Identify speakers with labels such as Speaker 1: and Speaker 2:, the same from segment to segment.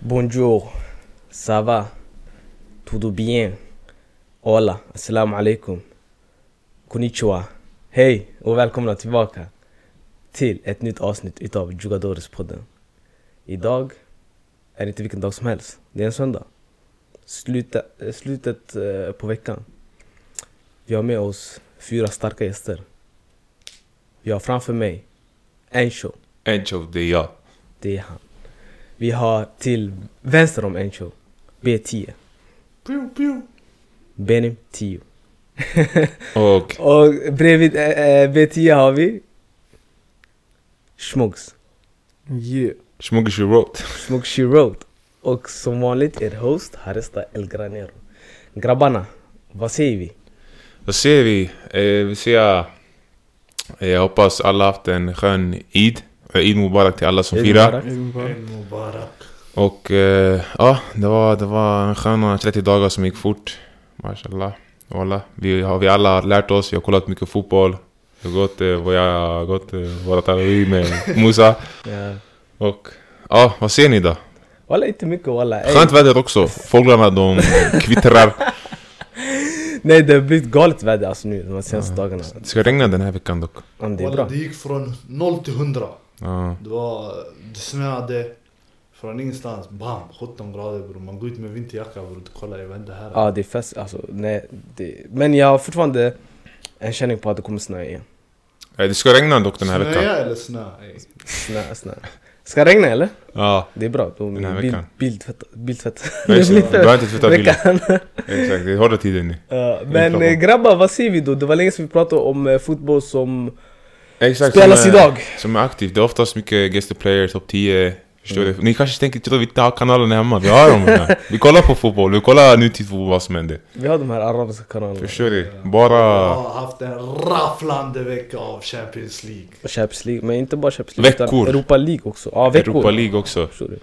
Speaker 1: Bonjour, ça va, tudo bien, hola, assalamu alaikum, konnichiwa, hej och välkomna tillbaka till ett nytt avsnitt utav Jugadores-podden. Idag är det inte vilken dag som helst, det är en söndag. Slutet, eh, slutet eh, på veckan. Vi har med oss fyra starka gäster. Vi har framför mig Encho,
Speaker 2: Encho, det är jag.
Speaker 1: det är han. Vi har till vänster om Encho, B10.
Speaker 2: Pew, pew.
Speaker 1: Benim 10.
Speaker 2: Och
Speaker 1: Och bredvid eh, eh, B10 har vi Schmugs.
Speaker 3: Yeah.
Speaker 2: Smokey She Wrote.
Speaker 1: Smoke She Wrote. Och som vanligt er host Harista El Granero. Grabbarna, vad säger vi?
Speaker 2: Vad ser vi? Eh, vi ser... Eh, jag hoppas alla haft en skön Eid. Eh, Eid Mubarak till alla som
Speaker 1: Eid
Speaker 2: firar.
Speaker 1: Mubarak.
Speaker 2: Och eh, ja, det var, det var en sköna 30 dagar som gick fort. Mashallah. Wallah. Vi har vi alla har lärt oss. Jag har kollat mycket fotboll. Jag har gått, eh, vad jag har gått eh, våra tarawih med Musa.
Speaker 1: Ja.
Speaker 2: Och ja, vad ser ni då?
Speaker 1: Walla inte mycket walla. Ey,
Speaker 2: Skönt väder också. Fåglarna de kvittrar.
Speaker 1: Nej det har blivit galet väder alltså nu de senaste dagarna.
Speaker 2: Det ska regna den här veckan dock.
Speaker 1: Ja, men det är
Speaker 4: Walla,
Speaker 1: bra.
Speaker 4: det gick från 0 till 100.
Speaker 2: Ja.
Speaker 4: Det var, det snöade. Från ingenstans, bam! 17 grader bror. Man går ut med vinterjacka bror. Du kollar, jag vet inte här.
Speaker 1: Ja det är fest alltså. Nej, det... Men jag har fortfarande en känning på att det kommer snöa igen.
Speaker 2: Eh, Det ska regna dock den här
Speaker 4: Snöa
Speaker 2: veckan.
Speaker 4: eller snö? Ey.
Speaker 1: Snö, snö. Ska det regna eller?
Speaker 2: Ja,
Speaker 1: Det är bra. Då
Speaker 2: Den här
Speaker 1: bild,
Speaker 2: veckan.
Speaker 1: bildtvätt. bildtvätt.
Speaker 2: ja just det.
Speaker 1: blir
Speaker 2: Du behöver inte tvätta bilen.
Speaker 1: veckan.
Speaker 2: Exakt, det är hårda tider nu.
Speaker 1: Ja,
Speaker 2: klart
Speaker 1: men
Speaker 2: man-
Speaker 1: eh, grabbar, vad säger vi då? Det var länge sedan vi pratade om eh, fotboll som
Speaker 2: Exakt,
Speaker 1: spelas
Speaker 2: som eh, är-
Speaker 1: idag.
Speaker 2: Som är aktiv. Det är oftast mycket guest player, topp 10. Förstår du? Ni kanske tänker tror vi inte har kanalerna hemma. Vi har dem här. Vi kollar på fotboll. Vi kollar nutidsfotboll, vad som händer.
Speaker 1: Vi har de här arabiska kanalerna.
Speaker 2: Förstår du? Bara
Speaker 1: Ah.
Speaker 4: Jag har haft en rafflande vecka av Champions League.
Speaker 1: Och Champions League, men inte bara Champions League.
Speaker 2: Veckor.
Speaker 1: Utan Europa League också. Ja, veckor.
Speaker 2: Europa League också.
Speaker 1: Förstår du?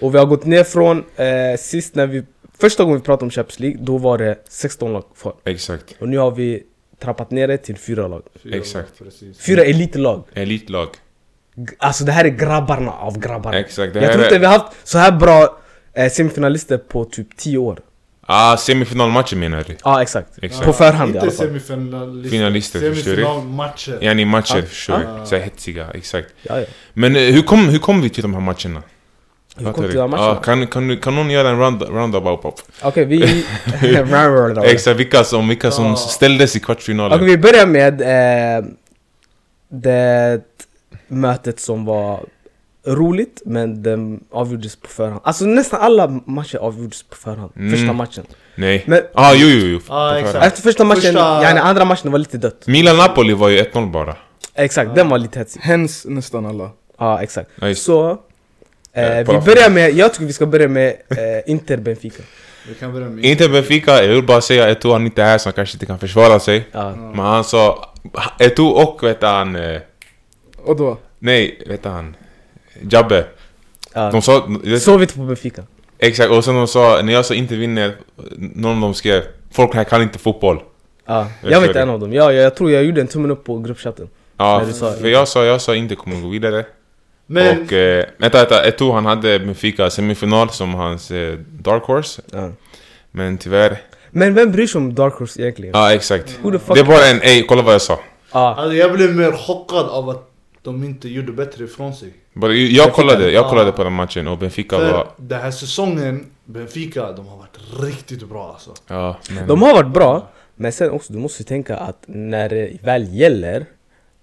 Speaker 1: Och vi har gått ner från eh, sist när vi... Första gången vi pratade om Champions League, då var det 16 lag kvar.
Speaker 2: Exakt.
Speaker 1: Och nu har vi trappat ner det till fyra lag.
Speaker 4: Fyra
Speaker 2: Exakt.
Speaker 4: lag, Precis.
Speaker 1: Fyra
Speaker 2: Mm.
Speaker 1: elitlag.
Speaker 2: Elitlag.
Speaker 1: G- Alltså det här är grabbarna av grabbarna.
Speaker 2: Exakt. Det
Speaker 1: Jag
Speaker 2: här
Speaker 1: tror inte vi
Speaker 2: är...
Speaker 1: har haft så här bra eh, semifinalister på typ 10 år.
Speaker 2: Ah, semifinalmatchen menar du?
Speaker 1: Ja, exakt.
Speaker 2: Exakt.
Speaker 1: På förhand i
Speaker 4: Inte
Speaker 1: alla fall.
Speaker 4: semifinalister.
Speaker 2: Finalister, förstår du?
Speaker 4: Semifinalmatcher.
Speaker 2: Yani matcher, förstår
Speaker 4: ah.
Speaker 2: du? Så här hetsiga, exakt.
Speaker 1: Ja, ja.
Speaker 2: Men eh, hur kom, hur kom vi till de här matcherna?
Speaker 1: Hur
Speaker 2: Fattar
Speaker 1: kom
Speaker 2: du?
Speaker 1: till den här
Speaker 2: Ah,
Speaker 1: matchen?
Speaker 2: kan, kan, du- kan någon göra en round, roundabout? pop?
Speaker 1: Okej, vi...
Speaker 2: Exakt, vilka som, vilka som
Speaker 4: Ja.
Speaker 2: ställdes i kvartsfinalen.
Speaker 1: Okej, vi börjar med eh, det mötet som var roligt, men den avgjordes på förhand. Alltså nästan alla matcher avgjordes på förhand.
Speaker 2: Mm.
Speaker 1: Första matchen.
Speaker 2: Nej.
Speaker 1: Men-
Speaker 2: ah, jo, jo, jo.
Speaker 4: Ah,
Speaker 2: På
Speaker 4: exakt.
Speaker 2: förhand.
Speaker 1: Efter första matchen,
Speaker 4: Första-
Speaker 1: yani andra matchen var lite dött.
Speaker 2: Milan-Napoli var ju 1-0 bara.
Speaker 1: Exakt, den var lite hetsig.
Speaker 3: Hens nästan alla.
Speaker 1: Ja, exakt.
Speaker 2: Ja, just det.
Speaker 1: Så... Eh,
Speaker 2: Eh,
Speaker 1: vi
Speaker 2: bara-
Speaker 1: börjar med, jag tycker vi ska börja med eh, Inter-Benfica.
Speaker 4: Vi kan börja med...
Speaker 2: Inte Benfica, jag vill bara säga Eto'o han är inte här så han kanske inte kan försvara sig.
Speaker 1: Ja.
Speaker 2: Men han sa... Eto'o och vet han... eh,
Speaker 3: Och då?
Speaker 2: Nej, vet han... Jabbe.
Speaker 1: Ja.
Speaker 2: De sa... det-
Speaker 1: Sovit på Benfica.
Speaker 2: Exakt, och sen de sa, när jag sa inte vinner, någon av dem skrev Folk här kan inte fotboll.
Speaker 1: Ja,
Speaker 2: Jag
Speaker 1: jag var
Speaker 2: kör
Speaker 1: inte
Speaker 2: det.
Speaker 1: en av dem. Jag, jag, jag tror jag gjorde en tummen upp på gruppchatten.
Speaker 2: Ja,
Speaker 1: Nej, du sa
Speaker 2: för jag sa, jag sa inte kommer gå vidare.
Speaker 4: Men,
Speaker 2: Och eh, vänta, vänta, Eto'o han hade Benfica semifinal som hans eh, dark horse.
Speaker 1: Ja.
Speaker 2: Men tyvärr...
Speaker 1: Men vem bryr sig om Dark Horse egentligen?
Speaker 2: Ja, exakt.
Speaker 1: Who the fuck?
Speaker 2: Det är bara en, ey, kolla vad jag sa.
Speaker 1: Ja,
Speaker 4: alltså, jag blev mer chockad av att de inte gjorde bättre ifrån sig.
Speaker 2: Bara, jag kollade, jag
Speaker 4: Ja.
Speaker 2: kollade på den matchen och Benfica var...
Speaker 4: Ah. För den här säsongen, Benfica, de har varit riktigt bra alltså.
Speaker 2: Ja, men,
Speaker 1: de har varit bra, men sen också du måste tänka att när det väl gäller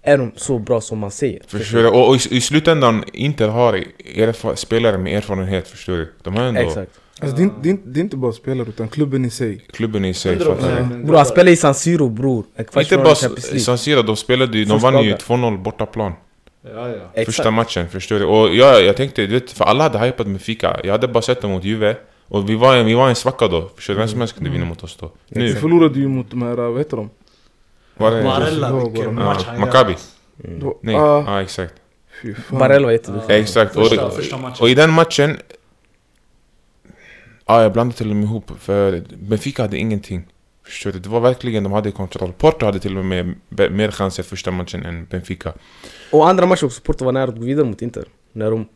Speaker 1: är de så bra som man säger.
Speaker 2: förstår du? Och, och i, i slutändan, Inter har erfa- spelare med erfarenhet, förstår du? De har ändå
Speaker 1: Exakt.
Speaker 3: Alltså, det, är, inte- det, är, inte- det är inte bara spelare utan klubben i sig.
Speaker 2: klubben i sig.
Speaker 4: 100%.
Speaker 2: fattar du?
Speaker 4: Men
Speaker 1: Bror han spelar i San Siro bror. En
Speaker 2: Inte
Speaker 1: kvartsfinal i
Speaker 2: bara
Speaker 1: Champions
Speaker 2: s-
Speaker 1: League.
Speaker 2: San Siro, de spelade ju, de
Speaker 1: Första
Speaker 2: vann ju
Speaker 1: dagen.
Speaker 2: 2-0 bortaplan.
Speaker 4: Ja, ja.
Speaker 1: Exakt.
Speaker 2: Första matchen, förstår du? Och jag, jag tänkte, du vet, för alla hade hypat med Fika. Jag hade bara sett dem mot Juve. Och vi var, vi var en svacka då, förstår du? Vem som helst kunde vinna mot oss då.
Speaker 3: Vi
Speaker 2: Nu,
Speaker 3: förlorade ju mot de här, vad heter de?
Speaker 2: var det...
Speaker 4: Barella,
Speaker 3: Ja,
Speaker 4: vilken
Speaker 2: Ja,
Speaker 4: match han gör.
Speaker 2: Maccabi.
Speaker 3: Då-
Speaker 2: Nej,
Speaker 3: ah,
Speaker 2: ja exakt.
Speaker 3: fy fan.
Speaker 1: Barella var jätteduktig.
Speaker 2: Exakt. Och,
Speaker 4: Första, första matchen.
Speaker 2: och i den matchen... Ja, jag blandade till och med ihop, för Benfica hade ingenting. Förstår du? Det var verkligen, de hade kontroll. Porto hade till och med be- mer chanser första matchen än Benfica.
Speaker 1: Och andra matchen också, Porto var nära att gå vidare mot Inter. När de e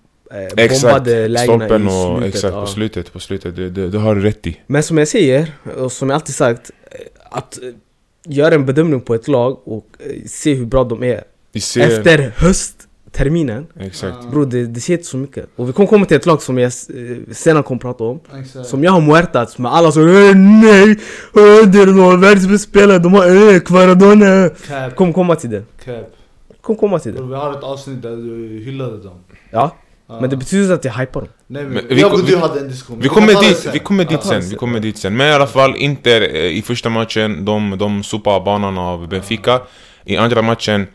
Speaker 1: eh,
Speaker 2: Exakt,
Speaker 1: bombade lägena i
Speaker 2: stolpen
Speaker 1: slutet.
Speaker 2: och exakt,
Speaker 1: ja.
Speaker 2: på slutet, på slutet, det, det, det har du rätt i.
Speaker 1: Men som jag säger, och som jag alltid sagt, eh, att eh, göra en bedömning på ett lag och eh, se hur bra de är
Speaker 2: I serien,
Speaker 1: efter höstterminen
Speaker 2: exakt.
Speaker 1: Bror det, det ser inte så mycket. Och vi kommer komma till ett lag som jag eh, senare kommer prata om.
Speaker 4: Exakt.
Speaker 1: Som jag har muertats med alla som "Eh, nej, eh, det är några världens bästa spelare, de har eh, Kvaradona.
Speaker 4: Cap,
Speaker 1: Kommer komma till det.
Speaker 4: cap.
Speaker 1: Kommer komma till det.
Speaker 4: Vi har ett avsnitt där du hyllade dem.
Speaker 1: Ja,
Speaker 4: Ja.
Speaker 1: men det betyder inte att jag hypar dem.
Speaker 4: Nej, men,
Speaker 2: Men vi-
Speaker 4: jag och
Speaker 2: vi-
Speaker 4: du hade en diskussion.
Speaker 2: Vi
Speaker 4: kan ta
Speaker 2: kommer
Speaker 4: det
Speaker 2: dit,
Speaker 4: sen.
Speaker 2: vi kommer dit
Speaker 4: Ja.
Speaker 2: sen, vi kommer dit sen. Men i alla fall, Inter eh, i första matchen, de, de sopar banan av Benfica. I andra matchen,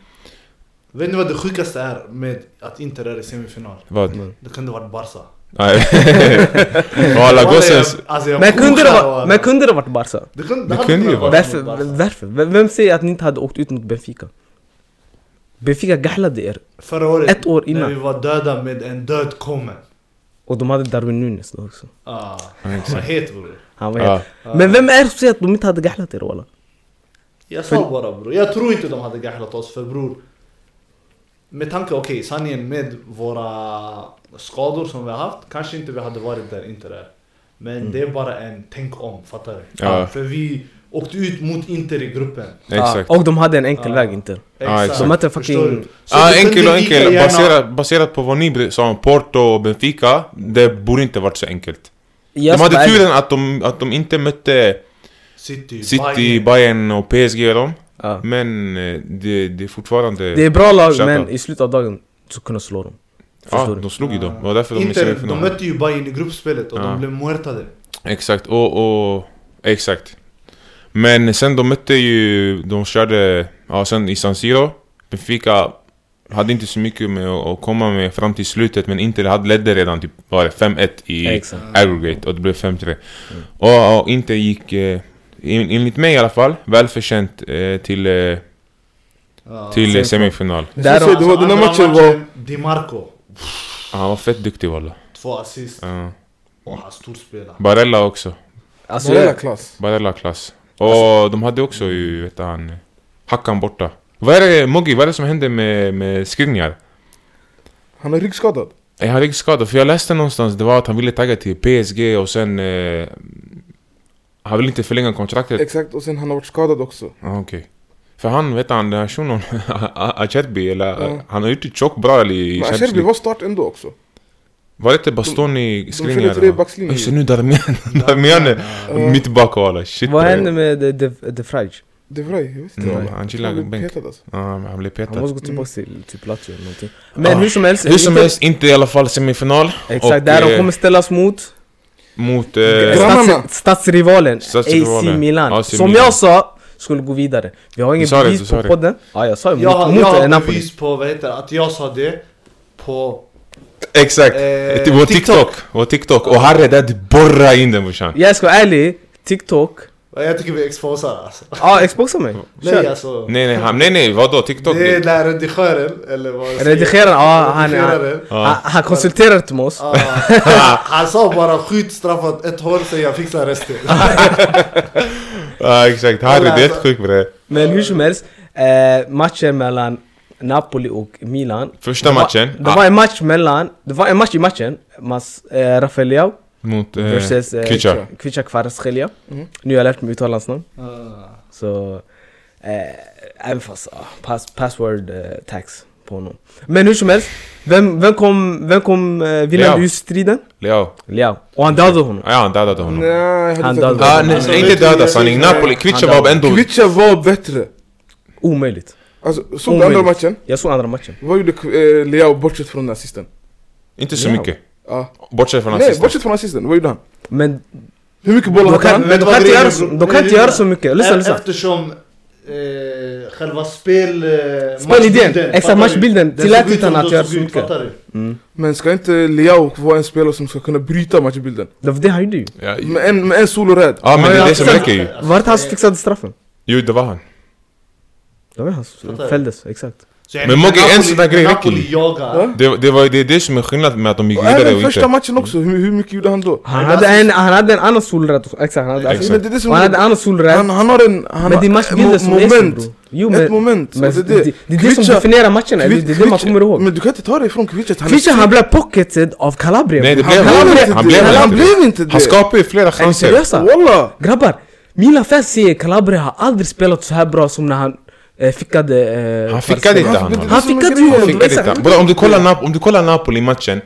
Speaker 4: Vet ni vad det sjukaste är med att Inter är i semifinal?
Speaker 2: vad?
Speaker 4: Det kunde varit Barca.
Speaker 2: Nej. Walla gossens...
Speaker 4: Jag- alltså, jag
Speaker 1: Men kunde det,
Speaker 4: kokar
Speaker 1: vara,
Speaker 4: bara.
Speaker 1: men kunde det varit Barca?
Speaker 4: Det kunde,
Speaker 2: Det
Speaker 4: hade
Speaker 2: kunde
Speaker 4: kunnat
Speaker 2: ju vara.
Speaker 4: vara
Speaker 1: Varför?
Speaker 4: mot Barca.
Speaker 1: varför? V- Vem säger att ni inte hade åkt ut mot Benfica? Benfica gahlade er,
Speaker 4: Förra året,
Speaker 1: Ett år innan.
Speaker 4: när vi var döda med en död kommen.
Speaker 1: och de hade Darwin Nunes då också.
Speaker 4: Ah, han var het bror.
Speaker 1: Han var
Speaker 2: Ja.
Speaker 1: helt- Men vem är det som säger att de inte hade gahlade er walla?
Speaker 4: Jag sa bara bror, jag tror inte de hade gahlat oss för bror Med tanke, okej sanningen med våra skador som vi har haft Kanske inte vi hade varit där Inter är Men det är bara en tänk om, fattar du?
Speaker 2: Ja.
Speaker 4: För vi åkte ut mot Inter i gruppen
Speaker 2: Exakt.
Speaker 1: Ah, Och de hade en enkel
Speaker 4: Ja.
Speaker 1: väg inte.
Speaker 2: Ja, exakt.
Speaker 1: De hade
Speaker 4: Förstår
Speaker 1: fucking-
Speaker 4: du? Så
Speaker 2: Ja,
Speaker 4: du
Speaker 2: Ah,
Speaker 4: kunde
Speaker 2: enkel och
Speaker 4: lika
Speaker 2: enkel.
Speaker 4: gärna-
Speaker 2: Baserat, baserat på vad ni sa om Porto och Benfica, det borde inte varit så enkelt.
Speaker 1: Jag
Speaker 2: de
Speaker 1: ska vara
Speaker 2: hade
Speaker 1: ärlig.
Speaker 2: turen att de, att de inte mötte
Speaker 4: City,
Speaker 2: City,
Speaker 4: Bayern.
Speaker 2: Bayern och PSG och dem.
Speaker 1: Ja.
Speaker 2: Men eh, det, det är fortfarande...
Speaker 1: Det är bra lag
Speaker 2: Shoutout.
Speaker 1: men i slutet av dagen så kunde slå dem.
Speaker 2: ja,
Speaker 1: Förstår du?
Speaker 2: de slog ju dem. Det var därför de missade
Speaker 4: Inter, de
Speaker 2: semifinalen.
Speaker 4: mötte ju Bayern i gruppspelet och
Speaker 2: Ja.
Speaker 4: de blev muertade
Speaker 2: Exakt, och, och... Exakt. Men sen de mötte ju... De körde... Ja, sen i San Siro. Benfica hade inte så mycket med att att komma med fram till slutet, men Inter hade ledde redan typ, var det 5-1 i...
Speaker 1: Exakt. Mm.
Speaker 2: aggregate och det blev 5-3. Och, och inte gick, eh, en- enligt mig i alla fall, välförtjänt eh, till, eh,
Speaker 4: Ja.
Speaker 2: till eh,
Speaker 1: semifinal.
Speaker 2: semifinal.
Speaker 3: Jag
Speaker 1: Där
Speaker 3: ska säga,
Speaker 1: och-
Speaker 3: det var den här
Speaker 4: andra
Speaker 3: matchen var...
Speaker 4: Di Marco,
Speaker 2: Han var fett duktig walla.
Speaker 4: två assist
Speaker 2: Ja.
Speaker 4: och han storspelare
Speaker 2: Barella också.
Speaker 1: Alltså,
Speaker 3: Varenda
Speaker 1: jag,
Speaker 3: klass.
Speaker 2: Barella klass. Och de hade också ju, vet han, Hackan borta. Vad är det, Moggi, vad är det som hände med, med Skriniar?
Speaker 3: Han är ryggskadad.
Speaker 2: Är han ryggskadad? För jag läste någonstans, det var att han ville tagga till PSG och sen... Eh, han ville inte förlänga kontraktet.
Speaker 3: Exakt, och sen han har varit skadad också.
Speaker 2: Ah, Okej. För han, vet han, den här shunon, Acerbi, eller
Speaker 3: Ja.
Speaker 2: han har gjort det tjockt bra i i
Speaker 3: Men
Speaker 2: Champions
Speaker 3: Acerbi
Speaker 2: League.
Speaker 3: var start ändå också.
Speaker 2: Var det inte Bastoni
Speaker 3: De körde tre backlinjer.
Speaker 2: Just det, nu Darmian, Darmian
Speaker 3: Ja.
Speaker 2: mittback och alla shit. eh.
Speaker 1: vad
Speaker 2: bre.
Speaker 1: hände med De, de, de Frage?
Speaker 3: De Vrij, jag vet inte.
Speaker 2: Mm,
Speaker 3: walla.
Speaker 2: han gillar
Speaker 3: blev
Speaker 2: bänk.
Speaker 3: petad alltså.
Speaker 2: Ja, men han blev
Speaker 1: Han
Speaker 2: petad.
Speaker 1: måste gå tillbaka till typ Lazio eller någonting. Men
Speaker 2: Ah,
Speaker 1: hur som helst,
Speaker 2: Hur som
Speaker 1: inte-
Speaker 2: helst, inte i alla fall semifinal
Speaker 1: Exakt,
Speaker 2: och,
Speaker 1: där de
Speaker 2: eh,
Speaker 1: kommer ställas mot
Speaker 2: mot...
Speaker 1: eh,
Speaker 2: Eh,
Speaker 3: Gra- Grannarna.
Speaker 1: stats, stadsrivalen AC
Speaker 2: Stadsrivalen.
Speaker 1: Milan.
Speaker 2: AC
Speaker 1: som
Speaker 2: Milan.
Speaker 1: jag sa, skulle gå vidare. Vi har ingen
Speaker 2: sa det, du
Speaker 1: bevis
Speaker 2: sa
Speaker 1: på
Speaker 2: det.
Speaker 1: podden. Ja, jag sa ju
Speaker 4: Jag, har-
Speaker 1: mot,
Speaker 4: jag
Speaker 1: mot eh,
Speaker 4: har
Speaker 1: Napoli.
Speaker 4: bevis på, vad heter det, att jag sa det på...
Speaker 2: exakt!
Speaker 4: eh,
Speaker 2: Till vår TikTok! Vår TikTok! Och Harry där, du borrar in den brorsan!
Speaker 1: Jag ska vara ärlig, TikTok.
Speaker 4: Jag tycker vi exposar alltså.
Speaker 1: Ja, ah, exposa mig.
Speaker 4: Nej alltså.
Speaker 2: Nej nej, han, nej nej, vadå? TikTok?
Speaker 4: Det är
Speaker 2: Det,
Speaker 4: den här redigeraren, eller vad jag säger.
Speaker 1: Redigeraren, ja han, han,
Speaker 4: Redigeraren.
Speaker 1: han, han konsulterar inte med oss.
Speaker 4: Ja, han sa bara skjut straffat ett hål så jag fixar resten.
Speaker 2: ah, exakt, Harry det är helt
Speaker 4: Alltså.
Speaker 2: sjukt bre!
Speaker 1: Men hur som helst, eh, matchen mellan Napoli och Milan.
Speaker 2: Första
Speaker 1: det var,
Speaker 2: matchen.
Speaker 1: Det var en match mellan, det var en match i matchen. Mas, eh, Rafael Leao
Speaker 2: Mot eh,
Speaker 1: versus eh,
Speaker 2: Kvicha.
Speaker 1: Kvicha Kvaratskhelia.
Speaker 3: Mm.
Speaker 1: Nu har jag lärt mig uttala hans namn.
Speaker 4: Ah,
Speaker 1: Så, eh, även fast, ah, pass, password eh, tax på honom. Men hur som helst, vem, vem kom, vem kom eh,
Speaker 2: Leao.
Speaker 1: vinnande ur striden?
Speaker 2: Leo.
Speaker 1: Leao. Och han dödade honom.
Speaker 2: Ja, han dödade honom.
Speaker 3: Nej, jag
Speaker 1: Han
Speaker 3: hade
Speaker 1: dödade.
Speaker 3: inte
Speaker 2: Ah, nej,
Speaker 4: Alltså,
Speaker 2: nej,
Speaker 4: vet
Speaker 2: inte
Speaker 4: du,
Speaker 2: döda
Speaker 4: jag
Speaker 2: sanning.
Speaker 4: tycker-
Speaker 2: Napoli, Kvicha
Speaker 1: Han
Speaker 2: var ändå...
Speaker 3: Kvicha var bättre.
Speaker 1: Omöjligt.
Speaker 3: Alltså, såg du andra
Speaker 1: Omöjligt.
Speaker 3: matchen?
Speaker 1: Jag såg andra matchen.
Speaker 3: Vad gjorde eh, Leao bortsett från den assisten?
Speaker 2: Inte så
Speaker 1: Ja.
Speaker 2: mycket.
Speaker 3: Ja.
Speaker 2: Bortsett från
Speaker 3: Nej,
Speaker 2: assisten.
Speaker 3: bortsett från assisten, vad gjorde han?
Speaker 1: Men
Speaker 3: Hur mycket bollar
Speaker 1: de
Speaker 3: hade
Speaker 1: kan,
Speaker 3: han?
Speaker 1: men de
Speaker 4: vad
Speaker 1: kan inte
Speaker 4: grejen
Speaker 1: göra
Speaker 4: är,
Speaker 1: så,
Speaker 4: bro?
Speaker 1: de kan inte göra så mycket. Lyssna,
Speaker 4: e-
Speaker 1: lyssna.
Speaker 4: Eftersom eh, själva spel... Eh,
Speaker 1: Spelidén,
Speaker 4: matchbilden,
Speaker 1: exakt,
Speaker 4: fattar du?
Speaker 1: matchbilden
Speaker 4: Den
Speaker 1: tillät
Speaker 4: såg ut
Speaker 1: inte
Speaker 4: som
Speaker 1: han att
Speaker 4: den
Speaker 1: göra
Speaker 4: såg
Speaker 1: så
Speaker 4: ut,
Speaker 1: mycket.
Speaker 4: fattar du?
Speaker 1: Mm.
Speaker 3: Men ska inte Leao vara en spelare som ska kunna bryta matchbilden?
Speaker 1: Det var det han gjorde ju.
Speaker 2: Ja, ju-
Speaker 3: Med en, med en soloräd.
Speaker 2: Ja, men det är det som
Speaker 1: Alltså,
Speaker 2: räcker ju.
Speaker 1: Var det han som fixade straffen?
Speaker 2: Jo, det var han.
Speaker 1: Det var han som
Speaker 4: Fattar du?
Speaker 1: fälldes, exakt.
Speaker 4: Så يعني
Speaker 2: Men Mogge,
Speaker 4: när
Speaker 2: en
Speaker 4: Napoli-
Speaker 2: sån där grej
Speaker 4: när
Speaker 2: räcker ju.
Speaker 4: Napoli jagar.
Speaker 3: Ja.
Speaker 2: Det, det, var, det är det som är skillnaden med att de gick
Speaker 3: Och
Speaker 2: vidare och
Speaker 3: även första
Speaker 2: inte...
Speaker 3: matchen också, hur, hur mycket gjorde han då?
Speaker 1: Han hade en, han hade en annan solrätt också. Exakt, han hade,
Speaker 2: Exakt.
Speaker 1: alltså,
Speaker 3: Men det är det som...
Speaker 1: och han hade en annan
Speaker 3: han,
Speaker 1: solrätt.
Speaker 3: han har en... Han
Speaker 1: Men
Speaker 3: har
Speaker 1: din matchbild är
Speaker 3: mo-
Speaker 1: som
Speaker 3: moment.
Speaker 1: Essen bro. Jo
Speaker 3: Ett
Speaker 1: men,
Speaker 3: moment.
Speaker 1: men
Speaker 3: så
Speaker 1: det, det, det är det som
Speaker 3: Kvicha-
Speaker 1: definierar matcherna, det, det är det man
Speaker 3: Kvicha-
Speaker 1: kommer ihåg.
Speaker 3: Men du kan inte ta det ifrån Kvicha. Han, är
Speaker 1: Fischer
Speaker 3: stor.
Speaker 1: han blev pocketed av Calabria
Speaker 2: Nej, det
Speaker 1: bro.
Speaker 2: blev
Speaker 1: han.
Speaker 2: han.
Speaker 1: Calabria-
Speaker 2: Han blev
Speaker 1: Calabria-
Speaker 2: inte
Speaker 3: han
Speaker 2: det.
Speaker 3: blev inte det.
Speaker 2: Han skapar ju flera
Speaker 1: Är ni
Speaker 2: chanser.
Speaker 1: seriösa?
Speaker 3: Walla!
Speaker 1: Grabbar, Milan fans säger Calabria har aldrig spelat så här bra som när han eh, fickade... Eh,
Speaker 2: Han fickade
Speaker 1: Barcelona.
Speaker 2: inte han.
Speaker 3: Det är
Speaker 1: Han
Speaker 3: som är
Speaker 1: fickade
Speaker 3: grejen.
Speaker 1: ju
Speaker 2: Han
Speaker 1: honom,
Speaker 2: fickade
Speaker 1: exakt.
Speaker 2: inte. Bara om du kollar, Nap- om du kollar Napoli-matchen.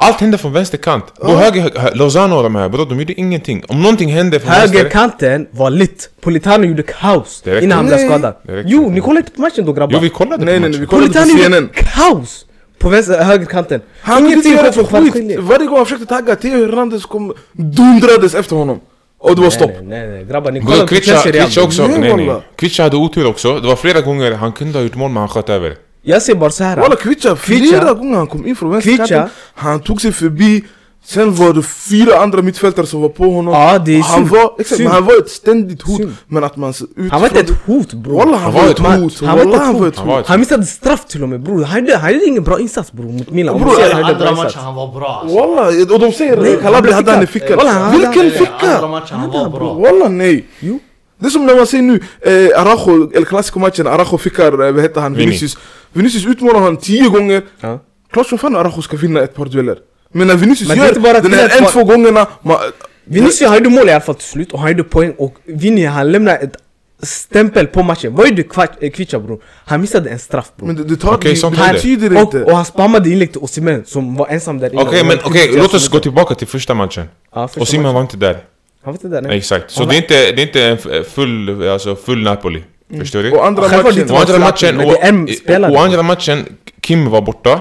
Speaker 2: Allt hände från vänsterkant. På höger, hö- Lozano och de här, bror de gjorde ingenting. Om någonting hände från vänster...
Speaker 1: Högerkanten var lit, Politano gjorde kaos
Speaker 2: Det räcker
Speaker 1: innan han
Speaker 3: inte.
Speaker 1: blev skadad.
Speaker 2: Det räcker
Speaker 1: Jo,
Speaker 2: inte.
Speaker 1: ni kollade inte på matchen då grabbar.
Speaker 2: Jo vi kollade
Speaker 3: Nej
Speaker 2: på
Speaker 3: nej nej,
Speaker 2: matchen.
Speaker 3: vi kollade på
Speaker 1: Politano
Speaker 3: CNN.
Speaker 1: gjorde kaos på vänster, högerkanten.
Speaker 3: Han kunde inte göra
Speaker 1: kom
Speaker 3: för
Speaker 1: från
Speaker 3: skit.
Speaker 1: kvartsskilje.
Speaker 3: Varje gång han försökte tagga, Theo Hernandez kom dundrades efter honom. Och det var stopp.
Speaker 1: Nej, nej, nej, grabbar ni kollade
Speaker 2: Bror
Speaker 1: på
Speaker 2: Kvicha,
Speaker 1: Chelsea Real.
Speaker 2: Kvicha också,
Speaker 3: Nej,
Speaker 2: nej nej.
Speaker 3: wallah.
Speaker 2: Kvicha hade otur också. Det var flera gånger han kunde ha gjort mål men han sköt över.
Speaker 1: Jag säger bara så här.
Speaker 3: Walla Kvicha,
Speaker 1: Kvicha.
Speaker 3: flera gånger han kom in från
Speaker 1: Kvicha.
Speaker 3: vänsterkanten. Han tog sig förbi. Sen var det fyra andra mittfältare som var på honom.
Speaker 1: Ja, det är
Speaker 3: han
Speaker 1: synd.
Speaker 3: var, exakt,
Speaker 1: Synd.
Speaker 3: men han var ett ständigt hot.
Speaker 1: Synd.
Speaker 3: Men att man... Utifrån,
Speaker 1: Han var inte ett hot bror.
Speaker 3: Walla han var ett
Speaker 1: Man-
Speaker 3: hot.
Speaker 1: Han var
Speaker 3: Walla han var
Speaker 1: inte ett hot.
Speaker 3: ett
Speaker 2: Han var
Speaker 3: hot.
Speaker 2: ett
Speaker 1: Han missade straff till och med bror. Han gjorde, han gjorde ingen bra insats bror mot Milan. Om
Speaker 3: Bror,
Speaker 1: du
Speaker 4: Bror,
Speaker 1: ser,
Speaker 4: alla
Speaker 1: han gjorde
Speaker 4: andra
Speaker 1: bra
Speaker 4: matchen
Speaker 1: insats.
Speaker 4: han var bra. alltså.
Speaker 3: Walla, och de
Speaker 1: Nej,
Speaker 3: säger
Speaker 1: han blev
Speaker 3: Calabria hade han i
Speaker 1: fickan.
Speaker 3: fickan.
Speaker 1: Walla, han hade-
Speaker 3: Vilken
Speaker 4: Nej, nej, Andra
Speaker 3: ficka!
Speaker 4: matchen han var bra.
Speaker 3: Walla nej.
Speaker 1: Jo.
Speaker 3: Det är som när man ser nu, eh, Arajo, El Clasico-matchen, Arajo fickar, eh, vad heter han,
Speaker 2: Vinny.
Speaker 3: Vinicius. Vinicius utmanar han tio gånger.
Speaker 1: Ja.
Speaker 3: Klart som fan Arajo ska vinna ett par dueller. Men när Vinicius
Speaker 1: Men det är
Speaker 3: gör
Speaker 1: inte bara att
Speaker 3: den
Speaker 1: vinna ett
Speaker 3: här en,
Speaker 1: par-
Speaker 3: två gångerna, man,
Speaker 1: Vinicius han gjorde mål i alla fall till slut och han gjorde poäng och Vinny han lämnade ett stämpel på matchen. Vad gjorde Kva- eh, Kvicha bror? Han missade en straff bror.
Speaker 3: men det, det tar
Speaker 2: Okej,
Speaker 3: det,
Speaker 2: sånt
Speaker 3: det
Speaker 2: händer.
Speaker 3: betyder
Speaker 1: och,
Speaker 3: inte.
Speaker 1: och han spammade inlägg till Osimhen som var ensam där inne.
Speaker 2: Okej
Speaker 1: Och
Speaker 2: men
Speaker 1: han-
Speaker 2: okej,
Speaker 1: Kvicha
Speaker 2: låt oss
Speaker 1: som-
Speaker 2: gå tillbaka till första matchen.
Speaker 1: Ja, första
Speaker 2: Och Simon
Speaker 1: matchen.
Speaker 2: var inte där.
Speaker 1: Han var inte där nej.
Speaker 2: Exakt. Så
Speaker 1: Han
Speaker 2: det är
Speaker 1: var-
Speaker 2: inte, det är inte en f- full, alltså full Napoli. Förstår du?
Speaker 3: Och andra
Speaker 1: Självklart
Speaker 3: matchen,
Speaker 1: inte.
Speaker 2: Och andra matchen,
Speaker 1: Men det är en spelare.
Speaker 2: och, och andra matchen, Kim var borta.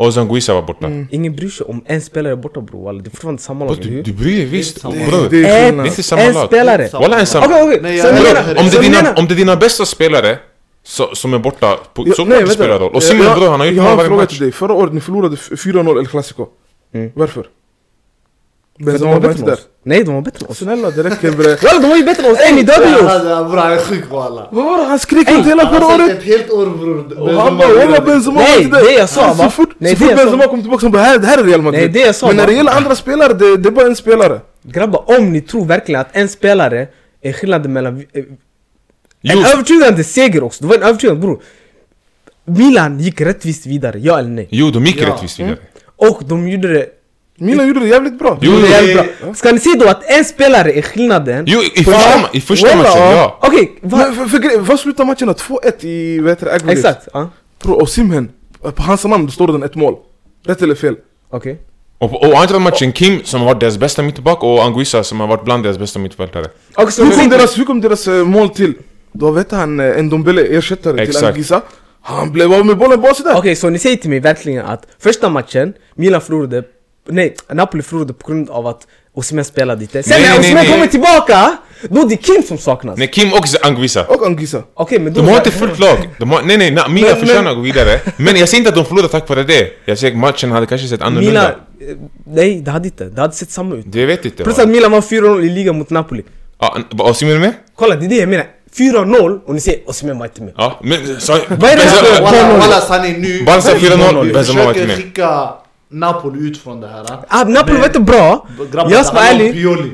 Speaker 2: Och Zanguisa var borta.
Speaker 1: Ingen bryr sig om en spelare är borta bror walla. Det är fortfarande samma
Speaker 2: Bror,
Speaker 1: lag.
Speaker 2: Du,
Speaker 1: eller
Speaker 2: du bryr dig visst.
Speaker 4: Det är inte
Speaker 2: bror.
Speaker 3: det är
Speaker 1: hur?
Speaker 3: skillnad.
Speaker 2: Det är inte samma
Speaker 1: En, en
Speaker 2: lag.
Speaker 1: spelare.
Speaker 4: Samma
Speaker 2: Walla
Speaker 4: lag.
Speaker 2: ensam.
Speaker 1: Okej okej.
Speaker 4: Nej,
Speaker 1: Så
Speaker 4: jag-
Speaker 1: jag
Speaker 2: Bror,
Speaker 1: menar-
Speaker 2: om, det
Speaker 1: så
Speaker 2: är
Speaker 1: jag
Speaker 2: dina,
Speaker 1: menar-
Speaker 2: om det är dina bästa spelare så, som är borta, på, så
Speaker 3: nej,
Speaker 2: klart det
Speaker 3: vänta.
Speaker 2: spelar roll. Och
Speaker 3: Jag-
Speaker 2: Simon
Speaker 3: jag-
Speaker 2: bror, han har gjort
Speaker 3: Jag
Speaker 2: mål
Speaker 3: har en
Speaker 2: varje
Speaker 3: fråga till
Speaker 2: match.
Speaker 3: dig, förra året ni förlorade f- 4-0 El Clasico.
Speaker 1: Mm.
Speaker 3: Varför?
Speaker 1: För
Speaker 3: Benzema var inte där.
Speaker 1: Nej de var bättre än oss.
Speaker 3: Snälla det räcker bre.
Speaker 1: Walla de var ju bättre än oss. Ey ni dödade ju oss.
Speaker 4: Ja, ja, Bror han är sjuk walla.
Speaker 3: Vad var det? Han skrek
Speaker 1: Ey,
Speaker 3: inte hela
Speaker 4: Han
Speaker 3: förra
Speaker 4: har
Speaker 3: året?
Speaker 4: sett ett helt år bror.
Speaker 3: Och han bara walla Benzema
Speaker 1: Nej,
Speaker 3: var inte där. Alltså,
Speaker 1: det jag sa,
Speaker 3: Så
Speaker 1: va?
Speaker 3: fort,
Speaker 1: Nej,
Speaker 3: så
Speaker 1: det
Speaker 3: fort
Speaker 1: jag sa.
Speaker 3: Benzema kom tillbaka han bara här, det här är Real Madrid.
Speaker 1: Nej, det jag sa,
Speaker 3: Men när
Speaker 1: va?
Speaker 3: det gäller andra spelare, det, det är bara en spelare.
Speaker 1: Grabbar, om ni tror verkligen att en spelare är skillnaden mellan... eh, En
Speaker 2: Jo.
Speaker 1: övertygande seger också, det var en övertygande bror. Milan gick rättvist vidare, ja eller nej?
Speaker 2: Jo, de gick
Speaker 4: Ja.
Speaker 2: rättvist vidare.
Speaker 1: Och de gjorde det
Speaker 3: Milan gjorde det jävligt bra.
Speaker 2: Jo,
Speaker 1: det
Speaker 2: jo,
Speaker 1: jävligt bra. Ska ni se då att en eh, spelare är skillnaden?
Speaker 2: Jo, i första, i första
Speaker 3: Walla,
Speaker 2: matchen,
Speaker 3: ja.
Speaker 2: ja.
Speaker 1: Okej, va-
Speaker 3: Men för, för, grej- vad slutar matcherna? 2-1 i vad heter det, aggregate?
Speaker 1: exakt. Ja,
Speaker 3: Bro, och Simhen, på hans namn står den ett mål. Rätt eller fel?
Speaker 1: okej.
Speaker 2: Och, och andra matchen, Kim som har varit deras bästa mittback och Anguissa som har varit bland deras bästa mittfältare.
Speaker 1: Och så-
Speaker 3: Hur kom deras, hur kom deras eh, mål till? Då vet han, eh, Ndombele, ersättare
Speaker 2: Exakt.
Speaker 3: till Angisa. Han blev av med bollen bara sådär.
Speaker 1: Okej, så ni säger till mig verkligen att första matchen, Milan förlorade, nej, Napoli förlorade på grund av att Osimhen spelade inte. Sen
Speaker 2: Nej,
Speaker 1: när
Speaker 2: nej, nej,
Speaker 1: Osimhen
Speaker 2: nej.
Speaker 1: kommer tillbaka, då är det Kim som saknas.
Speaker 2: Nej, Kim och Anguissa.
Speaker 3: Och Angisa.
Speaker 1: Okej, men då...
Speaker 2: De har inte fullt lag. De har, nej, nej, nej Milan
Speaker 3: Men-
Speaker 2: förtjänar att gå vidare. Men jag säger inte att de förlorade tack vare det. Jag säger att matchen hade kanske sett annorlunda
Speaker 1: Milan... eh, Nej, det hade inte. Det hade sett samma ut.
Speaker 2: Det vet inte
Speaker 1: Plus
Speaker 2: va?
Speaker 1: att Milan var 4-0 i ligan mot Napoli.
Speaker 2: Ja, vad Simon är med?
Speaker 1: Kolla, det är det jag menar. 4-0 och ni säger Osimhen var inte med.
Speaker 2: Ja, men sorry.
Speaker 1: Vad är det här för-
Speaker 2: Benzema-
Speaker 1: Walla,
Speaker 4: Walla
Speaker 1: walla,
Speaker 4: walla sanning nu.
Speaker 2: Barca 4-0,
Speaker 4: Vi
Speaker 2: Benzema var inte
Speaker 4: försöker
Speaker 2: med.
Speaker 4: skicka Napoli ut från det här.
Speaker 1: Ah, Napoli var inte bra.
Speaker 4: Grabbar,
Speaker 1: Jag
Speaker 4: det
Speaker 1: ska
Speaker 4: handlar
Speaker 1: vara
Speaker 4: om
Speaker 1: ärlig.
Speaker 4: Pioli.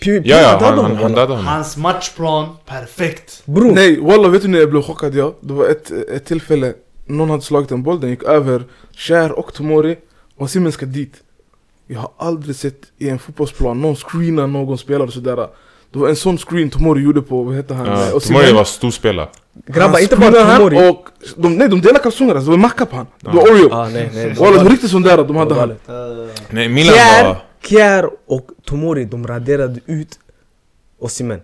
Speaker 1: Pi- Pi-
Speaker 2: Ja, ja,
Speaker 1: dödade
Speaker 2: han,
Speaker 1: honom,
Speaker 2: han, han
Speaker 1: walla.
Speaker 2: dödade honom.
Speaker 4: Hans matchplan, perfekt.
Speaker 1: Bror,
Speaker 3: Nej, walla vet du när jag blev chockad ja? Det var ett, ett tillfälle, någon hade slagit en boll, den gick över Cher och Tomori och Simon ska dit. Jag har aldrig sett i en fotbollsplan någon screena någon spelare sådär. Det var en sån screen Tomori gjorde på, vad heter han?
Speaker 2: Ja,
Speaker 3: Och
Speaker 2: Tomori var storspelare.
Speaker 1: grabbar, inte bara Tomori.
Speaker 3: Och de, nej, de delade kalsonger, alltså, det var macka på han. Det var Oreo.
Speaker 1: Ah, nej, nej.
Speaker 3: Walla, det var riktigt sån där de hade han.
Speaker 1: galet.
Speaker 4: Eh,
Speaker 2: Nej, Milan
Speaker 1: Kjär,
Speaker 2: var...
Speaker 1: Kjär och Tomori, de raderade ut Osimhen.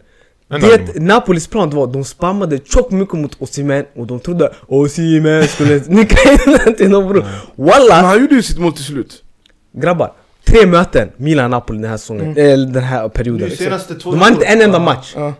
Speaker 2: En
Speaker 1: Det
Speaker 2: annan.
Speaker 1: Napolis plan det var, de spammade tjockt mycket mot Osimhen och de trodde Osimhen skulle... Ni kan inte nå bror.
Speaker 3: Men
Speaker 1: Walla!
Speaker 3: han gjorde ju sitt mål till slut.
Speaker 1: Grabbar, tre möten Milan-Napoli den här säsongen, eller den här perioden. liksom.
Speaker 4: Nu senaste två
Speaker 1: de vann inte en enda
Speaker 4: Ja.
Speaker 1: match.
Speaker 3: Ja.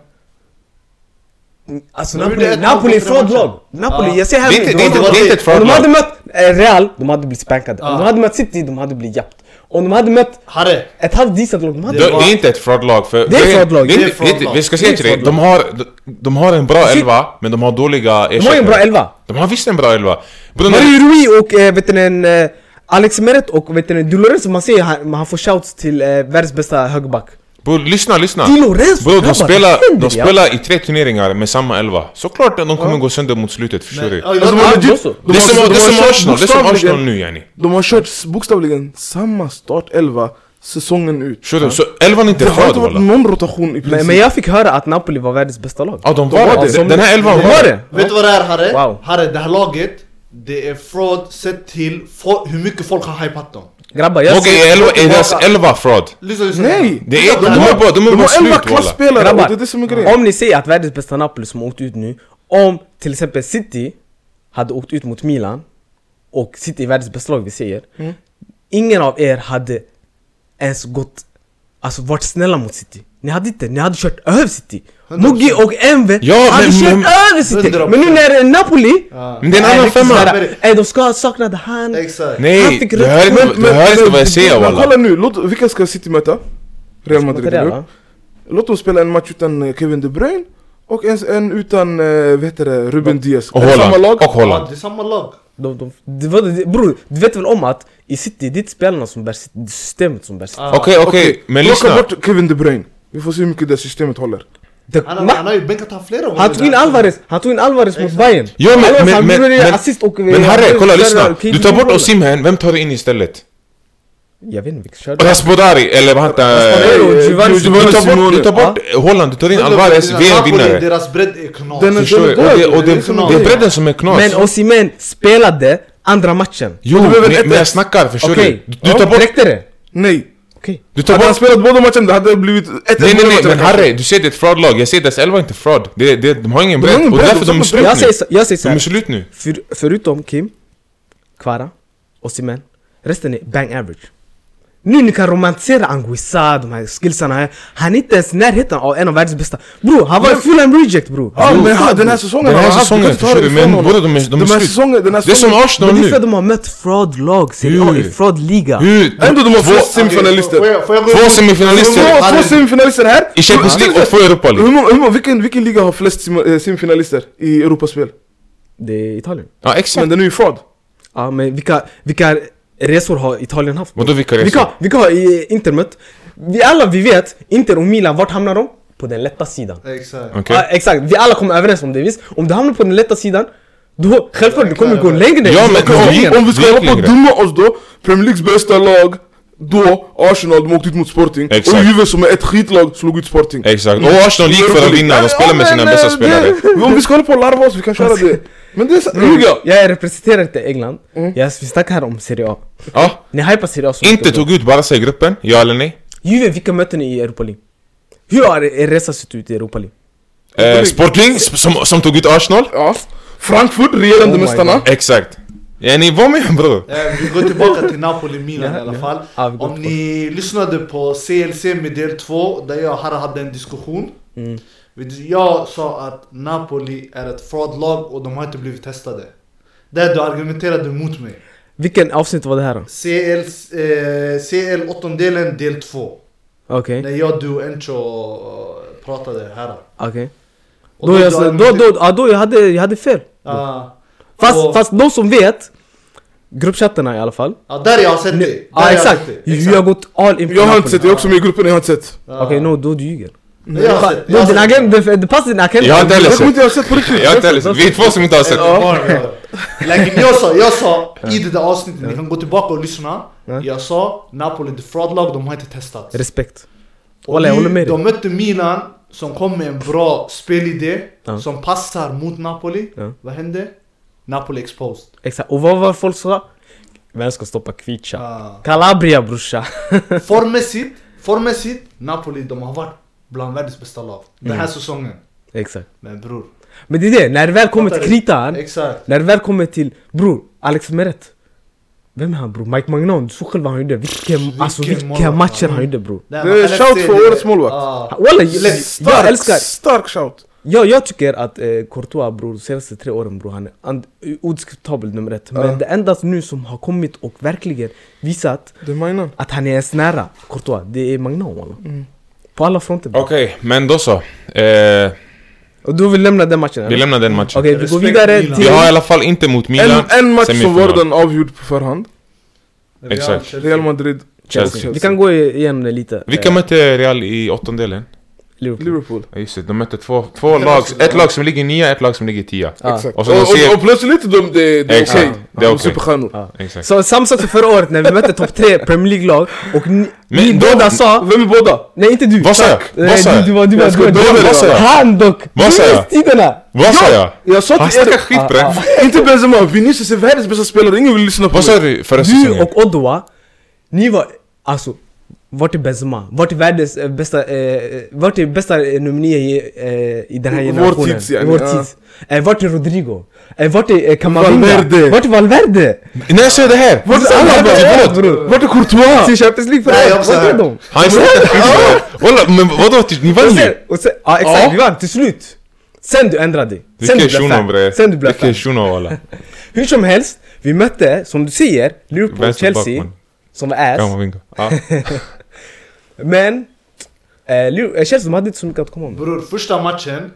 Speaker 1: Alltså
Speaker 4: De
Speaker 1: Napoli,
Speaker 4: gjorde ett mål
Speaker 1: Napoli är
Speaker 4: på tre
Speaker 1: fraud
Speaker 4: matcher.
Speaker 1: lag. Napoli,
Speaker 4: Ja.
Speaker 1: jag säger här
Speaker 2: Det är inte-
Speaker 1: nu,
Speaker 2: det är
Speaker 1: de
Speaker 2: inte-
Speaker 1: hade-
Speaker 2: det är inte ett fraud
Speaker 1: Om de
Speaker 2: lag.
Speaker 1: hade mött eh, Real, de hade blivit spankade. Om
Speaker 4: Ja.
Speaker 1: de hade mött City, de hade blivit japt. Om de hade mött
Speaker 4: Harry!
Speaker 1: ett halvt decent lag, de
Speaker 2: Det,
Speaker 1: hade...
Speaker 4: Det
Speaker 2: det
Speaker 4: var-
Speaker 2: är inte ett fraudlag för...
Speaker 1: Det är ett fraudlag.
Speaker 2: det är
Speaker 4: Det är
Speaker 2: inte- det är inte-
Speaker 4: fraudlag.
Speaker 2: Vi ska
Speaker 1: Det är
Speaker 2: säga
Speaker 1: ett
Speaker 2: till dig, de
Speaker 1: fraudlag.
Speaker 2: har, de, de har en bra
Speaker 1: Shit.
Speaker 2: elva, men de har dåliga
Speaker 1: De har ju en bra elva!
Speaker 2: De har visst en bra elva! Bro, de-
Speaker 1: Mario Rui och eh, vet ni, en, eh, Alex Meret och vet ni, Di Lorenzo, man ser han, han får shouts till eh, världens bästa högerback.
Speaker 2: bro, lyssna, lyssna!
Speaker 1: Di Lorenzo
Speaker 2: Bro, de
Speaker 1: grabbar, vad
Speaker 2: spelar,
Speaker 1: händer,
Speaker 2: de
Speaker 1: ja?
Speaker 2: spelar i tre turneringar med samma elva. Såklart att de kommer gå sönder mot slutet, förstår du?
Speaker 4: Ja, Eh, jag-
Speaker 3: Alltså, de
Speaker 1: Ja,
Speaker 3: har
Speaker 1: då
Speaker 3: legit-
Speaker 1: så.
Speaker 3: de
Speaker 2: Det är
Speaker 3: har-
Speaker 2: som,
Speaker 3: de
Speaker 2: det är
Speaker 3: har
Speaker 2: som
Speaker 3: kört
Speaker 2: Arsenal, det är som
Speaker 3: bokstavligen-
Speaker 2: Arsenal nu yani.
Speaker 3: De har kört s- bokstavligen samma startelva säsongen ut.
Speaker 2: Förstår du? Så elvan är inte
Speaker 3: Det har
Speaker 2: fraud
Speaker 3: inte varit
Speaker 2: walla.
Speaker 3: någon rotation i princip.
Speaker 1: Men, men jag fick höra att Napoli var världens bästa lag.
Speaker 2: Ja, de
Speaker 3: De var
Speaker 2: var
Speaker 3: det.
Speaker 2: det. Den här elvan
Speaker 1: De
Speaker 2: var
Speaker 1: var
Speaker 2: det.
Speaker 1: det.
Speaker 4: Vet du vad det är Harry?
Speaker 1: Wow.
Speaker 4: Harry, det här laget, det är fraud sett till fo- hur mycket folk har hypat dem.
Speaker 1: Grabbar, jag
Speaker 2: Okej, är
Speaker 1: ser...
Speaker 2: elva- är deras elva fraud?
Speaker 4: Lyssna, lyssna.
Speaker 3: Nej!
Speaker 2: Det är, de
Speaker 4: De
Speaker 2: är bara, de är bara
Speaker 3: De har elva
Speaker 2: slut walla.
Speaker 3: klassspelare och
Speaker 1: Grabbar,
Speaker 3: det är det som är grejen.
Speaker 1: om ni säger att världens bästa Napoli som åkt ut nu, om till exempel City hade åkt ut mot Milan, och City är världens bästa lag vi säger,
Speaker 3: Mm.
Speaker 1: ingen av er hade ens gått, alltså varit snälla mot City. Ni hade inte, ni hade kört över City.
Speaker 4: 100%.
Speaker 1: Mugi och Enve
Speaker 2: Ja,
Speaker 1: hade
Speaker 2: men-
Speaker 1: kört
Speaker 2: men-
Speaker 1: över City!
Speaker 4: 100%.
Speaker 1: Men nu när det är Napoli,
Speaker 4: Ja.
Speaker 2: Men det är en annan
Speaker 1: riktigt
Speaker 2: femma.
Speaker 1: så här, eh, de ska sakna det han.
Speaker 4: Exakt.
Speaker 1: Han
Speaker 2: Nej,
Speaker 1: fick
Speaker 2: du
Speaker 1: rött
Speaker 2: hör
Speaker 1: kort.
Speaker 2: inte, du hör inte vad jag säger
Speaker 3: Men
Speaker 2: walla.
Speaker 3: kolla nu, låt, vilka ska City möta? Real Madrid, eller hur?
Speaker 1: Material,
Speaker 3: Låt dem spela en match utan eh, Kevin De Bruyne och en, en utan, eh, vad heter det, Ruben Diaz.
Speaker 2: Och
Speaker 3: Är det samma
Speaker 2: Holland.
Speaker 3: lag?
Speaker 2: Och
Speaker 4: Ja,
Speaker 2: Holland.
Speaker 4: det är samma lag.
Speaker 1: De, de, det var, det, bror, du vet väl om att i City, det är inte spelarna som bär City, det är systemet som bär City.
Speaker 4: Ja.
Speaker 2: Okej, okej, men
Speaker 3: Plocka
Speaker 2: lyssna.
Speaker 3: bort Kevin De Bruyne. Vi får se hur mycket det systemet håller.
Speaker 1: Det,
Speaker 4: Han, har-
Speaker 1: ma-
Speaker 4: han har ju bänkat han flera gånger.
Speaker 1: han tog in
Speaker 4: där.
Speaker 1: Alvarez, han tog in Alvarez mot Bayern.
Speaker 2: Jo men,
Speaker 1: Alvarez,
Speaker 2: men,
Speaker 1: han
Speaker 2: men,
Speaker 1: gjorde
Speaker 2: men,
Speaker 1: assist och,
Speaker 2: men herre, kolla lyssna.
Speaker 1: Kane
Speaker 2: Du tar bort
Speaker 1: gjorde
Speaker 2: Osimhen, vem tar du in istället?
Speaker 1: bollen. Jag vet inte vilka körde.
Speaker 2: Rasbodari, eller vad
Speaker 1: Raspadori
Speaker 2: heter...
Speaker 1: och
Speaker 3: eh,
Speaker 1: Giovanni
Speaker 2: Du tar
Speaker 3: Simone.
Speaker 2: bort, du tar bort Holland, du tar in
Speaker 4: Men de-
Speaker 2: Alvarez, vi är en
Speaker 4: Napoli,
Speaker 2: vinnare.
Speaker 4: Deras bredd eh, är knas.
Speaker 3: Den är-
Speaker 2: Förstår du? Och det, och det,
Speaker 4: Det är som
Speaker 2: det är
Speaker 4: någon-
Speaker 2: bredden som är knas.
Speaker 1: Men Osimhen spelade andra matchen.
Speaker 2: jo,
Speaker 3: Du behöver
Speaker 2: men,
Speaker 3: ett-
Speaker 2: men jag snackar, förstår
Speaker 1: Okej,
Speaker 2: du? Du tar
Speaker 1: Ja,
Speaker 2: bort...
Speaker 1: räckte det?
Speaker 3: Nej!
Speaker 1: Okej.
Speaker 2: Du tar
Speaker 3: Hade han
Speaker 2: bort...
Speaker 3: spelat båda matcherna det hade blivit ett
Speaker 2: Nej nej nej, men Harry, du säger det är ett fraudlag. Jag säger deras elva är inte fraud. Det, det, de har ingen
Speaker 3: De har
Speaker 2: bredd,
Speaker 3: ingen
Speaker 2: och
Speaker 3: bredd,
Speaker 2: därför
Speaker 3: de
Speaker 2: de är
Speaker 3: har
Speaker 2: slut
Speaker 1: Jag
Speaker 2: nu.
Speaker 1: säger, så- jag säger
Speaker 2: De
Speaker 1: såhär,
Speaker 2: är slut nu.
Speaker 1: för, förutom Kim, Kvara, Osimhen, resten är bang average. Nu ni kan romantisera Anguissa, de här skillsarna här. Han är inte ens i närheten av en av världens bästa. Bro, han var
Speaker 3: Men-
Speaker 1: full reject bro.
Speaker 3: Ja men ha- den här säsongen
Speaker 2: Den
Speaker 3: har
Speaker 2: här
Speaker 3: han haft-
Speaker 2: säsongen,
Speaker 3: du kan inte ta
Speaker 2: förstår
Speaker 3: det
Speaker 2: du, men
Speaker 3: ifrån honom.
Speaker 2: båda de är- de är
Speaker 3: här
Speaker 2: slut.
Speaker 3: säsongen, den här
Speaker 2: Det är som
Speaker 3: säsongen
Speaker 2: Arsenal
Speaker 1: Men det är för att
Speaker 2: nu.
Speaker 1: de har mött fraud-lag, Serie A är
Speaker 2: Hur?
Speaker 1: fraud-liga.
Speaker 2: Hur?
Speaker 3: Ändå de
Speaker 2: Två-
Speaker 3: har två
Speaker 4: Okej, får
Speaker 3: semifinalister
Speaker 4: jag- får jag gå
Speaker 2: Två
Speaker 4: emot-
Speaker 2: semifinalister
Speaker 3: Två- Två semifinalister här!
Speaker 2: i Champions League och två i Europa League.
Speaker 3: Hur många, hur många, vilken, vilken liga har flest sim- eh, semifinalister i Europaspel?
Speaker 1: Det är Italien.
Speaker 2: Ja
Speaker 3: Men
Speaker 2: exakt.
Speaker 3: den är ju fraud
Speaker 1: Ja men vilka, vilka resor har Italien haft?
Speaker 2: Vadå vilka
Speaker 1: Vilka,
Speaker 2: resor?
Speaker 1: vilka har eh, Inter mött? Vi alla vi vet, Inter och Milan, vart hamnar de? På den lätta sidan.
Speaker 4: Exakt.
Speaker 1: Ja,
Speaker 2: Okej.
Speaker 1: exakt, vi alla kommer överens om det visst. Om du hamnar på den lätta sidan, då självklart du kommer gå längre
Speaker 2: Ja,
Speaker 1: i
Speaker 2: men-
Speaker 1: saker och
Speaker 2: ja,
Speaker 1: ting.
Speaker 2: Verkligen.
Speaker 3: Om vi ska
Speaker 2: Verkligen
Speaker 3: hålla på och
Speaker 2: grej.
Speaker 3: döma oss då, Premier Leagues bästa lag då, Arsenal, de åkte ut mot Sporting.
Speaker 2: Exakt.
Speaker 3: Och Juve som är ett skitlag slog ut Sporting.
Speaker 2: Exakt. Och Arsenal gick för att vinna, de spelar med sina
Speaker 3: Ja, men,
Speaker 2: bästa
Speaker 3: eh,
Speaker 2: spelare.
Speaker 3: det- Om vi ska hålla på och larva oss, vi kan köra det. Men det är så- Ljuga!
Speaker 1: Mm. Jag representerar inte England, jag, vi snackar här om Serie A.
Speaker 2: Ja.
Speaker 1: Ni hypar Serie A så
Speaker 2: Inte
Speaker 1: mycket, bro.
Speaker 2: tog ut Barca i gruppen, ja eller nej?
Speaker 1: Juve, vilka möten ni i Europa League? Hur har er resa sett ut i Europa League?
Speaker 2: Eh, Sporting, sp- som, som tog ut Arsenal?
Speaker 3: Ja. Frankfurt, regerande
Speaker 1: Oh my
Speaker 3: mästarna.
Speaker 1: God.
Speaker 2: Exakt. Ja, ni var med bror.
Speaker 4: Eh, Vi går tillbaka till Napoli-Milan i alla fall.
Speaker 1: Ja, vi går
Speaker 4: Om ni lyssnade på CLC med del 2, där jag och Harry hade en diskussion.
Speaker 1: Mm.
Speaker 4: Vi- Jag sa att Napoli är ett fraudlag och de har inte blivit testade. Där du argumenterade mot mig.
Speaker 1: Vilken avsnitt var det här då?
Speaker 4: CL, eh, CL åttondelen del 2.
Speaker 1: Okej,
Speaker 4: När jag, du och Encho eh, pratade här.
Speaker 1: okej.
Speaker 4: Och
Speaker 1: Då, jag,
Speaker 4: du
Speaker 1: sa- då,
Speaker 4: argumenter-
Speaker 1: då, ja, då jag hade, jag hade fel.
Speaker 4: Ja.
Speaker 1: Fast,
Speaker 4: Och-
Speaker 1: fast de som vet, gruppchattarna i alla fall.
Speaker 4: Ja, där jag har sett det. Där
Speaker 1: Ja ah,
Speaker 4: jag
Speaker 1: exakt,
Speaker 4: har sett det.
Speaker 1: jag har gått all in på
Speaker 3: Jag har
Speaker 1: Napoli.
Speaker 3: inte sett, jag är också med i gruppen, jag har inte sett.
Speaker 4: Ja.
Speaker 1: Okej, no, då du ljuger.
Speaker 4: Jag har sett det. Jag
Speaker 1: Då
Speaker 4: har
Speaker 1: din
Speaker 4: sett
Speaker 1: agent, det- det passar din agent.
Speaker 2: Jag har inte heller
Speaker 3: Jag
Speaker 2: sett.
Speaker 3: kommer inte jag har sett på riktigt.
Speaker 2: Jag har inte heller sett. Vi är två som inte har sett.
Speaker 4: Like, jag sa, jag sa i det där avsnittet, ni kan gå tillbaka och lyssna.
Speaker 1: Ja.
Speaker 4: Jag sa Napoli, the fraud lag, de har inte testat.
Speaker 1: Respekt.
Speaker 4: Och
Speaker 1: Walla, jag
Speaker 4: nu,
Speaker 1: håller med dig.
Speaker 4: De mötte Milan som kom med en bra spelidé
Speaker 1: Ja.
Speaker 4: som passar mot Napoli.
Speaker 1: Ja.
Speaker 4: Vad hände? Napoli exposed.
Speaker 1: Exakt, och vad var folk sa? Vem ska stoppa Kvicha?
Speaker 4: Ah.
Speaker 1: Calabria brorsa.
Speaker 4: Formmässigt, formmässigt, Napoli de har varit bland världens bästa lag den här säsongen.
Speaker 1: Exakt.
Speaker 4: Men bror,
Speaker 1: Men det är det, när det väl kommer till
Speaker 4: Fattar du?
Speaker 1: kritan,
Speaker 4: exakt.
Speaker 1: när det väl kommer till bror, Alex Meret. Vem är han bror? Mike Magnon, du såg själv vad han gjorde. Vilken, alltså,
Speaker 4: Vilken
Speaker 1: vilka
Speaker 4: mål,
Speaker 1: matcher
Speaker 4: man.
Speaker 1: han gjorde bror.
Speaker 4: Det Ah.
Speaker 3: är shout för årets målvakt.
Speaker 1: Walla, jag, jag
Speaker 3: Stark,
Speaker 1: älskar.
Speaker 3: stark shout.
Speaker 1: Ja, jag tycker att eh, Courtois bror, de senaste tre åren bror, han är and- odiskutabel nummer ett. Men
Speaker 3: Ja.
Speaker 1: det enda nu som har kommit och verkligen visat
Speaker 3: Det menar
Speaker 1: att han är ens nära Courtois, det är Magnan walla.
Speaker 3: Mm.
Speaker 1: På alla fronter bror.
Speaker 2: Okej, men då så. Eh,
Speaker 1: Och du vill lämna den matchen
Speaker 2: vi
Speaker 1: eller?
Speaker 2: lämnar den matchen.
Speaker 1: Okej, vi går
Speaker 4: Respekt
Speaker 1: vidare
Speaker 4: Milan.
Speaker 1: till...
Speaker 2: Vi har i alla fall inte mot Milan.
Speaker 3: En, en match som
Speaker 2: semifinal.
Speaker 3: var den avgjord på förhand.
Speaker 4: Real,
Speaker 2: Exakt.
Speaker 4: Chelsea.
Speaker 3: Real Madrid,
Speaker 1: Chelsea.
Speaker 3: Chelsea.
Speaker 1: Vi kan gå igenom det lite.
Speaker 2: Vilka
Speaker 1: Eh,
Speaker 2: mötte Real i åttondelen?
Speaker 1: Liverpool.
Speaker 3: Liverpool.
Speaker 2: Ja, just det, de mötte två, två lag. Ett lag som ligger nia, ett lag som ligger tia.
Speaker 1: Ja.
Speaker 3: Exakt.
Speaker 2: Och
Speaker 3: Och,
Speaker 2: så de
Speaker 3: och,
Speaker 2: ser-
Speaker 3: och, plötsligt är de, det, det är
Speaker 2: Exakt.
Speaker 3: okej.
Speaker 2: Ja, det
Speaker 3: De
Speaker 2: är
Speaker 3: är
Speaker 2: okej.
Speaker 3: superstjärnor.
Speaker 2: Exakt.
Speaker 1: Så samma sak som förra året när vi mötte topp tre Premier League-lag och ni,
Speaker 2: Men
Speaker 1: ni
Speaker 2: då-
Speaker 1: båda sa...
Speaker 3: Vem är båda?
Speaker 1: Nej inte du!
Speaker 2: Vad sa jag?
Speaker 1: Tack.
Speaker 2: Vad
Speaker 1: Nej,
Speaker 2: sa
Speaker 1: du-
Speaker 2: jag?
Speaker 1: Du var... Du
Speaker 3: Jag ska
Speaker 1: var...
Speaker 3: dö
Speaker 1: Du
Speaker 2: med
Speaker 1: var...
Speaker 2: det, va?
Speaker 1: Han dock!
Speaker 2: Vad sa jag?
Speaker 1: Tiderna!
Speaker 2: Vad sa jag?
Speaker 3: Jag sa
Speaker 2: Han
Speaker 3: till
Speaker 2: snackar
Speaker 3: er,
Speaker 2: skit
Speaker 1: Ah,
Speaker 2: bre.
Speaker 1: ah.
Speaker 3: inte Benzema, Vinicius är världens bästa spelare, ingen vill lyssna på
Speaker 2: Vad
Speaker 3: mig.
Speaker 2: sa du förra
Speaker 1: Du
Speaker 2: säsongen?
Speaker 1: och Odwa, ni var... Alltså, vart är Benzema? Vart är världens eh, bästa... Eh, vart är bästa eh, nummer nio i, eh, i den här
Speaker 3: Vår
Speaker 1: generationen?
Speaker 3: tids, yani,
Speaker 1: Vår
Speaker 3: ja.
Speaker 1: tids. Eh, vart är Rodrigo? Eh, vart är eh, Camavinga?
Speaker 3: Valverde.
Speaker 1: Vart är Valverde?
Speaker 2: När jag säger det här!
Speaker 1: Vart är
Speaker 2: Alla bara,
Speaker 1: Alaba?
Speaker 2: vad?
Speaker 1: bror?
Speaker 3: Vart är Courtois?
Speaker 1: Till Champions League förra
Speaker 4: Nej, jag
Speaker 1: året,
Speaker 4: var så
Speaker 1: vart är
Speaker 4: här.
Speaker 1: de?
Speaker 2: Han snackar skit bre. Walla, men vadå? typ, Ni
Speaker 1: Och
Speaker 2: vann
Speaker 1: sen,
Speaker 2: ju!
Speaker 1: och sen, ja exakt,
Speaker 2: Ja.
Speaker 1: vi vann till slut! Sen du ändrade dig. Sen
Speaker 2: Vilken
Speaker 1: du blev
Speaker 2: shuno bre.
Speaker 1: fan. Sen du blev
Speaker 2: Vilken
Speaker 1: fan.
Speaker 2: shuno walla.
Speaker 1: Hur som helst, vi mötte, som du säger, Liverpool och
Speaker 2: Vänsterback,
Speaker 1: Chelsea,
Speaker 2: man.
Speaker 1: som var ass.
Speaker 2: Kamavinga. Ja.
Speaker 1: Men, eh, Liv- eh, Chelsea de hade inte så mycket att komma med.
Speaker 4: Bror, första matchen,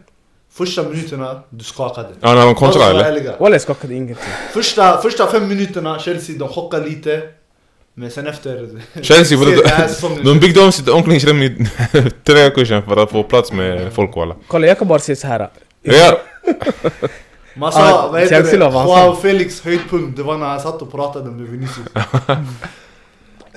Speaker 4: första minuterna, du skakade.
Speaker 2: Ja, när de kontrar
Speaker 4: Låt oss vara
Speaker 2: eller?
Speaker 4: ärliga.
Speaker 1: Walla jag skakade ingenting.
Speaker 4: Första, första fem minuterna, Chelsea, de chockade lite. Men sen efter...
Speaker 2: Chelsea,
Speaker 4: Se,
Speaker 2: vadå?
Speaker 4: det här säsongen-
Speaker 2: De byggde om sitt omklädningsrum i tre veckor sedan för att få plats med folk walla.
Speaker 1: Kolla jag kan bara säga så här.
Speaker 2: Real-
Speaker 1: Ja,
Speaker 4: Man sa, vad heter
Speaker 1: Chelsea
Speaker 4: det?
Speaker 1: la avansen.
Speaker 4: Joao Felix höjdpunkt, det var när han satt och pratade med Vinicius.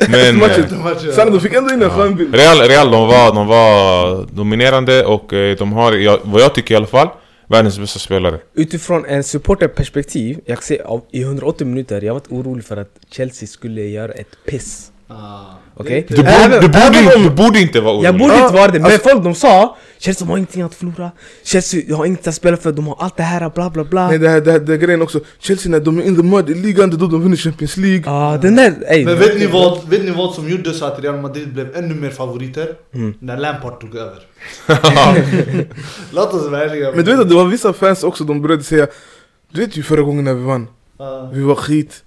Speaker 2: Men... eh,
Speaker 3: Matchen.
Speaker 4: Den matchen.
Speaker 3: Sen de fick ändå in en skön bild.
Speaker 2: Real, Real de, var, de var dominerande och eh, de har, ja, vad jag tycker i alla fall, världens bästa spelare.
Speaker 1: Utifrån en supporterperspektiv, jag ser av, i 180 minuter, jag var inte orolig för att Chelsea skulle göra ett piss.
Speaker 4: Ah,
Speaker 1: Okej?
Speaker 4: det-
Speaker 2: Du borde,
Speaker 1: Även-
Speaker 2: du borde,
Speaker 1: även
Speaker 2: inte,
Speaker 1: om-
Speaker 2: du borde inte vara
Speaker 1: Jag
Speaker 2: orolig.
Speaker 1: borde
Speaker 3: Ja,
Speaker 1: inte vara det, men
Speaker 3: alltså-
Speaker 1: folk de sa Chelsea de har ingenting att förlora Chelsea de har inget att spela för, de har allt det här, bla bla bla
Speaker 3: Nej det här, det här det här grejen också, Chelsea när de är in the mud i ligan, det är då de vinner Champions League.
Speaker 1: Ja, den där, ey,
Speaker 4: Men vet ni, vad, vet ni vad som gjorde så att Real Madrid blev ännu mer favoriter?
Speaker 2: Mm.
Speaker 4: När Lampard tog över. Låt oss vara ärliga.
Speaker 3: Men du vet att det var vissa fans också, de började säga Du vet ju förra gången när vi vann,
Speaker 4: Ah.
Speaker 3: vi var skit.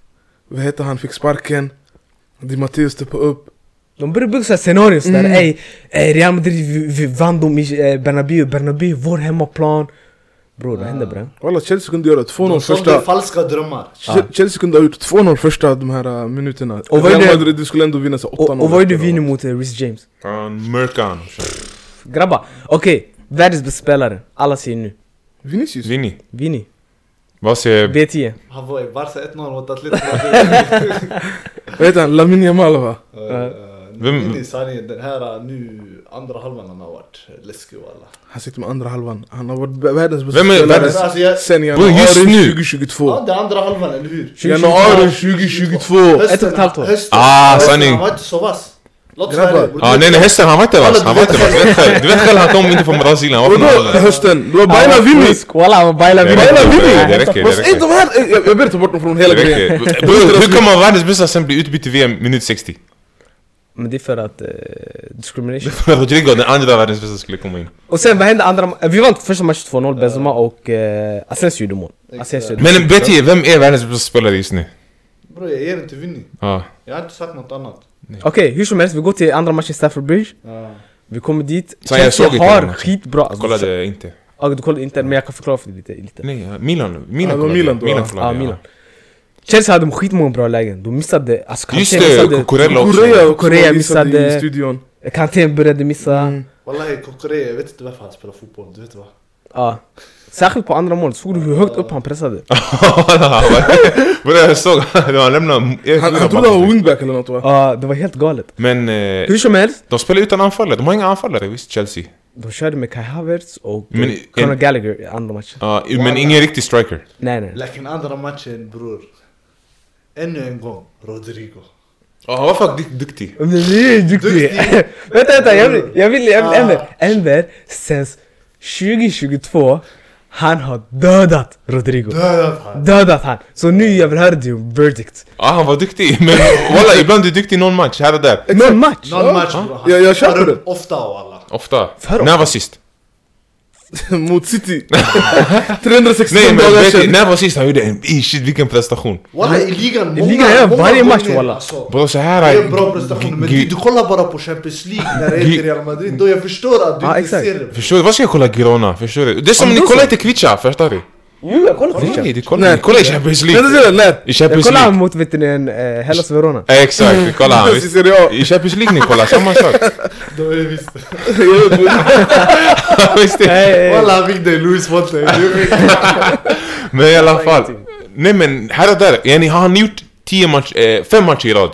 Speaker 3: Vad hette han, fick sparken. Di Matteo steppade upp.
Speaker 1: De börjar bygga såhär scenarios där,
Speaker 3: Mm.
Speaker 1: ey eh, Real Madrid vi, vi vann dem i eh, Bernabéu, Bernabéu är vår hemmaplan Bror vad hände bre?
Speaker 3: Walla Chelsea kunde göra
Speaker 4: De
Speaker 3: 2-0
Speaker 4: sålde
Speaker 3: första...
Speaker 4: falska drömmar.
Speaker 3: Che- Chelsea kunde ha gjort 2-0 första de här äh, minuterna.
Speaker 1: Och
Speaker 3: Och
Speaker 1: vad är
Speaker 3: Real
Speaker 1: det-
Speaker 3: Madrid de skulle ändå vinna så 8-0.
Speaker 1: Och, och vad gjorde vi nu mot eh, Reece James?
Speaker 2: Fan, Mörkan.
Speaker 1: Grabbar, okej, världens bästa spelare, alla säger nu
Speaker 3: Vinicius?
Speaker 2: Vinny.
Speaker 1: Vini,
Speaker 2: Vad säger...
Speaker 1: B10
Speaker 4: Han var i Barca 1-0 mot Atletico Madrid.
Speaker 3: Vad heter han? Lamine Yamal va?
Speaker 2: Vem-
Speaker 4: Vem? Minns ni den här eh, nu andra halvan han har varit läskig walla.
Speaker 3: Han sitter med andra halvan. Han har varit vä- världens bästa
Speaker 2: Vem är
Speaker 3: spelare
Speaker 2: världens-
Speaker 4: Alltså, jag,
Speaker 3: sen
Speaker 2: Bro, just nu.
Speaker 3: januari 2022.
Speaker 4: ja, det är andra halvan, eller hur?
Speaker 3: Januari 2022!
Speaker 1: Ett och ett halvt år.
Speaker 4: hösten,
Speaker 2: Ah,
Speaker 4: hösten,
Speaker 2: sanning.
Speaker 4: Han var inte så vass. Låt oss
Speaker 3: Grabbar.
Speaker 4: vara ärliga.
Speaker 2: Ah, nej nej hästen han var inte vass, han var inte vass. Du vet själv, du vet själv han kom inte från Brasilien, han var från
Speaker 3: Vadå
Speaker 2: Holland.
Speaker 3: hösten? Det var Baina Vini!
Speaker 1: Walla, baila
Speaker 2: Det
Speaker 1: Vini
Speaker 2: räcker,
Speaker 3: Baila Vini!
Speaker 2: det räcker, det
Speaker 3: Fast inte
Speaker 2: räcker.
Speaker 3: de här! eh, Jag jag ber ta bort dem från hela
Speaker 2: Det
Speaker 3: grejen.
Speaker 2: räcker. Bror, Hur kan man världens bästa sen bli utbytt i VM minut 60?
Speaker 1: Men det är för att eh, discrimination
Speaker 2: Rodrigo, den andra världens bästa skulle komma in.
Speaker 1: Och sen vad hände andra ma- Eh, Vi vann första matchen 2-0, Benzema och eh, Asensio gjorde mål. Asensio gjorde mål.
Speaker 2: Men Betty, vem är världens bästa spelare just nu?
Speaker 4: Bror jag ger inte Vinny.
Speaker 2: Ja.
Speaker 4: Jag har inte sagt något annat.
Speaker 1: Okej, hur som helst, vi går till andra matchen Stafford Bridge. Vi kommer dit,
Speaker 2: Så jag
Speaker 1: Chelsea
Speaker 2: såg inte den
Speaker 1: har
Speaker 2: matchen.
Speaker 1: skitbra... Alltså,
Speaker 2: Kollade Mm. inte.
Speaker 1: Ja, du kollade inte, men jag kan förklara för dig lite. lite.
Speaker 2: Nej, ja, Milan. Milan
Speaker 3: Ja, det var
Speaker 2: kollade.
Speaker 3: Milan då,
Speaker 2: Milan
Speaker 3: ja.
Speaker 2: kollade,
Speaker 1: Ja,
Speaker 2: ja.
Speaker 1: Milan. Chelsea hade skitmånga bra lägen, de missade... Alltså
Speaker 2: Just
Speaker 1: Kanté
Speaker 2: det,
Speaker 1: missade...
Speaker 2: Cucurella också.
Speaker 3: Korea också
Speaker 1: Korea
Speaker 3: var visad
Speaker 1: missade-
Speaker 3: i studion.
Speaker 1: Kanté började missa.
Speaker 2: Mm.
Speaker 4: Wallahi Kokore, jag vet inte varför han spelar fotboll, du vet vad?
Speaker 1: Ja. Särskilt på andra målet, såg du hur högt upp han pressade?
Speaker 2: Bror jag såg, han lämnade... jag-
Speaker 3: Han han
Speaker 2: jag-
Speaker 3: trodde han var wingback eller något va?
Speaker 1: Ja, det var helt galet.
Speaker 2: Men eh,
Speaker 1: Hur som helst,
Speaker 2: de spelar utan anfallare, de har inga anfallare visst, Chelsea.
Speaker 1: de körde med Kai Havertz och
Speaker 2: Men-
Speaker 1: eh, Conor
Speaker 2: en-
Speaker 1: Gallagher i andra matchen.
Speaker 2: Ja, men ingen riktig striker.
Speaker 1: Nej, nej.
Speaker 4: Lakin andra matchen bror. Ännu en gång, Rodrigo.
Speaker 2: Ja, han var faktiskt duktig.
Speaker 1: Men du är duktig!
Speaker 4: Duktig.
Speaker 1: vänta, vänta, jag vill, jag vill, jag vill
Speaker 4: Ah.
Speaker 1: Enver, Enver, sen 2022, han har dödat Rodrigo.
Speaker 4: Dödat han.
Speaker 1: Dödat han! Så nu jag vill höra din verdict.
Speaker 2: Ja, han var duktig, men walla ibland är du duktig i någon match, här och där.
Speaker 1: Någon match!
Speaker 4: Någon match bror. Han
Speaker 3: Ja, jag köper
Speaker 4: tar upp Ofta walla.
Speaker 2: Ofta.
Speaker 1: Förra
Speaker 2: När var sist?
Speaker 3: mot City. 365
Speaker 2: Nej men
Speaker 3: dagar
Speaker 2: vet ni,
Speaker 3: sedan.
Speaker 2: när var sist han gjorde en... Ey, Shit vilken prestation!
Speaker 4: Walla i ligan, många,
Speaker 1: ligan, ja,
Speaker 4: många
Speaker 1: varje match,
Speaker 4: gånger,
Speaker 1: walla.
Speaker 4: alltså.
Speaker 2: Bro så
Speaker 4: Det
Speaker 2: här...
Speaker 4: är en bra prestation, men du, du kollar bara på Champions League när det är till Real Madrid, då jag förstår att du
Speaker 1: Ja,
Speaker 4: inte
Speaker 1: exakt.
Speaker 4: ser det.
Speaker 2: Förstår du? Vad ska jag kolla Girona? Förstår du? Det är som
Speaker 1: Ja,
Speaker 2: ni
Speaker 1: men då
Speaker 2: kollar
Speaker 1: så.
Speaker 2: inte Kvicha, förstår du?
Speaker 1: Jo jag kollar
Speaker 2: Nej,
Speaker 1: Christian.
Speaker 2: du kollar-
Speaker 3: Nej.
Speaker 2: ni kollar i Champions
Speaker 3: Vänta,
Speaker 2: League!
Speaker 3: vänta, när?
Speaker 2: I
Speaker 1: Jag
Speaker 2: Champions
Speaker 1: kollar
Speaker 2: League!
Speaker 1: mot vet ni, en, eh, Hellas Verona.
Speaker 2: Eh, Exakt, vi kollar han.
Speaker 3: I Serie A.
Speaker 2: I Champions League ni kollar, samma sak.
Speaker 4: Då är visst.
Speaker 3: Jag vet, men-
Speaker 2: Visst är det?
Speaker 1: Eh, eh,
Speaker 4: Walla han fick dig Luis Fonte. Du fick-
Speaker 2: Men i alla
Speaker 1: Jag
Speaker 2: fall. Nej men här och där, yani har han gjort 10 match, eh, fem matcher i rad?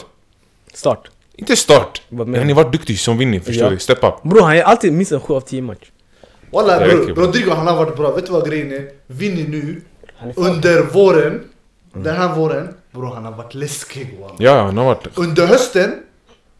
Speaker 1: Start.
Speaker 2: Inte start.
Speaker 1: Vad menar
Speaker 2: Han
Speaker 1: du?
Speaker 2: har varit duktig som vinner, förstår
Speaker 1: Ja.
Speaker 2: du? Step up.
Speaker 1: Bror han är alltid minst en 7 av 10 match.
Speaker 4: Walla
Speaker 2: Det
Speaker 4: bror,
Speaker 2: räcker, bro.
Speaker 4: Rodrigo han har varit bra. Vet du vad grejen är? Vinny nu,
Speaker 1: Han är fan-
Speaker 4: under våren,
Speaker 2: Mm.
Speaker 4: den här våren, bror han har varit läskig walla.
Speaker 2: Ja, han har varit...
Speaker 4: Under hösten,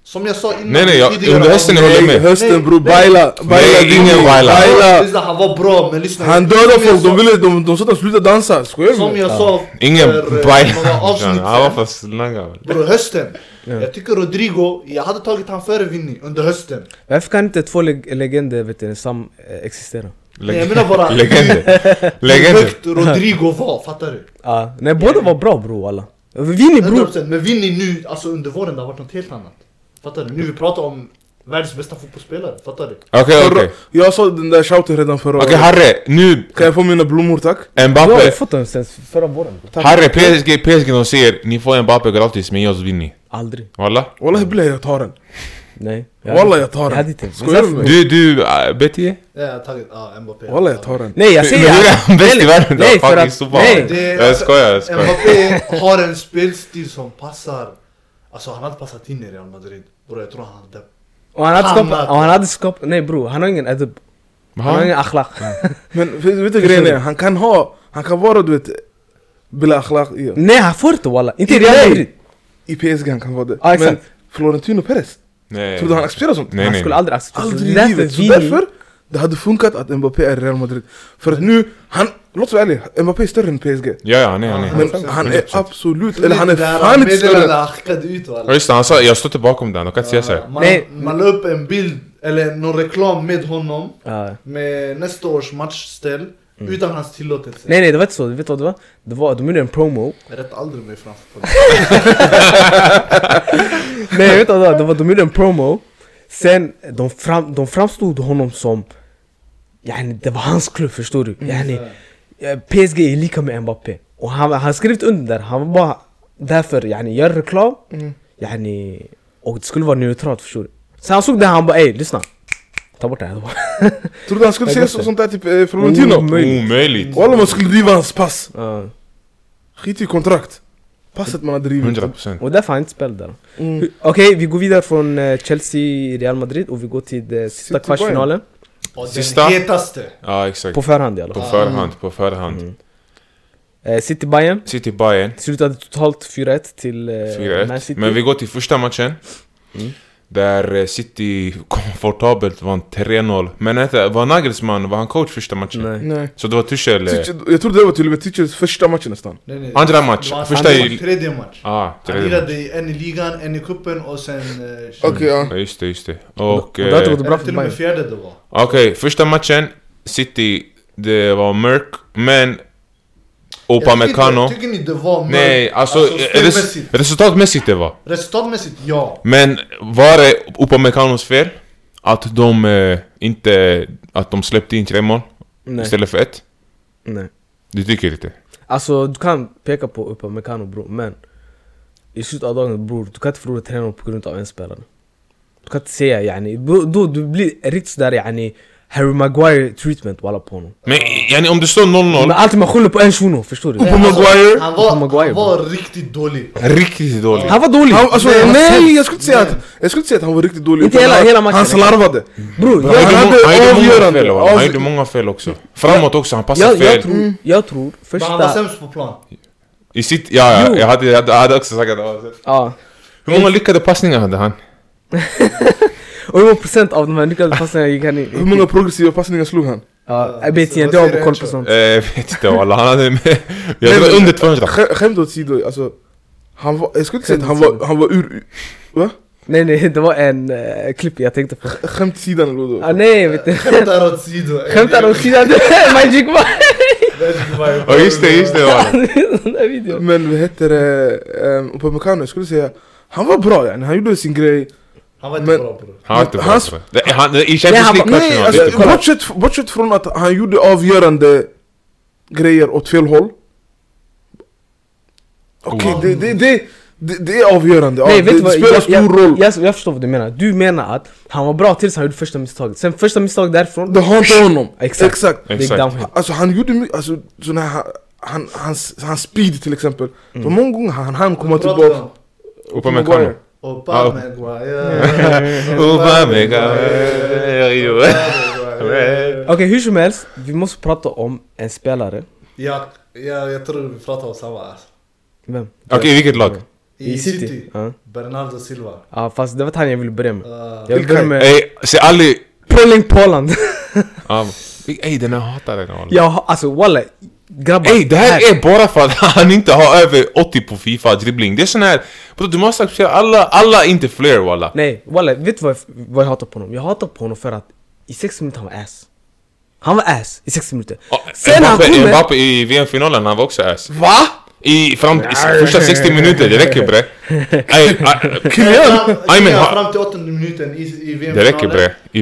Speaker 4: som jag sa innan
Speaker 2: Nej, nej, jag-
Speaker 4: tidigare
Speaker 2: under hösten
Speaker 4: avsnitt-
Speaker 2: jag håller
Speaker 3: Nej,
Speaker 2: med.
Speaker 3: hösten
Speaker 4: Nej,
Speaker 3: bror,
Speaker 4: nej.
Speaker 3: baila. Baila
Speaker 2: Nej, ingen
Speaker 3: Dini,
Speaker 2: baila.
Speaker 3: baila.
Speaker 4: Lyssna, han var bra men lyssna.
Speaker 3: Han dödade folk, de ville, de, de sa att han slutade dansa, skojar du
Speaker 4: Som
Speaker 3: med?
Speaker 4: jag sa
Speaker 2: Ingen
Speaker 4: för eh,
Speaker 2: Brian.
Speaker 4: några avsnitt
Speaker 2: Han var
Speaker 4: sedan.
Speaker 2: för snagga.
Speaker 4: Bro, hösten. Jag tycker Rodrigo, jag hade tagit han före Vinny under hösten.
Speaker 1: Varför kan inte två leg- legender vet ni, sam eh, existera?
Speaker 4: Nej, jag menar bara-
Speaker 2: Legender.
Speaker 4: Hur
Speaker 2: Legender.
Speaker 4: högt Rodrigo var, fattar du?
Speaker 1: Ja, nej båda var bra bror alla. Vinny bror.
Speaker 4: 100%. Men Vinny nu, alltså under våren, det har varit något helt annat. Fattar du? Nu vi pratar om världens bästa fotbollsspelare, fattar du?
Speaker 2: Okej,
Speaker 3: Förra-
Speaker 2: okej.
Speaker 3: Jag sa den där shouten redan förra
Speaker 2: Okej,
Speaker 3: året.
Speaker 2: Harre. Nu...
Speaker 3: Kan jag få mina blommor tack?
Speaker 1: Jag har
Speaker 2: Mbappe.
Speaker 1: fått den sen förra våren. bror.
Speaker 2: Harre, PSG, PSG de säger ni får Mbappe gratis men jag vinner.
Speaker 1: Aldrig.
Speaker 2: Walla?
Speaker 3: Wallahi billah jag tar den.
Speaker 1: Nej.
Speaker 3: Wallah, jag tar den.
Speaker 1: Jag hade inte.
Speaker 3: Skojar du med mig?
Speaker 2: Du, du, äh, Betty?
Speaker 4: Ja, jag har tagit, ja, Mbappé.
Speaker 3: Wallah jag tar den.
Speaker 1: Nej jag säger...
Speaker 2: Men du är han bäst i världen!
Speaker 1: Nej för
Speaker 2: Fucking
Speaker 1: att...
Speaker 2: super.
Speaker 1: Nej!
Speaker 4: Det-
Speaker 2: Jag skojar, jag skojar.
Speaker 4: Mbappé har en spelstil som passar. Alltså han hade passat in i Real Madrid. Bror jag tror han hade...
Speaker 1: Och han hade
Speaker 4: Fan,
Speaker 1: skapat...
Speaker 4: Marco.
Speaker 1: Och han hade skapat... Nej bror, han har ingen adab. Han har
Speaker 2: Han-
Speaker 1: ingen akhlaq.
Speaker 3: Men vet- vet du grejen är? Han kan ha, han kan vara du vet, bila akhlaq i,
Speaker 1: Nej han får inte walla. Inte i
Speaker 3: Nej.
Speaker 1: Real Madrid.
Speaker 3: i PSG han kan vara det.
Speaker 1: Ja,
Speaker 3: Men
Speaker 1: exakt.
Speaker 3: Florentino Perez,
Speaker 2: Nej.
Speaker 3: tror du han accepterar sånt?
Speaker 2: Nej,
Speaker 1: Han
Speaker 2: nej.
Speaker 1: skulle aldrig acceptera.
Speaker 3: Aldrig
Speaker 1: Det
Speaker 3: i
Speaker 1: är därför
Speaker 3: livet.
Speaker 1: Vinny-
Speaker 3: Så därför, det hade funkat att Mbappé är Real Madrid. För att nu, han, låt vara ärlig, Mbappé är större än PSG.
Speaker 2: Ja, ja, nej, nej.
Speaker 3: Men han är
Speaker 2: 100%.
Speaker 3: absolut, eller han är fan inte
Speaker 4: större.
Speaker 3: större.
Speaker 4: Han skickade ut och
Speaker 2: Ja, just det, han sa jag stötte bakom den, de kan inte säga såhär.
Speaker 4: Man,
Speaker 1: Nej.
Speaker 4: man la upp en bild, eller någon reklam med honom.
Speaker 1: Ja. Mm.
Speaker 4: Med nästa års matchställ. Utan hans tillåtelse.
Speaker 1: Nej nej det var inte så, vet du vad det var? Det var, de gjorde en promo
Speaker 4: Rätt aldrig mig framför honom.
Speaker 1: Nej vet du vad det var? det var? De gjorde en promo Sen de, fram, de framstod honom som yani, Det var hans klubb förstår du
Speaker 3: Mm.
Speaker 1: yani, eh, PSG är lika med Mbappé Och han, han skrivit under där, han var bara Därför yani, gör reklam
Speaker 3: Mm.
Speaker 1: yani, Och det skulle vara neutralt förstår du Sen han såg det han bara ey lyssna Ta bort det här
Speaker 3: Tror du han skulle
Speaker 1: Jag
Speaker 3: säga
Speaker 1: vet
Speaker 3: så,
Speaker 1: det.
Speaker 3: sånt där typ eh, Florentino?
Speaker 1: Omöjligt.
Speaker 2: Omöjligt!
Speaker 3: Walla man skulle driva hans pass.
Speaker 1: Ja.
Speaker 3: Skit i kontrakt. Passet man har drivit.
Speaker 2: 100%.
Speaker 1: Och därför har han inte spelat där
Speaker 3: Mm.
Speaker 1: Okej vi går vidare från eh, Chelsea, Real Madrid och vi går till eh, sista
Speaker 3: City-Bayern.
Speaker 1: kvartsfinalen
Speaker 4: Och
Speaker 2: Sista.
Speaker 4: den hetaste.
Speaker 2: Ja, exakt.
Speaker 1: På Mm. förhand i alla
Speaker 2: På
Speaker 1: fall
Speaker 2: förhand, på förhand.
Speaker 1: eh, City-Bayern
Speaker 2: City Bayern
Speaker 1: Slutade totalt 4-1 till eh,
Speaker 2: 4-1.
Speaker 1: Man City. Mm.
Speaker 2: Men vi går till första matchen. Där eh, City komfortabelt vann 3-0. Men vänta, var Nagelsmann, var han coach första matchen?
Speaker 1: Nej.
Speaker 3: Nej.
Speaker 2: Så det var Tuchel... eh,
Speaker 3: Teacher- Jag tror det var till och med Teachers första match nästan.
Speaker 4: Nej, nej.
Speaker 2: Andra match,
Speaker 4: Det var
Speaker 2: första
Speaker 4: hans
Speaker 2: i-
Speaker 4: Tredje match.
Speaker 2: Ah,
Speaker 4: Han
Speaker 2: tredje.
Speaker 4: lirade en i ligan, en i cupen och sen... eh,
Speaker 3: Okej ja.
Speaker 2: Ja, just det, just det. Och...
Speaker 1: Och där
Speaker 2: eh,
Speaker 1: tog Bra
Speaker 4: Eller
Speaker 1: för
Speaker 4: till och
Speaker 1: Bayern.
Speaker 4: med fjärde det var.
Speaker 2: Okej, första matchen. City, det var mörk. Men... Upamecano...
Speaker 4: Jag Tycker tycker ni det var mörkt?
Speaker 2: Nej, alltså... eh, res,
Speaker 4: spelmässigt.
Speaker 2: resultatmässigt det var.
Speaker 4: Resultatmässigt, ja.
Speaker 2: Men var det Upamecanos fel? Att de eh, inte... Att de släppte in tre mål
Speaker 1: Nej.
Speaker 2: istället för ett?
Speaker 1: Nej.
Speaker 2: Du tycker inte?
Speaker 1: Alltså du kan peka på Upamecano bror men i slutet av dagen bror du kan inte förlora 3-0 på grund av en spelare. Du kan inte säga yani, bror, då du blir riktigt sådär yani Harry Maguire treatment walla på honom.
Speaker 2: Men yani, om det står
Speaker 1: Men
Speaker 2: 0-0,
Speaker 1: alltid man skyller på en shuno förstår du?
Speaker 4: Men alltså,
Speaker 3: Maguire.
Speaker 4: Han var,
Speaker 1: På Maguire,
Speaker 4: han var riktigt dålig.
Speaker 2: riktigt dåligt.
Speaker 1: Han var dålig!
Speaker 3: Han, alltså,
Speaker 1: han var
Speaker 3: nej
Speaker 1: sämst.
Speaker 3: jag skulle inte säga att, jag skulle inte säga att han var riktigt dålig.
Speaker 1: Inte
Speaker 3: utan
Speaker 1: hela-
Speaker 3: han,
Speaker 1: hela matchen.
Speaker 3: Han slarvade.
Speaker 1: Bror,
Speaker 2: Han
Speaker 1: jag,
Speaker 2: gjorde må- han gjorde många
Speaker 3: avgörande.
Speaker 2: fel, walla. han
Speaker 3: Avg-
Speaker 2: gjorde många fel också. Framåt också, han passade
Speaker 1: jag, jag,
Speaker 2: fel.
Speaker 1: tror, jag tror
Speaker 4: Men han var
Speaker 1: första...
Speaker 4: sämst på plan.
Speaker 2: I sitt, ja,
Speaker 1: Jo.
Speaker 2: ja, jag hade, jag hade- jag hade också sagt att det var
Speaker 1: Ja.
Speaker 2: Hur många lyckade passningar hade han?
Speaker 1: Och hur många procent av de här lyckade passningarna gick han
Speaker 3: Hur
Speaker 1: in?
Speaker 3: många progressiva passningar slog han?
Speaker 1: Ja, jag vet inte, jag har bara koll på sånt.
Speaker 2: Eh, Jag vet inte walla, han hade med... Jag
Speaker 3: Nej,
Speaker 2: tror
Speaker 3: men-
Speaker 2: under 200.
Speaker 3: e Sk- Skämt åsido, alltså. Han var, jag skulle inte säga att han var, han var ur... ur- Va?
Speaker 1: Nej nej, det var en eh, klipp jag tänkte på.
Speaker 3: Skämt sidan eller vadå?
Speaker 1: Ah, nej vet du.
Speaker 4: Skämtar åt sidor.
Speaker 1: Skämtar åt sidan, Magic Mike!
Speaker 2: Ja just det, just det var det.
Speaker 1: Den där videon.
Speaker 3: Men vad heter det, ehm, Upamecano, jag skulle säga han var bra yani, han gjorde sin grej
Speaker 4: Han var inte
Speaker 3: Men-
Speaker 4: bra bror.
Speaker 2: Han var inte bra.
Speaker 3: Hans-
Speaker 2: tror jag. Det- han- I
Speaker 1: Nej,
Speaker 2: Champions
Speaker 1: han
Speaker 2: League
Speaker 1: var-
Speaker 2: matchen
Speaker 3: Nej,
Speaker 2: var det inte
Speaker 3: alltså,
Speaker 2: bra.
Speaker 3: bortsett, bortsett från att han e gjorde avgörande grejer åt fel håll Okej,
Speaker 2: Oh.
Speaker 3: det, det, det, det, det är avgörande,
Speaker 1: Nej
Speaker 3: ja,
Speaker 1: vet
Speaker 3: det,
Speaker 1: du
Speaker 3: det
Speaker 1: vad,
Speaker 3: spelar stor
Speaker 1: jag,
Speaker 3: roll
Speaker 1: jag, jag, jag förstår vad du menar. Du menar att han var bra tills han gjorde första misstaget. Sen första misstaget därifrån,
Speaker 3: Det hatar honom,
Speaker 1: Exakt.
Speaker 3: exakt, exakt.
Speaker 1: big
Speaker 2: Exakt.
Speaker 1: downhill.
Speaker 3: Alltså han gjorde mycket, alltså sån här, han, hans, hans speed till exempel
Speaker 2: Mm.
Speaker 3: Det var många gånger han hann komma tillbaka
Speaker 2: Upamecano.
Speaker 4: Opa Maguire.
Speaker 2: Upamecano.
Speaker 1: Okej hur som helst, vi måste prata om en spelare.
Speaker 4: Jag, jag, jag tror vi pratar om samma. alltså.
Speaker 1: Vem?
Speaker 2: Okej, vilket lag?
Speaker 4: I City.
Speaker 1: Ja.
Speaker 4: Bernardo Silva.
Speaker 1: Ja fast det var han jag ville börja med.
Speaker 4: Eh,
Speaker 1: Jag vill börja med
Speaker 2: Ey, se aldrig...
Speaker 1: Prolling Poland.
Speaker 2: Ja, Ey den här hatar den här.
Speaker 1: Jag har, alltså walla, grabbar.
Speaker 2: Ey, det här är bara för att han inte har över 80 på Fifa dribbling. Det är sån här... Bro, du måste acceptera alla, alla är inte fler walla.
Speaker 1: Nej walla, vet du vad, jag- vad jag hatar på honom? Jag hatar på honom för att i 60 minuter han var ass. Han var ass i 60 minuter.
Speaker 2: Ja,
Speaker 1: Sen han
Speaker 2: Mbappé-
Speaker 1: kommer...
Speaker 2: Mbappé i VM-finalen, han var också ass.
Speaker 1: Va?
Speaker 2: I, fram, i s- första 60 minuter, det räcker bre. Ey, a-
Speaker 4: Fram,
Speaker 2: Aymen,
Speaker 4: ja,
Speaker 2: ha-
Speaker 4: fram till åttonde minuten i, i VM-finalen.
Speaker 2: Det räcker bre. I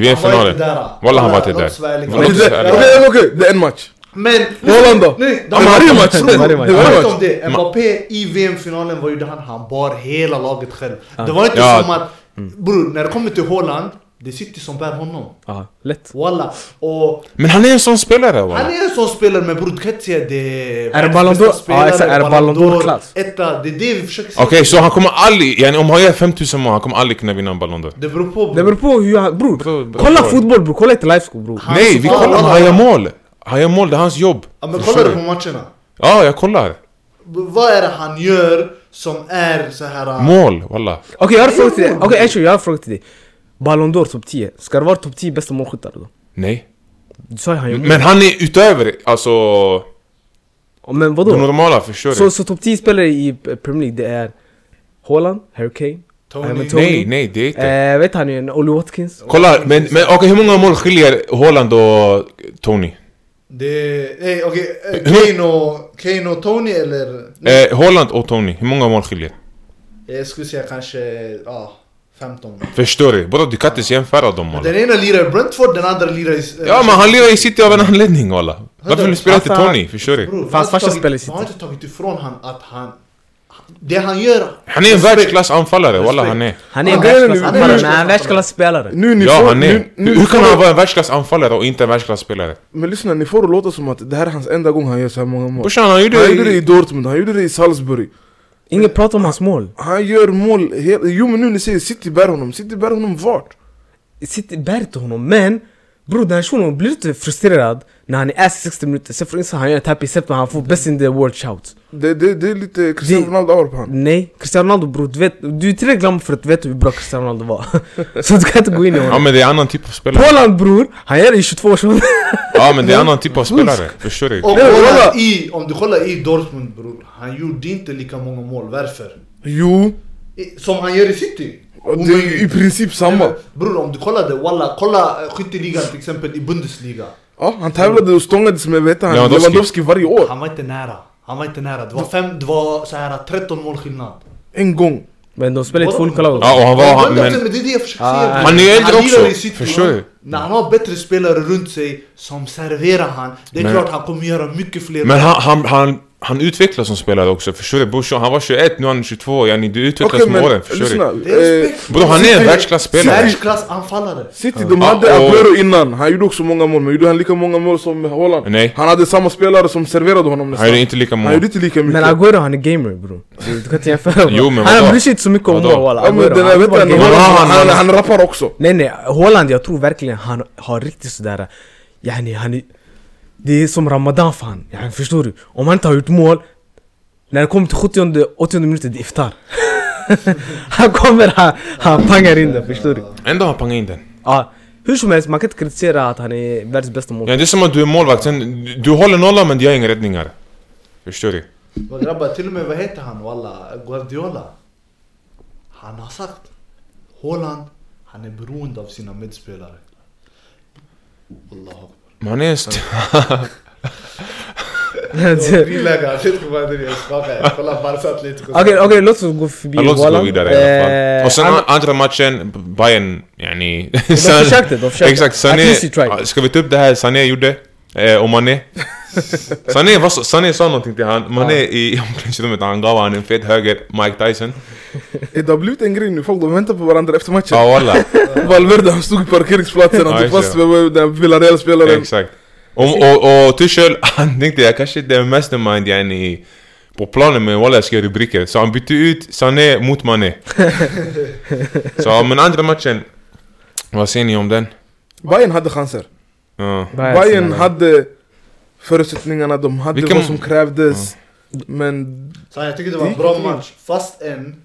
Speaker 4: Han var inte
Speaker 2: VM-finalen.
Speaker 4: där.
Speaker 2: Walla han var inte
Speaker 4: Låt
Speaker 2: där.
Speaker 4: Sverige ligga.
Speaker 2: Låt
Speaker 3: Men
Speaker 2: oss
Speaker 3: det,
Speaker 2: vara
Speaker 4: liksom. Ja,
Speaker 2: ärliga.
Speaker 3: det, är okej, det är en match
Speaker 4: Men...
Speaker 3: Holland då?
Speaker 4: Nej,
Speaker 3: Det var varje match.
Speaker 4: Tror-
Speaker 1: Varje match.
Speaker 4: Det var
Speaker 3: Varje
Speaker 4: inte
Speaker 3: match.
Speaker 4: om det. Mbappé i VM-finalen, vad gjorde han? Han bar hela laget själv. Det var inte
Speaker 2: Ja.
Speaker 4: som att...
Speaker 1: Mm.
Speaker 4: Bror, när det kommer till Holland, det är City som bär honom.
Speaker 1: Ja, lätt.
Speaker 4: Walla. Och
Speaker 2: Men han är en sån spelare
Speaker 4: han
Speaker 2: walla.
Speaker 4: är en sån spelare, men bror du kan inte säga det...
Speaker 1: Är det Ballon d'Or?
Speaker 4: bästa spelare,
Speaker 1: Ja, exakt. Är det Ballon d'Or-klass?
Speaker 4: Etta, det är det vi försöker säga.
Speaker 2: Okej, så han kommer aldrig... yani, Om han gör 5000 mål, han kommer aldrig kunna vinna en Ballon d'Or.
Speaker 4: Det beror på bror.
Speaker 1: Det beror på hur han... Bror,
Speaker 2: Bro, bro,
Speaker 1: kolla
Speaker 2: bro.
Speaker 1: fotboll bror, kolla inte livescope bror.
Speaker 4: Han-
Speaker 2: Nej, vi
Speaker 4: Ja,
Speaker 2: kollar om
Speaker 4: ja,
Speaker 2: han
Speaker 4: ja.
Speaker 2: gör mål. Han gör mål, det är hans jobb.
Speaker 4: Ja, men kollar du på matcherna?
Speaker 2: Ja, jag kollar.
Speaker 4: B- Vad är det han gör som är så här... äh,
Speaker 2: Mål, walla.
Speaker 1: Okej jag har en fråga till dig, okej Esho jag har en fråga till dig Ballon d'Or topp 10, ska det vara topp 10 bästa målskyttar då?
Speaker 2: Nej.
Speaker 1: Du sa ju han gör mål.
Speaker 2: Men han är utöver, alltså...
Speaker 1: Men
Speaker 2: Det
Speaker 1: vadå?
Speaker 2: normala, förstår
Speaker 1: Så,
Speaker 2: du?
Speaker 1: så topp 10 spelare i eh, Premier League det är Haaland, Harry Kane,
Speaker 4: Tony.
Speaker 1: eh, men
Speaker 2: Nej, nej, det är inte.
Speaker 1: Eh, vet han ju, Olly Watkins
Speaker 2: Kolla, men, men okej hur många mål skiljer Haaland och Tony?
Speaker 4: Det... Nej okej, eh, Kane och... Kane och Tony eller...
Speaker 2: Eh, Haaland och Tony, hur många mål skiljer?
Speaker 4: Jag skulle säga kanske... Ja, 15.
Speaker 2: Förstår du? Bara du kan inte jämföra dem
Speaker 4: Den
Speaker 2: walla.
Speaker 4: ena lirar i Brentford, den andra lirar i... eh,
Speaker 2: Ja men han lirar i City av en anledning walla. Varför vill du spela till
Speaker 1: Alltså,
Speaker 2: Tony? Förstår du?
Speaker 4: Bror,
Speaker 1: Fast
Speaker 4: man har inte
Speaker 1: farsa
Speaker 4: tagit-
Speaker 1: spelar i City.
Speaker 4: Man har inte tagit ifrån han att han... Det han gör...
Speaker 2: Han är en
Speaker 4: Respekt.
Speaker 2: världsklass anfallare, walla han är.
Speaker 1: Han är
Speaker 4: Ja,
Speaker 1: en
Speaker 4: grejen är
Speaker 1: världsklass,
Speaker 4: nu-
Speaker 1: han är
Speaker 4: nu-
Speaker 1: en världsklass spelare
Speaker 3: Nu ni
Speaker 2: Ja
Speaker 3: får,
Speaker 2: han är.
Speaker 3: Nu, nu,
Speaker 2: Hur kan
Speaker 3: får-
Speaker 2: han vara en världsklass anfallare och inte en världsklass spelare?
Speaker 3: Men lyssna, ni får det låta som att det här är hans enda gång han gör så här många mål
Speaker 2: Brorsan han
Speaker 3: Han gjorde det i
Speaker 2: gjorde...
Speaker 3: Dortmund, han gjorde det i Salzburg
Speaker 1: Ingen pratar om hans mål
Speaker 3: Han gör mål, hela, jo men nu ni säger City bär honom, City bär honom vart?
Speaker 1: City bär inte honom men Bror den här shunon blir lite frustrerad när han är ass i 60 minuter Sen får han göra ett happy step när han får best in the world shout
Speaker 3: Det, det, det är lite Cristiano
Speaker 1: Det-
Speaker 3: Ronaldo över på han
Speaker 1: Nej, Cristiano Ronaldo bror, du vet, du är tillräckligt gammal för att veta hur bra Cristiano Ronaldo var Så du kan inte gå in i
Speaker 2: Ja
Speaker 1: honom
Speaker 2: men det är en annan typ av spelare.
Speaker 1: Haaland bror, han gör det i 22 års ålder
Speaker 2: Ja men det är en annan typ av spelare. Förstår du?
Speaker 4: Och
Speaker 3: Nej,
Speaker 4: kolla
Speaker 3: kolla.
Speaker 4: i, om du kollar i Dortmund bror, han gjorde inte lika många mål, varför?
Speaker 3: Jo,
Speaker 4: I- Som han gör i City!
Speaker 3: och det är ju i princip samma
Speaker 4: Bror om du kollade, walla, kolla eh, skytteligan till exempel i Bundesliga
Speaker 3: Ja, han tävlade och stångades med vet han,
Speaker 2: Lewandowski.
Speaker 3: Lewandowski varje år
Speaker 4: Han var inte nära, han var inte nära, det var, fem, det var så här 13 mål skillnad
Speaker 3: En gång
Speaker 1: Men de spelar i två olika
Speaker 2: Ja
Speaker 1: lag
Speaker 2: och han var... han- Men,
Speaker 4: men, men det är det jag försöker
Speaker 1: Ah,
Speaker 4: säga bror.
Speaker 2: han är äldre
Speaker 4: Han lirar
Speaker 2: också,
Speaker 4: i City,
Speaker 2: förstår
Speaker 4: ja.
Speaker 2: du?
Speaker 4: När han har bättre spelare runt sig som serverar han Det är
Speaker 2: Men-
Speaker 4: klart han kommer göra mycket fler
Speaker 2: Men han, han, han, han utvecklas som spelare också, förstår du? Brorsan, han var 21, nu är han 22, yani du utvecklas med åren, Typ förstår
Speaker 3: lyssna
Speaker 2: du?
Speaker 4: Det är
Speaker 3: eh,
Speaker 4: respekt.
Speaker 2: Bro, han är en världsklasspelare!
Speaker 4: Världsklassanfallare!
Speaker 3: City, de
Speaker 2: Ja.
Speaker 3: hade
Speaker 2: Ja, och-
Speaker 3: Aguero innan, han gjorde också många mål men gjorde han lika många mål som Haaland?
Speaker 2: Nej.
Speaker 3: Han hade samma spelare som serverade honom
Speaker 2: Han gjorde
Speaker 3: nästan
Speaker 2: inte lika
Speaker 3: Han gjorde
Speaker 2: många.
Speaker 3: inte lika mycket
Speaker 1: Men Aguero han är gamer bror Du kan inte jämföra va?
Speaker 2: Jo, men
Speaker 1: Han
Speaker 2: vadå?
Speaker 1: bryr sig inte så mycket om
Speaker 2: Vadå?
Speaker 1: mål walla
Speaker 3: Ja, men
Speaker 1: Aguero,
Speaker 3: den
Speaker 1: han
Speaker 3: där,
Speaker 1: är
Speaker 3: vet
Speaker 1: bara
Speaker 3: han,
Speaker 1: gamer.
Speaker 2: Ja,
Speaker 3: han, han,
Speaker 2: han-
Speaker 3: han rappar också
Speaker 1: Nej nej, Haaland jag tror verkligen han har riktigt sådär Yani han är Det är som Ramadan för han, yani, förstår du? Om han inte har gjort mål När det kommer till 70 80 minuter, det är iftar Han kommer, han, han pangar in det, förstår du?
Speaker 2: Ändå har han pangat in den.
Speaker 1: Ja, hur som helst, man kan inte kritisera att han är världens bästa
Speaker 2: Ja,
Speaker 1: målvakt.
Speaker 2: det är som att du är målvakt, sen, du- du håller nollan men du gör inga räddningar. Förstår du?
Speaker 4: Vad grabbar, till och med vad heter han walla, Guardiola? Han har sagt Haaland, han är beroende av sina medspelare. Wallahu akbar.
Speaker 2: Man är en st-
Speaker 3: Alltså-
Speaker 4: Friläge, Atletico Madrid, jag skakar. Kolla Barca Atletico.
Speaker 1: Okej, okej, låt oss gå förbi
Speaker 2: Låt oss gå
Speaker 1: Haaland.
Speaker 2: vidare i alla
Speaker 1: Eh,
Speaker 2: fall. Och sen
Speaker 1: an-
Speaker 2: an- andra matchen, Bayern, yani...
Speaker 1: De försökte, de försökte.
Speaker 2: Exakt,
Speaker 1: At
Speaker 2: Sané...
Speaker 1: least you tried.
Speaker 2: Ska vi ta upp det här Sané gjorde? Eh, och Mané? Sané, var, så- Sané sa någonting till han, Mané i omklädningsrummet, han gav han en fet höger, Mike Tyson.
Speaker 1: Typ.
Speaker 3: Eh, Det har blivit en grej nu, folk de väntar på varandra efter matchen.
Speaker 2: Ja walla,
Speaker 3: Valverde han stod i parkeringsplatsen,
Speaker 2: Ja,
Speaker 3: han tog
Speaker 2: just
Speaker 3: fast med den Villarreal-spelaren.
Speaker 2: exakt. Och, och, och Tuchel, han tänkte jag kanske inte är mastermind yani på planen men walla jag ska göra rubriker. Så han bytte ut Sané mot Mané. så men andra matchen, vad säger ni om den?
Speaker 3: Bayern hade chanser.
Speaker 2: Ja.
Speaker 3: Bayern hade förutsättningarna, de hade
Speaker 2: Vilken-
Speaker 3: vad som krävdes. Men
Speaker 4: Så jag tycker det var en
Speaker 3: Det
Speaker 4: bra
Speaker 3: gick in.
Speaker 4: match. Fast än,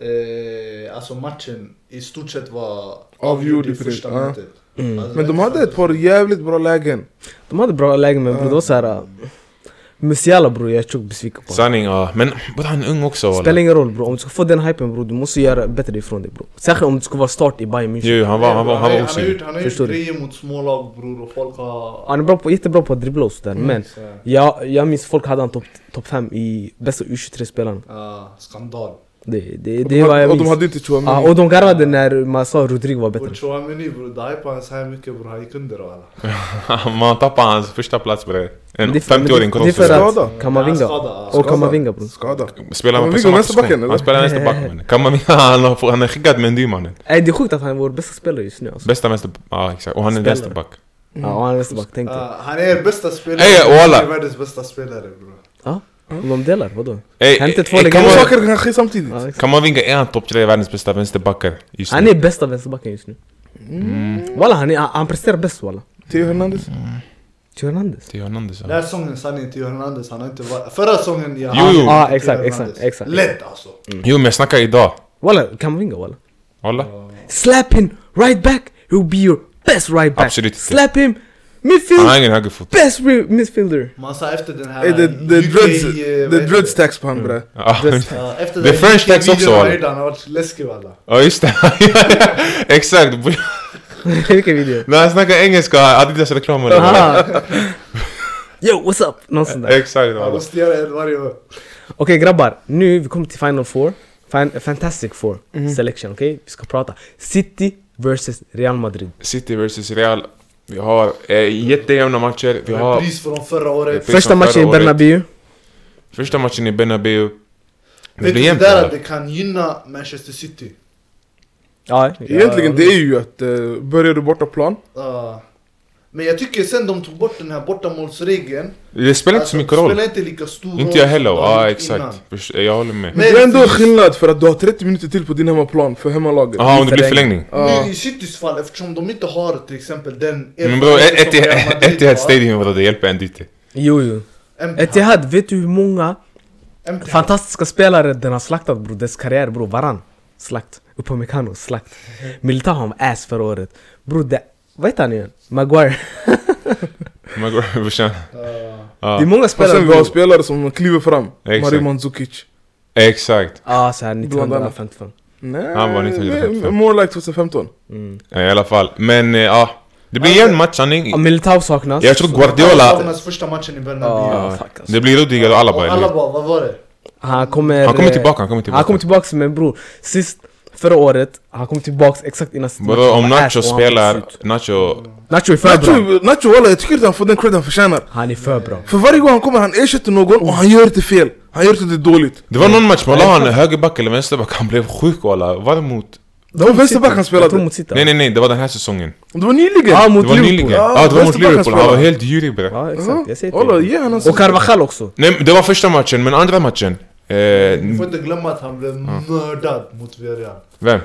Speaker 4: eh, alltså matchen i stort sett var
Speaker 3: Avgjord i
Speaker 4: i första
Speaker 3: pris, ja.
Speaker 4: minutet.
Speaker 1: Mm.
Speaker 4: Alltså,
Speaker 3: Men de hade ett par jävligt bra lägen.
Speaker 1: De hade bra lägen men bror, det var såhär... äh, Musiala bror, jag är tjockt besviken på honom.
Speaker 2: Sanning ja, men både han är ung också
Speaker 1: Spelar
Speaker 2: walla.
Speaker 1: ingen roll bror, om du ska få den hypen bror, du måste göra bättre ifrån dig bror. Särskilt om du ska vara start i Bayern München.
Speaker 2: Jo, han var, han var, han var
Speaker 4: han har
Speaker 2: osynlig.
Speaker 4: gjort, han har gjort
Speaker 1: Förstår du?
Speaker 4: grejer mot smålag bror och folk har...
Speaker 1: Han är bra på, jättebra på att dribbla och sådär
Speaker 3: Mm.
Speaker 1: men
Speaker 4: Så,
Speaker 1: jag, jag minns folk hade han topp top 5 i bästa U23-spelaren.
Speaker 4: ja, skandal.
Speaker 1: Det, det,
Speaker 3: Och
Speaker 1: det
Speaker 3: de
Speaker 1: är vad
Speaker 3: hade,
Speaker 1: jag
Speaker 3: och de
Speaker 1: minns.
Speaker 3: hade inte
Speaker 1: Ja,
Speaker 3: Chouamini.
Speaker 1: och de garvade när man sa Rodrigo var bättre.
Speaker 4: Och Chouamini bror, det hypade han så här mycket bror, han gick under och alla.
Speaker 2: Man tappar hans första plats bre. En
Speaker 1: Det är för-
Speaker 2: 50-åring
Speaker 1: det är för
Speaker 2: kollapsar.
Speaker 1: att-
Speaker 3: Skada.
Speaker 1: Kamavinga.
Speaker 4: Och
Speaker 1: Och Kamavinga bror.
Speaker 3: Skada.
Speaker 2: Spelar man på
Speaker 3: Kamavinga
Speaker 2: samma
Speaker 3: vänsterbacken,
Speaker 2: position?
Speaker 3: eller?
Speaker 2: Han spelar vänsterback mannen. Kamavinga, han har- han är skickad med en dy mannen.
Speaker 1: Nej det är sjukt att han är vår bästa spelare just nu alltså.
Speaker 2: Bästa vänster... Ja exakt, och han är
Speaker 1: Spelare.
Speaker 2: vänsterback.
Speaker 3: Mm.
Speaker 1: Ja och han är vänsterback, tänk
Speaker 3: Ah.
Speaker 1: dig.
Speaker 4: Ah, han är er bästa spelare.
Speaker 2: Ey,
Speaker 4: Han är
Speaker 2: walla.
Speaker 4: Världens bästa spelare bror.
Speaker 1: Ja?
Speaker 3: Ah.
Speaker 1: Om de delar, vadå?
Speaker 2: Ey,
Speaker 1: Han är inte
Speaker 2: ey,
Speaker 1: två
Speaker 2: ey,
Speaker 3: Två
Speaker 1: legender.
Speaker 2: Kamavinga-
Speaker 3: saker kan ske samtidigt.
Speaker 1: Ja, exakt.
Speaker 2: Kamavinga är han topp tre i världens bästa vänsterbackar just
Speaker 1: Han
Speaker 2: nu.
Speaker 1: är bästa vänsterbacken just nu.
Speaker 3: Mm.
Speaker 1: Walla han, är- han han presterar bäst walla.
Speaker 3: Theo Hernandez.
Speaker 1: Theo Hernandez.
Speaker 2: Theo Hernandez
Speaker 4: Den här säsongen sanningen till Hernandez, han har inte varit... Förra säsongen ja.
Speaker 2: Jo, jo.
Speaker 4: han-
Speaker 1: Ah,
Speaker 4: Theo
Speaker 1: exakt,
Speaker 4: Hernandez.
Speaker 1: exakt, exakt.
Speaker 4: Lätt alltså.
Speaker 2: Jo men jag snackar idag.
Speaker 1: Walla Kamavinga walla.
Speaker 2: Walla.
Speaker 1: Slap him right back, he'll be your best right back.
Speaker 2: Absolut inte.
Speaker 1: Slap him
Speaker 2: Han har
Speaker 1: midfield,
Speaker 2: ingen högerfot.
Speaker 1: best re- midfielder.
Speaker 4: Man sa efter den här...
Speaker 3: Eh, Det det
Speaker 4: UK,
Speaker 3: dreads,
Speaker 4: eh,
Speaker 3: det
Speaker 4: vad
Speaker 3: dreads
Speaker 4: heter
Speaker 3: tax på han
Speaker 1: Mm.
Speaker 3: bre.
Speaker 2: Ja,
Speaker 1: Just-
Speaker 4: det? Ja, Efter
Speaker 2: The
Speaker 4: den
Speaker 2: French
Speaker 4: UK
Speaker 2: tax också,
Speaker 4: videon
Speaker 2: walla.
Speaker 4: redan, Han har varit läskig walla.
Speaker 2: Ja just det. Exakt.
Speaker 1: Vilken video.
Speaker 2: När han snackar engelska, Adidas reklam eller vad?
Speaker 1: Aha. Yo what's up? Någon sån där.
Speaker 2: Exakt
Speaker 4: Man
Speaker 2: walla.
Speaker 4: måste göra en varje år.
Speaker 1: Okej grabbar, nu vi kommer till Final Four. Fin- Fantastic Four
Speaker 3: Mhm.
Speaker 1: selection, okej? Vi ska prata City vs Real Madrid.
Speaker 2: City vs Real. Vi har eh, jättejämna matcher. Vi har
Speaker 4: Pris från förra året.
Speaker 2: Precis
Speaker 1: Första
Speaker 2: som
Speaker 1: matchen i
Speaker 2: förra året.
Speaker 1: Bernabéu.
Speaker 2: första matchen i Bernabeu. Det
Speaker 4: Vet
Speaker 2: blir
Speaker 4: du det
Speaker 2: jämnt.
Speaker 4: där att
Speaker 2: eller?
Speaker 4: det kan gynna Manchester City?
Speaker 1: Ja,
Speaker 3: Egentligen
Speaker 1: ja,
Speaker 3: det är ju att eh, börjar du bortaplan,
Speaker 4: Ja. Men jag tycker sen de tog bort den här bortamålsregeln.
Speaker 2: Det spelar inte så mycket roll.
Speaker 4: Alltså, Spelar inte lika stor roll.
Speaker 2: Inte jag heller.
Speaker 4: som de
Speaker 2: Ja
Speaker 4: gjort
Speaker 2: exakt.
Speaker 4: innan.
Speaker 2: Förs- Jag håller med.
Speaker 3: men det är ändå skillnad för att du har 30 minuter till på din hemmaplan för hemmalaget.
Speaker 2: Jaha, om det blir
Speaker 1: Förlängning.
Speaker 2: förlängning.
Speaker 3: Ja.
Speaker 4: Nu i Citys fall, eftersom de inte har till exempel den
Speaker 2: Men bror,
Speaker 4: erfarenhet som Real
Speaker 2: Etihad
Speaker 4: Madrid har.
Speaker 2: Etihad Stadium vadå, det hjälper ändå inte.
Speaker 1: Jo, jo.
Speaker 4: Emtihad.
Speaker 1: Etihad, vet du hur många
Speaker 4: Emtihad.
Speaker 1: fantastiska spelare den har slaktat bror? Dess karriär bror, varann. Slakt. Upamecano, slakt. Militao har en ass förra året. Bror, det... Vad heter han igen? Maguire.
Speaker 2: Maguire, brorsan.
Speaker 4: Ja.
Speaker 2: Ja.
Speaker 1: Det är många
Speaker 3: Och
Speaker 1: spelare
Speaker 3: sen vi har
Speaker 1: bror.
Speaker 3: spelare som kliver fram.
Speaker 2: Exakt.
Speaker 3: Mario Mandzukic.
Speaker 2: Exakt.
Speaker 1: Ja, ah, såhär
Speaker 3: annat.
Speaker 1: 1955.
Speaker 3: Nej,
Speaker 2: Han var 1955.
Speaker 3: men more like 2015.
Speaker 2: Ja, I alla fall. Men eh, ja, det blir
Speaker 4: Alltså-
Speaker 2: en match sanning.
Speaker 1: Ja, Militao saknas.
Speaker 2: Jag tror Guardiola...
Speaker 4: Guardiolas första matchen i
Speaker 1: Ja.
Speaker 4: Bernabéu.
Speaker 1: fuck, alltså.
Speaker 2: Det blir Rudiger och Alaba,
Speaker 4: Och
Speaker 2: eller hur?
Speaker 4: Alaba, vad var det?
Speaker 1: Han kommer...
Speaker 2: Han kommer
Speaker 1: eh,
Speaker 2: tillbaka, han kommer tillbaka.
Speaker 1: Han kommer tillbaka men bror, sist förra året, han kom tillbaka exakt innan sitt
Speaker 2: Bro,
Speaker 1: match,
Speaker 2: om
Speaker 1: han var ass
Speaker 2: Nacho
Speaker 1: och han var
Speaker 2: spelar...
Speaker 1: slut.
Speaker 2: Nacho...
Speaker 1: Nacho är för bra.
Speaker 3: Nacho, Nacho walla, jag tycker inte han får den cred han förtjänar.
Speaker 1: Han är för bra.
Speaker 3: För varje gång han kommer han ersätter någon och han gör inte fel. Han gör inte dåligt.
Speaker 2: Det var någon match, man la han högerback eller vänsterback, han blev sjuk walla. Var det mot...
Speaker 3: Det var vänsterback han
Speaker 1: Jag tror
Speaker 3: spelade.
Speaker 1: mot City.
Speaker 2: Nej nej nej, det var den här säsongen.
Speaker 3: Det var nyligen.
Speaker 1: Ja, mot
Speaker 2: Det var nyligen.
Speaker 1: Liverpool.
Speaker 3: Ja,
Speaker 2: Ja, det var mot
Speaker 3: vänsterback han
Speaker 2: Liverpool, han var
Speaker 3: spelade.
Speaker 2: helt djurig bre.
Speaker 1: Ja, exakt. Jag säger
Speaker 3: Walla,
Speaker 1: till.
Speaker 3: ge honom
Speaker 1: Och Carvajal också.
Speaker 2: Nej, men det var första matchen, men andra matchen... Eh,
Speaker 4: Du får inte glömma att han blev mördad mot Villarreal.
Speaker 2: vem?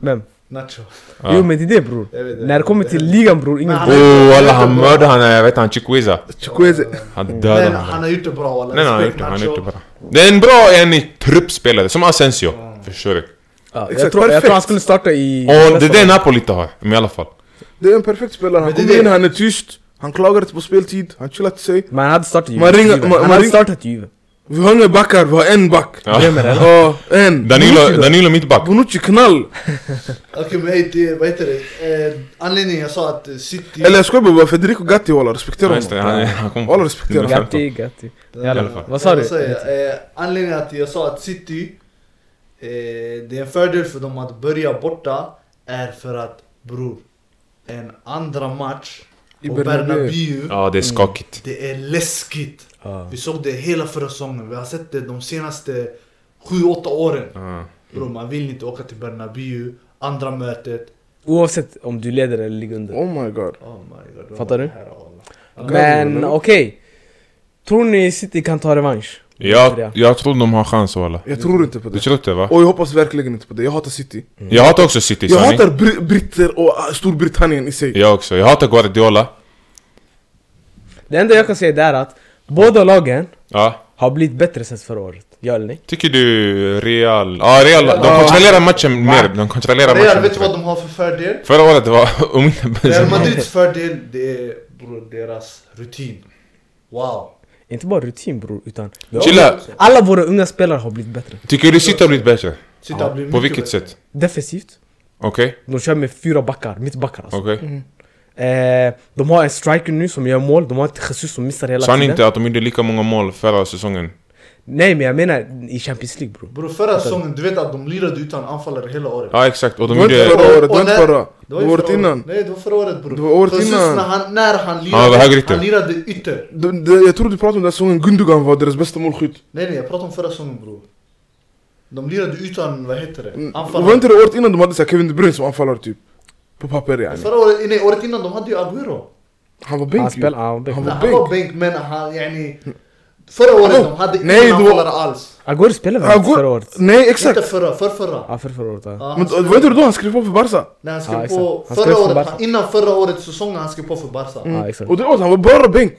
Speaker 1: Vem?
Speaker 4: Nacho.
Speaker 2: Ja.
Speaker 1: Jo men det är det bror.
Speaker 4: Jag vet det.
Speaker 1: När det kommer till ligan bror, ingen
Speaker 4: Men han-
Speaker 2: Oh alla han mördade han, eh, jag vet han, Chikweza.
Speaker 3: Chukwueze.
Speaker 2: Han
Speaker 4: Men
Speaker 2: dödade
Speaker 4: han
Speaker 2: honom.
Speaker 4: har gjort det bra walla.
Speaker 2: Nej nej, han har gjort
Speaker 4: Respekt,
Speaker 2: det, han har
Speaker 4: Nacho.
Speaker 2: gjort det bara. Det är en bra, en truppspelare, som Asensio. Förstår du?
Speaker 1: Ja, jag,
Speaker 3: Exakt,
Speaker 1: tror, jag tror han
Speaker 3: perfekt.
Speaker 1: skulle starta i...
Speaker 2: Och det är det Napoli inte har, men i alla fall.
Speaker 3: Det är en perfekt spelare. Han
Speaker 4: Men det är
Speaker 3: kommer in,
Speaker 4: det.
Speaker 3: han är tyst. Han klagar inte på speltid. Han chillar till sig.
Speaker 1: Men han hade startat Juve.
Speaker 3: Man ringer-
Speaker 1: Juve.
Speaker 3: man-
Speaker 1: han
Speaker 3: man
Speaker 1: hade
Speaker 3: ringer-
Speaker 1: startat Juve.
Speaker 3: Vi har inga backar, vi har en back.
Speaker 2: Ja.
Speaker 1: Glömmer det.
Speaker 3: Ja, en. Bonucci
Speaker 2: Danilo,
Speaker 3: då.
Speaker 2: Danilo mittback.
Speaker 3: Bonucci knall.
Speaker 4: Okej men ey, det- vad heter det? Eh, anledningen jag sa att eh, City...
Speaker 3: Eller jag skojar bara, Federico Gatti walla, respektera
Speaker 2: Ja, just det,
Speaker 3: honom.
Speaker 2: han, han kom.
Speaker 3: Walla respektera honom.
Speaker 2: femton.
Speaker 1: Gatti, Gatti.
Speaker 4: Eh,
Speaker 1: I alla
Speaker 2: fall.
Speaker 1: Vad sa du?
Speaker 4: säger, eh, anledningen att jag sa att City, eh, det är en fördel för dem att börja borta, är för att bror, en andra match
Speaker 3: I
Speaker 4: på
Speaker 3: Bernabeu.
Speaker 4: Bernabéu,
Speaker 2: Ja, det är skakigt.
Speaker 4: det är läskigt.
Speaker 1: Ja.
Speaker 4: Vi såg det hela förra säsongen, vi har sett det de senaste 7-8 åren.
Speaker 2: Ja.
Speaker 4: Bror, man vill inte åka till Bernabéu, andra mötet.
Speaker 1: Oavsett om du leder eller ligger under.
Speaker 3: Oh my god.
Speaker 4: Oh my God,
Speaker 1: Fattar du?
Speaker 4: Herre Allah.
Speaker 1: Men okej. Tror ni City kan ta revansch?
Speaker 2: Jag, jag tror de har chans walla.
Speaker 3: Jag tror inte på
Speaker 2: Du
Speaker 3: det.
Speaker 2: tror inte va?
Speaker 3: Och jag hoppas verkligen inte på det. Jag hatar City.
Speaker 2: Jag hatar också City
Speaker 3: Jag
Speaker 2: sanning.
Speaker 3: hatar br- britter och ah, Storbritannien i sig.
Speaker 2: Jag också. Jag hatar Guardiola.
Speaker 1: Det enda jag kan säga det är att båda lagen
Speaker 2: Ja.
Speaker 1: har blivit bättre sen förra året. Gör ni?
Speaker 2: Tycker du Real... Ja, Real.
Speaker 4: Ja.
Speaker 2: De kontrollerar matchen mer. De kontrollerar
Speaker 4: Real,
Speaker 2: matchen
Speaker 4: vet du vad
Speaker 2: bättre.
Speaker 4: de har för fördel?
Speaker 2: Förra året det var om inte
Speaker 4: Real
Speaker 2: bättre.
Speaker 4: Madrids fördel, det är bror, deras rutin. Wow.
Speaker 1: Inte bara rutin bror, utan...
Speaker 2: Chilla.
Speaker 1: Alla våra unga spelare har blivit bättre.
Speaker 2: Tycker du City har blivit bättre?
Speaker 4: City har blivit
Speaker 2: På
Speaker 4: mycket
Speaker 2: vilket
Speaker 4: bättre.
Speaker 2: sätt?
Speaker 1: Defensivt.
Speaker 2: Okej,
Speaker 1: De kör med fyra backar, mittbackar alltså.
Speaker 2: okej.
Speaker 1: Eh, de har en striker nu som gör mål, de har inte Jesus som missar hela
Speaker 2: Sa ni
Speaker 1: tiden.
Speaker 2: inte att de gjorde lika många mål förra säsongen?
Speaker 1: Nej men jag menar i Champions League bror.
Speaker 4: Bror förra säsongen, du vet att de lirade utan anfallare hela året.
Speaker 2: Ja, exakt. Och de
Speaker 3: Det var inte
Speaker 2: gjorde...
Speaker 3: förra året, det var inte
Speaker 4: när-
Speaker 3: förra. Det
Speaker 4: Det
Speaker 3: var
Speaker 4: ju
Speaker 3: året
Speaker 4: förra
Speaker 3: innan.
Speaker 4: Nej, det var förra året bror.
Speaker 3: Det var året
Speaker 4: Precis
Speaker 3: innan.
Speaker 4: när han, när han
Speaker 2: var
Speaker 4: lirade,
Speaker 2: högerytter.
Speaker 4: han lirade ytter.
Speaker 3: Det- det- Jag trodde du pratade om den säsongen Gundogan var deras bästa målskytt.
Speaker 4: Nej nej, jag pratar om förra säsongen bror. De lirade utan, vad heter det?
Speaker 3: Det Mm, var
Speaker 4: Anfallare.
Speaker 3: inte det året innan de hade så här Kevin De Bruyne som anfallare typ? På papper yani.
Speaker 4: Alltså, Förra året, nej året innan, de hade ju Aguero.
Speaker 3: Han var
Speaker 1: Han
Speaker 3: bänk ju.
Speaker 1: spelar, ja, han
Speaker 3: Han
Speaker 4: Nej,
Speaker 1: var...
Speaker 3: var-
Speaker 4: han var bänk men han, yani. Förra året, de hade
Speaker 3: Nej,
Speaker 4: ingen
Speaker 3: det var-
Speaker 4: anfallare alls.
Speaker 1: Agüero spelade väl
Speaker 3: Han
Speaker 1: inte
Speaker 3: går-
Speaker 1: förra året?
Speaker 3: Nej exakt!
Speaker 4: Inte förra, för förra.
Speaker 1: Ja, för förra året ja.
Speaker 4: Ja,
Speaker 3: Men
Speaker 4: han
Speaker 3: det var inte det då han skrev på för Barca?
Speaker 4: När
Speaker 1: Ja,
Speaker 4: han skrev
Speaker 1: exakt.
Speaker 4: på
Speaker 1: Han skrev
Speaker 4: förra
Speaker 1: för
Speaker 4: året,
Speaker 1: Barca. Mm.
Speaker 4: han, innan förra årets säsong han skrev på för Barca.
Speaker 1: Ja, exakt.
Speaker 3: Och det året han var bara bänk!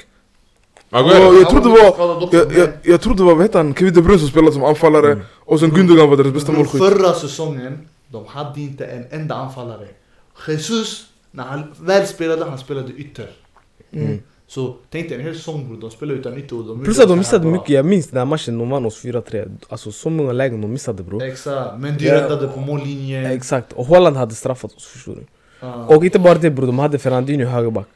Speaker 3: Och
Speaker 2: Aguero?
Speaker 3: jag trodde det var... Jag, jag, jag trodde det var, vad heter han, Kevin De Bruyne som spelade som anfallare
Speaker 1: Mm.
Speaker 3: och sen Gundogan var deras bästa
Speaker 4: Bror,
Speaker 3: målskytt.
Speaker 4: Förra säsongen, de hade inte en enda anfallare. Jesus, när han väl spelade, han spelade ytter. Så tänk dig en hel säsong bror, de spelade utan ytter och de
Speaker 1: Mm. Plus
Speaker 4: gjorde
Speaker 1: att de
Speaker 4: så här
Speaker 1: missade
Speaker 4: bra.
Speaker 1: mycket, jag minns den här matchen de vann oss 4-3 Alltså så många lägen de missade
Speaker 3: Eh,
Speaker 1: bror
Speaker 4: Exakt, men de
Speaker 1: Ja.
Speaker 4: räddade på mållinjen.
Speaker 1: Exakt, och Holland hade straffat oss förstår du
Speaker 4: Ja.
Speaker 1: Och inte bara det bror, de hade Fernandinho högerback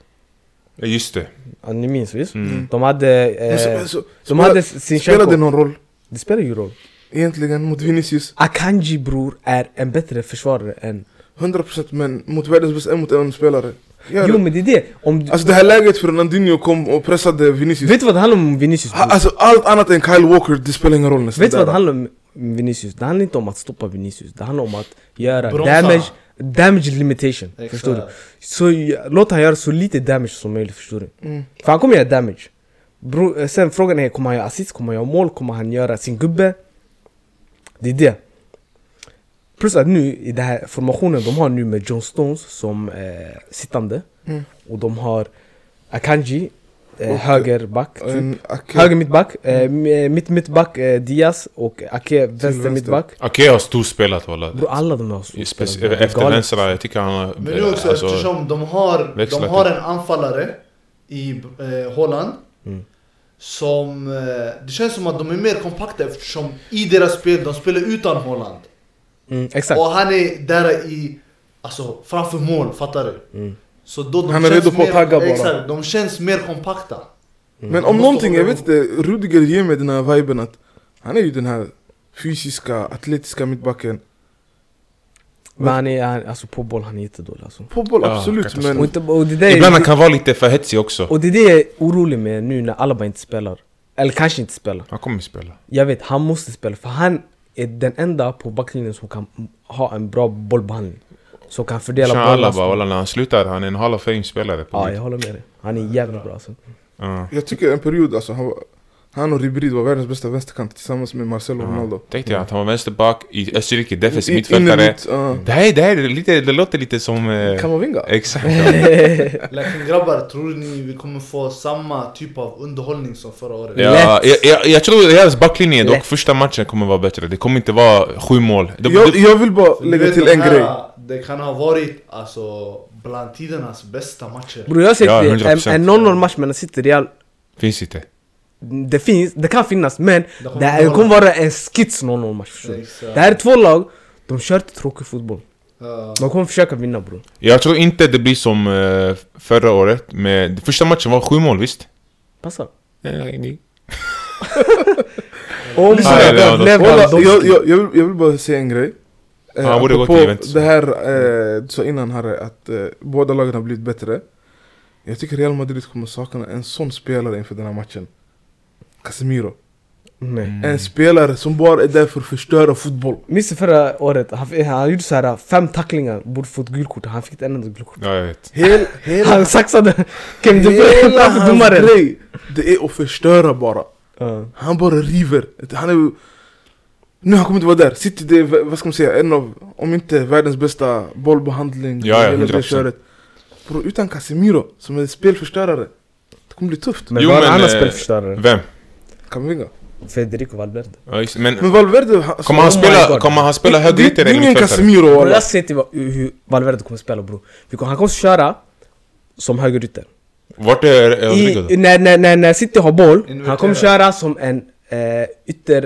Speaker 2: Ja, Just det.
Speaker 1: Ja, Ni minns visst? De hade...
Speaker 3: Mm. Men så-
Speaker 1: Eh,
Speaker 3: men så-
Speaker 1: de hade
Speaker 3: spela-
Speaker 1: Sinchenko
Speaker 3: Spelade det någon roll?
Speaker 1: Det spelar ju roll
Speaker 3: Egentligen mot Vinicius,
Speaker 1: Akanji bror är en bättre försvarare än...
Speaker 3: 100% men mot världens bästa en mot en spelare. Ja,
Speaker 1: Jo men det är det! Om du...
Speaker 3: Alltså det här läget Fernandinho kom och pressade Vinicius.
Speaker 1: Vet du vad det handlar om Vinicius
Speaker 3: Ha-
Speaker 1: bror?
Speaker 3: Alltså allt annat än Kyle Walker, det spelar ingen roll nästan.
Speaker 1: Vet du vad det
Speaker 3: där.
Speaker 1: handlar om Vinicius? Det handlar inte om att stoppa Vinicius Det handlar om att göra
Speaker 4: Bromsa.
Speaker 1: damage, damage limitation
Speaker 4: Exakt.
Speaker 1: Förstår du? Så j- låt han göra så lite damage som möjligt förstår du?
Speaker 3: Mm.
Speaker 1: För han kommer göra damage Bro, eh, Sen frågan är, kommer han göra assist? Kommer han göra mål? Kommer han göra sin gubbe? Det är det Plus att nu i den här formationen de har nu med John Stones som eh, sittande Och de har Akanji, eh,
Speaker 3: Mm. Och-
Speaker 1: högerback typ.
Speaker 3: En Ake-
Speaker 1: Höger mittback, eh, mitt mittback eh, Diaz och Ake
Speaker 3: vänster.
Speaker 1: vänster mittback.
Speaker 2: Okej, jag har storspelat walla.
Speaker 1: Bro, alla de här
Speaker 2: Spe-
Speaker 1: spelarna, det är
Speaker 2: Efter
Speaker 1: galet.
Speaker 2: vänstra, jag tycker han har...
Speaker 4: Men nu också
Speaker 2: alltså,
Speaker 4: eftersom de har,
Speaker 2: växlar
Speaker 4: de har en anfallare i eh, Holland
Speaker 1: Mm.
Speaker 4: Som, eh, det känns som att de är mer kompakta eftersom i deras spel, de spelar utan Holland
Speaker 1: Mm, exakt.
Speaker 4: Och han är där i, alltså framför mål, fattar du?
Speaker 1: Mm.
Speaker 4: Så då de
Speaker 3: Han är
Speaker 4: känns
Speaker 3: redo på att
Speaker 4: mer-
Speaker 3: tagga bara.
Speaker 4: Exakt, de känns mer kompakta
Speaker 3: Men om någonting, jag vet inte, Rudiger ger mig den här viben att han är ju den här fysiska, atletiska mittbacken.
Speaker 1: Men han är, han, alltså på boll, han är jättedålig alltså.
Speaker 3: På boll,
Speaker 2: Ja,
Speaker 3: absolut
Speaker 2: katastrof.
Speaker 1: Och,
Speaker 3: men...
Speaker 1: inte, och, det där
Speaker 2: Ibland han
Speaker 1: är,
Speaker 2: kan vara lite för hetsig också.
Speaker 1: och det är det jag är orolig med nu när Alaba inte spelar. Eller kanske inte spelar.
Speaker 2: Han kommer spela.
Speaker 1: Jag vet, han måste spela för han är den enda på backlinjen som kan ha en bra bollbehandling. Som kan fördela
Speaker 2: Sean
Speaker 1: bollen.
Speaker 2: Alaba,
Speaker 1: alltså.
Speaker 2: walla när han slutar, han är en Hall of Fame-spelare. på
Speaker 1: Ja,
Speaker 2: riktigt.
Speaker 1: jag håller med dig. Han är jävligt bra alltså.
Speaker 2: Ja.
Speaker 3: Jag tycker en period alltså, han, var, han och Ribéry var världens bästa vänsterkant tillsammans med Marcelo Ronaldo. Mm.
Speaker 2: Tänkte jag att han var vänsterback i Österrike,
Speaker 3: I-
Speaker 2: defensiv
Speaker 3: in- in-
Speaker 2: mittfältare.
Speaker 3: ut, ja.
Speaker 2: Det här, det här är lite, det låter lite som... eh,
Speaker 3: Kamavinga?
Speaker 2: Exakt. ja.
Speaker 4: Läkaren grabbar, tror ni vi kommer få samma typ av underhållning som förra året?
Speaker 2: Ja, jag, jag, jag tror deras backlinje dock,
Speaker 1: Lätt.
Speaker 2: första matchen kommer vara bättre. Det kommer inte vara sju mål. De,
Speaker 3: Jag,
Speaker 2: de,
Speaker 3: jag vill bara
Speaker 4: Du
Speaker 3: lägga
Speaker 4: vet,
Speaker 3: till
Speaker 4: de
Speaker 3: en
Speaker 4: här,
Speaker 3: grej.
Speaker 4: Det kan ha varit alltså bland tidernas bästa matcher
Speaker 1: Bror jag har sett
Speaker 2: Ja,
Speaker 1: det. en,
Speaker 2: 100%.
Speaker 1: en 0-0 match mellan City och Real
Speaker 2: finns inte.
Speaker 1: Det finns, det kan finnas men
Speaker 4: Det kommer
Speaker 1: det,
Speaker 4: inte
Speaker 1: här
Speaker 4: hålla.
Speaker 1: kommer vara en skits någon av match förstår du?
Speaker 4: Exakt.
Speaker 1: Det här är två lag, de kör till tråkig fotboll.
Speaker 4: Ja.
Speaker 1: De kommer försöka vinna bror.
Speaker 2: Jag tror inte det blir som eh, förra året med... Första matchen var sju mål, visst?
Speaker 1: Passa.
Speaker 2: Nej, nej.
Speaker 1: Om
Speaker 2: Ja, ja, ja, de-
Speaker 3: Walla,
Speaker 1: Lewandowski.
Speaker 3: jag, jag, jag, vill, jag vill bara säga en grej. Eh,
Speaker 2: Ja, borde gå
Speaker 3: apropå
Speaker 2: till Juventus.
Speaker 3: det här eh, du sa innan Harry, att eh, båda lagen har blivit bättre. Jag tycker Real Madrid kommer sakna en sån spelare inför den här matchen. Casemiro.
Speaker 1: Nej.
Speaker 2: Mm.
Speaker 3: En spelare som bara är där för att förstöra fotboll.
Speaker 1: Minns du förra året? Han, han gjorde så här äh, fem tacklingar, borde fått gult kort. Han fick ett enda gult kort.
Speaker 2: Ja, jag vet.
Speaker 3: Hel, hela,
Speaker 1: Han saxade Kevin De Bruyne
Speaker 3: hela
Speaker 1: framför
Speaker 3: hans
Speaker 1: domaren.
Speaker 3: grej, det är att förstöra bara.
Speaker 1: Ja.
Speaker 3: Han bara river. Han är Nu han kommer inte vara där. City det är, vad ska man säga, en av, om inte världens bästa bollbehandling.
Speaker 2: Ja, ja,
Speaker 3: hela det
Speaker 2: 100%.
Speaker 3: köret. Bro, utan Casemiro, som är spelförstörare. Det kommer bli tufft.
Speaker 1: Men
Speaker 2: Jo,
Speaker 1: var en
Speaker 2: men,
Speaker 1: annan
Speaker 2: eh,
Speaker 1: spelförstörare.
Speaker 2: Vem?
Speaker 3: Camavinga.
Speaker 1: Federico Valverde.
Speaker 2: Ja, just, det. men
Speaker 3: Men Valverde... alltså- Han,
Speaker 2: kommer han
Speaker 1: Oh my
Speaker 2: spela,
Speaker 1: God.
Speaker 2: kommer han spela
Speaker 3: det, det,
Speaker 2: högerytter
Speaker 3: det är
Speaker 2: eller
Speaker 3: ingen
Speaker 2: mittfältare?
Speaker 3: Casemiro
Speaker 1: Bror
Speaker 3: walla.
Speaker 1: jag ser till vad, hur hur Valverde kommer spela bror. Vi kommer- Han kommer köra som högerytter.
Speaker 2: Vart är eh, Rodrigo
Speaker 1: I-
Speaker 2: då?
Speaker 1: När, när, när, när City har boll, han
Speaker 4: Invertera.
Speaker 1: kommer köra som en eh, ytter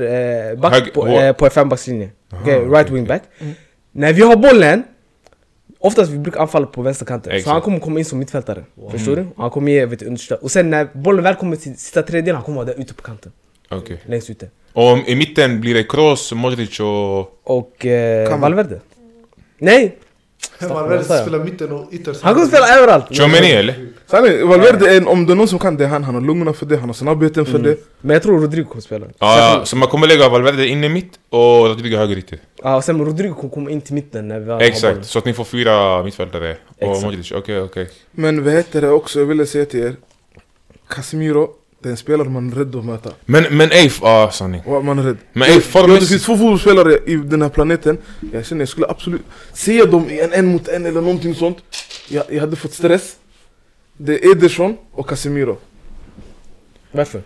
Speaker 1: eh, back
Speaker 2: Hög-
Speaker 1: på,
Speaker 2: hår.
Speaker 1: eh, på en fembackslinje. Okej, right
Speaker 2: okej, Mm.
Speaker 1: wing back. När vi har bollen, oftast vi brukar anfalla på vänsterkanten. Så
Speaker 2: Exakt.
Speaker 1: han kommer komma in som mittfältare. Förstår du? Han kommer ge vet, du, understöd. Och sen när bollen väl kommer till sista tredjedelen, han kommer vara där ute på kanten.
Speaker 2: Okej.
Speaker 1: Längst ute.
Speaker 2: Och i mitten blir det Kroos, Modric och...
Speaker 1: Och eh,
Speaker 3: Kan-
Speaker 1: Valverde. Nej!
Speaker 4: Valverde
Speaker 1: Staffan,
Speaker 4: spelar mitten och ytterst.
Speaker 1: Han kommer spela överallt!
Speaker 2: Chomeni eller?
Speaker 3: Sanne, Valverde är en, om det är någon som kan det, han, han har lungorna för det, han har snabbheten
Speaker 2: Mm.
Speaker 3: för det.
Speaker 1: Men jag tror Rodrigo kommer spela.
Speaker 2: Ja, så man kommer lägga Valverde inne mitt och Rodrigo högerytter.
Speaker 1: Ja, och sen Rodrigo kommer komma in till mitten när vi har
Speaker 2: Exakt, så att ni får fyra mittfältare. Och
Speaker 1: Exakt.
Speaker 2: Modric, okej okej.
Speaker 3: Men vad heter det också, jag ville säga till er. Casemiro, det är en spelare man är rädd att möta.
Speaker 2: Men, men ej, ja sanning.
Speaker 3: Och man är rädd.
Speaker 2: Men ey,
Speaker 3: Ja,
Speaker 2: formen...
Speaker 3: det finns två fotbollsspelare i den här planeten Jag känner jag skulle absolut Se dem i en en mot en eller någonting sånt Jag, jag hade fått stress Det är Ederson och Casemiro
Speaker 1: Varför?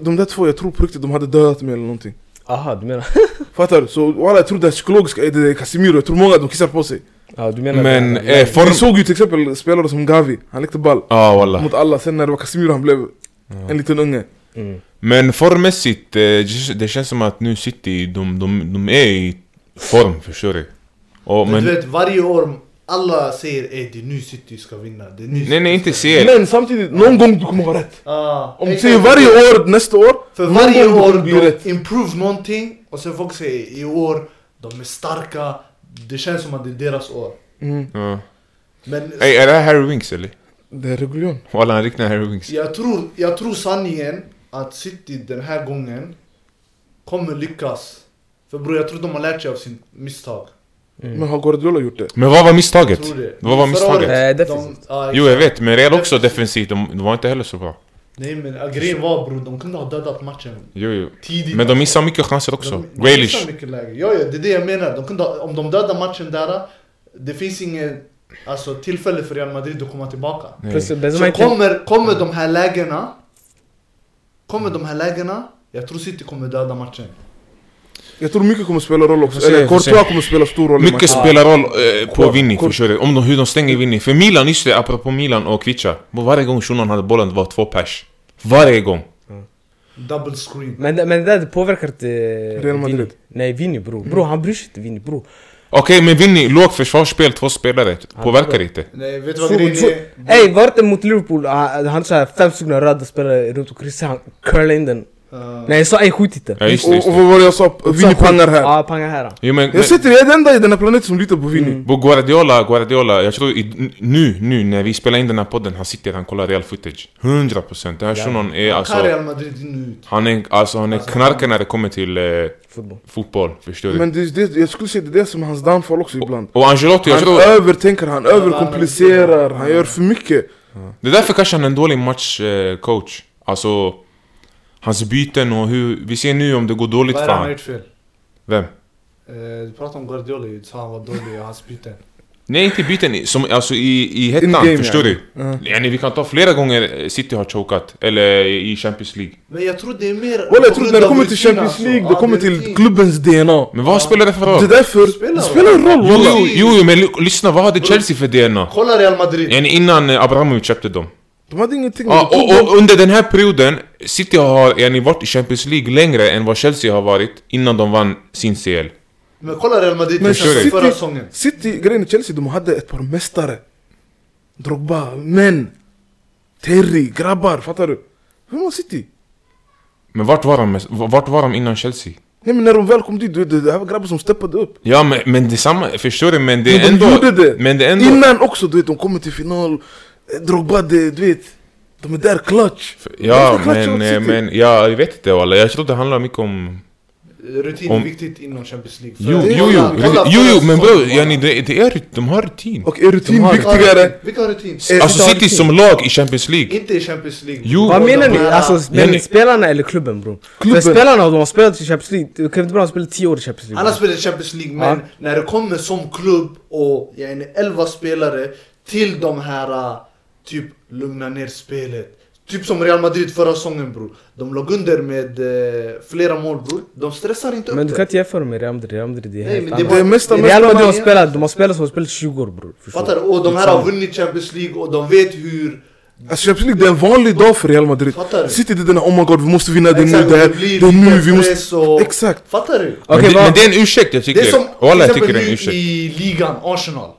Speaker 3: De där två, jag tror på riktigt de hade dödat mig eller någonting
Speaker 1: Aha, du menar...
Speaker 3: Fattar du? Så walla, jag tror det här psykologiska är det Casemiro Jag tror många de kissar på sig
Speaker 1: Ja, du menar...
Speaker 2: Men
Speaker 1: det,
Speaker 2: eh,
Speaker 3: Vi
Speaker 2: form...
Speaker 3: såg ju till exempel spelare som Gavi Han lekte ball
Speaker 2: Ja walla.
Speaker 3: mot alla Sen när det var Casemiro han blev en liten unge
Speaker 1: mm.
Speaker 2: Men formmässigt, eh, det känns som att nu City, de, de, de är i form, förstår du? Och,
Speaker 4: Men du
Speaker 2: men,
Speaker 4: vet varje år, alla säger ey det är nu City ska vinna. Det är nu
Speaker 2: nej nej inte CL.
Speaker 3: Men samtidigt, någon gång du kommer ha rätt
Speaker 4: Ah,
Speaker 3: Om du
Speaker 4: exakt.
Speaker 3: säger varje år, nästa år
Speaker 4: För
Speaker 3: någon
Speaker 4: varje
Speaker 3: gång kommer
Speaker 4: år
Speaker 3: det bli rätt.
Speaker 4: de improve någonting och sen folk säger i år, de är starka. Det känns som att det är deras år.
Speaker 3: Mm.
Speaker 2: Ja.
Speaker 4: Men
Speaker 2: Ey, är det här Harry Winks eller?
Speaker 3: Det är reguljon
Speaker 2: Walla han liknar Harry Winks.
Speaker 4: jag tror, jag tror sanningen att City den här gången kommer lyckas. För bror jag tror de har lärt sig av sin misstag.
Speaker 3: Men har Guardiola gjort det?
Speaker 2: Men vad var
Speaker 4: Jag
Speaker 2: misstaget?
Speaker 4: tror det.
Speaker 2: Vad var
Speaker 4: Förra
Speaker 2: misstaget?
Speaker 1: Eh,
Speaker 4: året, de,
Speaker 1: defensivt.
Speaker 4: ah,
Speaker 2: Jo jag vet, men Real också defensivt, de, de var inte heller så bra.
Speaker 4: Nej men ah, grejen var bror, de kunde ha dödat matchen
Speaker 2: Jo, jo.
Speaker 4: tidigt.
Speaker 2: Men de missar mycket chanser också. Grealish.
Speaker 4: missar mycket läge. Ja, ja, det är det jag menar. De kunde, ha- om de dödar matchen där, det finns ingen alltså, tillfälle för Real Madrid att komma tillbaka.
Speaker 2: Nej.
Speaker 1: Plötsligt, Benzema
Speaker 4: Så
Speaker 1: inte...
Speaker 4: kommer, kommer de här lägena, kommer de här lägena, jag tror City kommer döda matchen.
Speaker 3: Jag tror mycket kommer spela roll också,
Speaker 2: Får se,
Speaker 3: eller
Speaker 2: får se.
Speaker 3: Courtois kommer spela stor roll i
Speaker 2: Mycket
Speaker 3: matchen.
Speaker 2: spelar roll eh, på
Speaker 3: Kort-
Speaker 2: Vinny,
Speaker 3: kort-
Speaker 2: förstår du? Om de, hur de stänger Vinny. För Milan, just det, apropå Milan och Kvicha. Varje gång shunon hade bollen det var två pers. Varje gång.
Speaker 4: Double screen.
Speaker 1: Men, det- men det där påverkar inte...
Speaker 3: Real Madrid. Mm.
Speaker 1: Vinny. Nej, Vinny bror. Bror, han bryr sig inte Vinny bror.
Speaker 2: Okej, men Vinny, lågt försvarsspel, två spelare. Påverkar inte.
Speaker 4: Nej, vet du vad
Speaker 1: Så-
Speaker 4: grejen
Speaker 1: så-
Speaker 4: är?
Speaker 1: Ey, var det mot Liverpool? ah, Han han såhär fem stycken röda spelare runt omkring sig. Han curlade in den.
Speaker 4: Eh,
Speaker 1: Nej, jag sa ej, skjut inte.
Speaker 2: Ja, just det, just
Speaker 3: Och, och
Speaker 2: det.
Speaker 3: vad var det jag sa? Vinny
Speaker 1: Jag sa,
Speaker 3: pangar
Speaker 1: skjut.
Speaker 3: här
Speaker 1: Ja, pangar här.
Speaker 2: Jo, men, men,
Speaker 3: Jag sitter, jag är den enda i den här planeten som litar på Vinny
Speaker 2: Bo Guardiola, Guardiola, jag tror i, nu, nu när vi spelar in den här podden, han sitter, han kollar real footage. 100%. Den här shunon är
Speaker 4: Kan
Speaker 2: alltså...
Speaker 4: Real Madrid in och ut?
Speaker 2: Han är, alltså, han är
Speaker 4: Alltså,
Speaker 2: knarkare när det kommer till eh,
Speaker 1: Fotboll.
Speaker 2: fotboll, förstår du?
Speaker 3: Men det, det, jag skulle säga det är det som är hans downfall också ibland
Speaker 2: Och Angelotti, jag
Speaker 3: Han
Speaker 2: tror...
Speaker 3: övertänker, han överkomplicerar, han gör för mycket
Speaker 2: Det är därför kanske han är en dålig matchcoach. Alltså, hans byten och hur... Vi ser nu om det går
Speaker 4: Vad
Speaker 2: dåligt
Speaker 4: är
Speaker 2: för
Speaker 4: det han har
Speaker 2: han.
Speaker 4: gjort fel?
Speaker 2: Vem?
Speaker 4: Eh, Du pratade om Guardiola ju, du sa han var dålig i hans byten.
Speaker 2: Nej, inte byten. i- Som, alltså i, i hettan,
Speaker 3: In-game,
Speaker 2: förstår
Speaker 3: yani.
Speaker 2: du? Yani, vi kan ta flera gånger eh, City har chokat. Eller i Champions League.
Speaker 4: Men jag tror det är mer...
Speaker 3: Walla
Speaker 4: på
Speaker 3: jag tror
Speaker 4: grund
Speaker 3: när det
Speaker 4: av
Speaker 3: kommer till
Speaker 4: rutin,
Speaker 3: Champions
Speaker 4: alltså.
Speaker 3: League,
Speaker 4: Ja,
Speaker 3: det kommer
Speaker 4: är
Speaker 3: till
Speaker 4: rutin.
Speaker 3: klubbens DNA
Speaker 2: Men vad spelar det för roll?
Speaker 3: Det är därför,
Speaker 4: Spelar
Speaker 3: det spelar en roll
Speaker 2: Jo,
Speaker 3: walla
Speaker 2: jo, jo, men ly- lyssna. Vad hade Chelsea för DNA?
Speaker 4: Kolla Real Madrid.
Speaker 2: Yani innan eh, Abramovic köpte dem.
Speaker 3: De hade ingenting.
Speaker 2: Ja,
Speaker 3: de tog
Speaker 2: och,
Speaker 3: dem.
Speaker 2: och under den här perioden, City har yani, varit i Champions League längre än vad Chelsea har varit innan de vann sin CL.
Speaker 4: Men kolla Real Madrid till
Speaker 3: Men
Speaker 2: Förstår
Speaker 4: exempel
Speaker 2: du?
Speaker 4: förra säsongen.
Speaker 3: City, City, grejen i Chelsea, de hade ett par mästare. Drogba, men. Terry, grabbar, fattar du? Hur var City?
Speaker 2: Men vart var de, mest- vart var de innan Chelsea?
Speaker 3: Nej men när de väl kom dit, du vet, det det här var grabbar som steppade upp.
Speaker 2: Ja men, men det är samma, förstår du? Men det är
Speaker 3: Men de
Speaker 2: ändå...
Speaker 3: gjorde det!
Speaker 2: Men det är ändå...
Speaker 3: Innan också, du vet, de kommer till final. Eh, Drogba, det, du vet. De är där, clutch.
Speaker 2: Ja
Speaker 3: Varför klatschar
Speaker 2: men,
Speaker 3: de
Speaker 2: eh,
Speaker 3: City?
Speaker 2: men ja, jag vet inte walla. Jag tror det handlar mycket om...
Speaker 4: Rutin
Speaker 2: Om-
Speaker 4: är viktigt inom Champions League. För-
Speaker 2: Jo,
Speaker 4: Kolla-
Speaker 2: jo, jo,
Speaker 4: kolla
Speaker 2: jo,
Speaker 4: förra
Speaker 2: jo men
Speaker 4: säsongen
Speaker 2: bror,
Speaker 4: bara.
Speaker 2: yani, det, det är, rut- de har rutin.
Speaker 3: Och är rutin
Speaker 4: Vilka har
Speaker 3: viktigare?
Speaker 4: rutin? Vilka har rutin?
Speaker 3: Eh,
Speaker 2: Alltså
Speaker 3: City har
Speaker 2: City
Speaker 3: rutin.
Speaker 2: som lag i Champions League.
Speaker 4: Inte i Champions League.
Speaker 2: Jo.
Speaker 1: Vad menar ni?
Speaker 4: Ja.
Speaker 1: Alltså
Speaker 2: Ja,
Speaker 1: men
Speaker 2: ni-
Speaker 1: spelarna eller klubben bro?
Speaker 3: Klubben.
Speaker 1: För spelarna, de har spelat i Champions League, Kevin De Bruyne har spelat 10 år i Champions League
Speaker 4: Alla spelar i Champions League, men
Speaker 1: Ja.
Speaker 4: när det kommer som klubb och yani 11 spelare till de här ah, typ lugna ner spelet. Typ som Real Madrid förra säsongen bror. De låg under med eh, flera mål bror. De stressar inte
Speaker 1: Men
Speaker 4: upp
Speaker 1: du kan inte jämföra med Real Madrid, Real Madrid det är
Speaker 4: Nej,
Speaker 1: helt
Speaker 4: men
Speaker 1: annat
Speaker 3: Det är mesta
Speaker 1: Real Madrid har
Speaker 4: mesta-
Speaker 1: spelat, de har spelat som har spelat 20 år bror Förstår
Speaker 4: Fattar du?
Speaker 1: du?
Speaker 4: Och de här
Speaker 1: Liksom.
Speaker 4: har vunnit Champions League och de vet hur...
Speaker 3: Alltså Champions League, det är en vanlig dag för Real Madrid.
Speaker 4: Fattar du?
Speaker 3: City, det är den här oh my god, vi måste vinna, det är
Speaker 4: Exakt,
Speaker 3: nu, det här,
Speaker 4: det blir
Speaker 3: det är nu,
Speaker 4: lite
Speaker 3: vi
Speaker 4: press
Speaker 3: måste...
Speaker 4: och-
Speaker 3: Exakt!
Speaker 4: Fattar du?
Speaker 1: Okej
Speaker 2: men, det, men
Speaker 1: vad,
Speaker 2: det är en ursäkt, jag
Speaker 4: Det är som
Speaker 2: tycker.
Speaker 4: till
Speaker 2: Walla, jag tycker
Speaker 4: exempel
Speaker 2: det är en
Speaker 4: nu
Speaker 2: ursäkt.
Speaker 4: i ligan, Arsenal.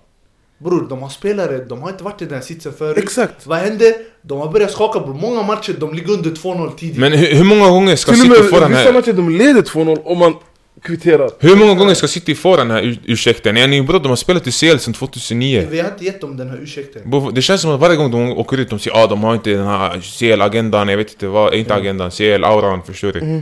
Speaker 4: Bror, de har spelare, de har inte varit i den sitsen förut.
Speaker 3: Exakt.
Speaker 4: Vad hände? De har börjat skaka bror. Många matcher, de ligger under 2-0 tidigt.
Speaker 2: Men hur, hur många gånger ska
Speaker 3: Till och
Speaker 2: City få den
Speaker 3: med vissa
Speaker 2: här...
Speaker 3: matcher, de leder 2-0 om man kvitterar.
Speaker 2: Hur många gånger ska City få den här ur- ursäkten? Yani bror, de har spelat i CL sedan 2009.
Speaker 4: Vi har inte gett dem den här ursäkten.
Speaker 2: Bo- Det känns som att varje gång de åker ut, de säger ah, de har inte den här CL-agendan, jag vet inte vad, inte agendan, CL-auran, förstår du?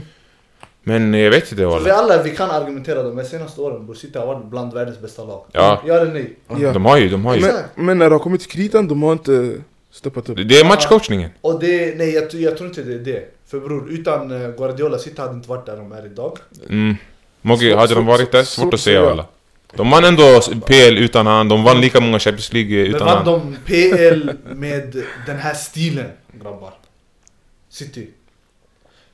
Speaker 2: Men jag vet inte
Speaker 4: Vi
Speaker 2: walla.
Speaker 4: alla vi kan argumentera de här senaste åren bror. City har varit bland världens bästa lag.
Speaker 2: Ja.
Speaker 4: Ja eller nej?
Speaker 3: Ja.
Speaker 2: De har ju, de har ju.
Speaker 4: Men-
Speaker 3: Men när det har kommit till kritan, de har inte steppat upp.
Speaker 2: Det- Det är matchcoachningen.
Speaker 4: Och det, nej jag, tr- jag tror inte det är det. För bror, utan eh, Guardiola, City hade inte varit där de är idag.
Speaker 2: Mm. Mogge,
Speaker 3: Svårt-
Speaker 2: hade de varit där?
Speaker 3: svårt-
Speaker 2: Svårt att
Speaker 3: svårt
Speaker 2: säga
Speaker 3: att säga.
Speaker 2: alla. De vann ändå PL utan han, de vann lika många Champions League
Speaker 4: Men
Speaker 2: utan
Speaker 4: vann
Speaker 2: han.
Speaker 4: de PL med den här stilen grabbar? City.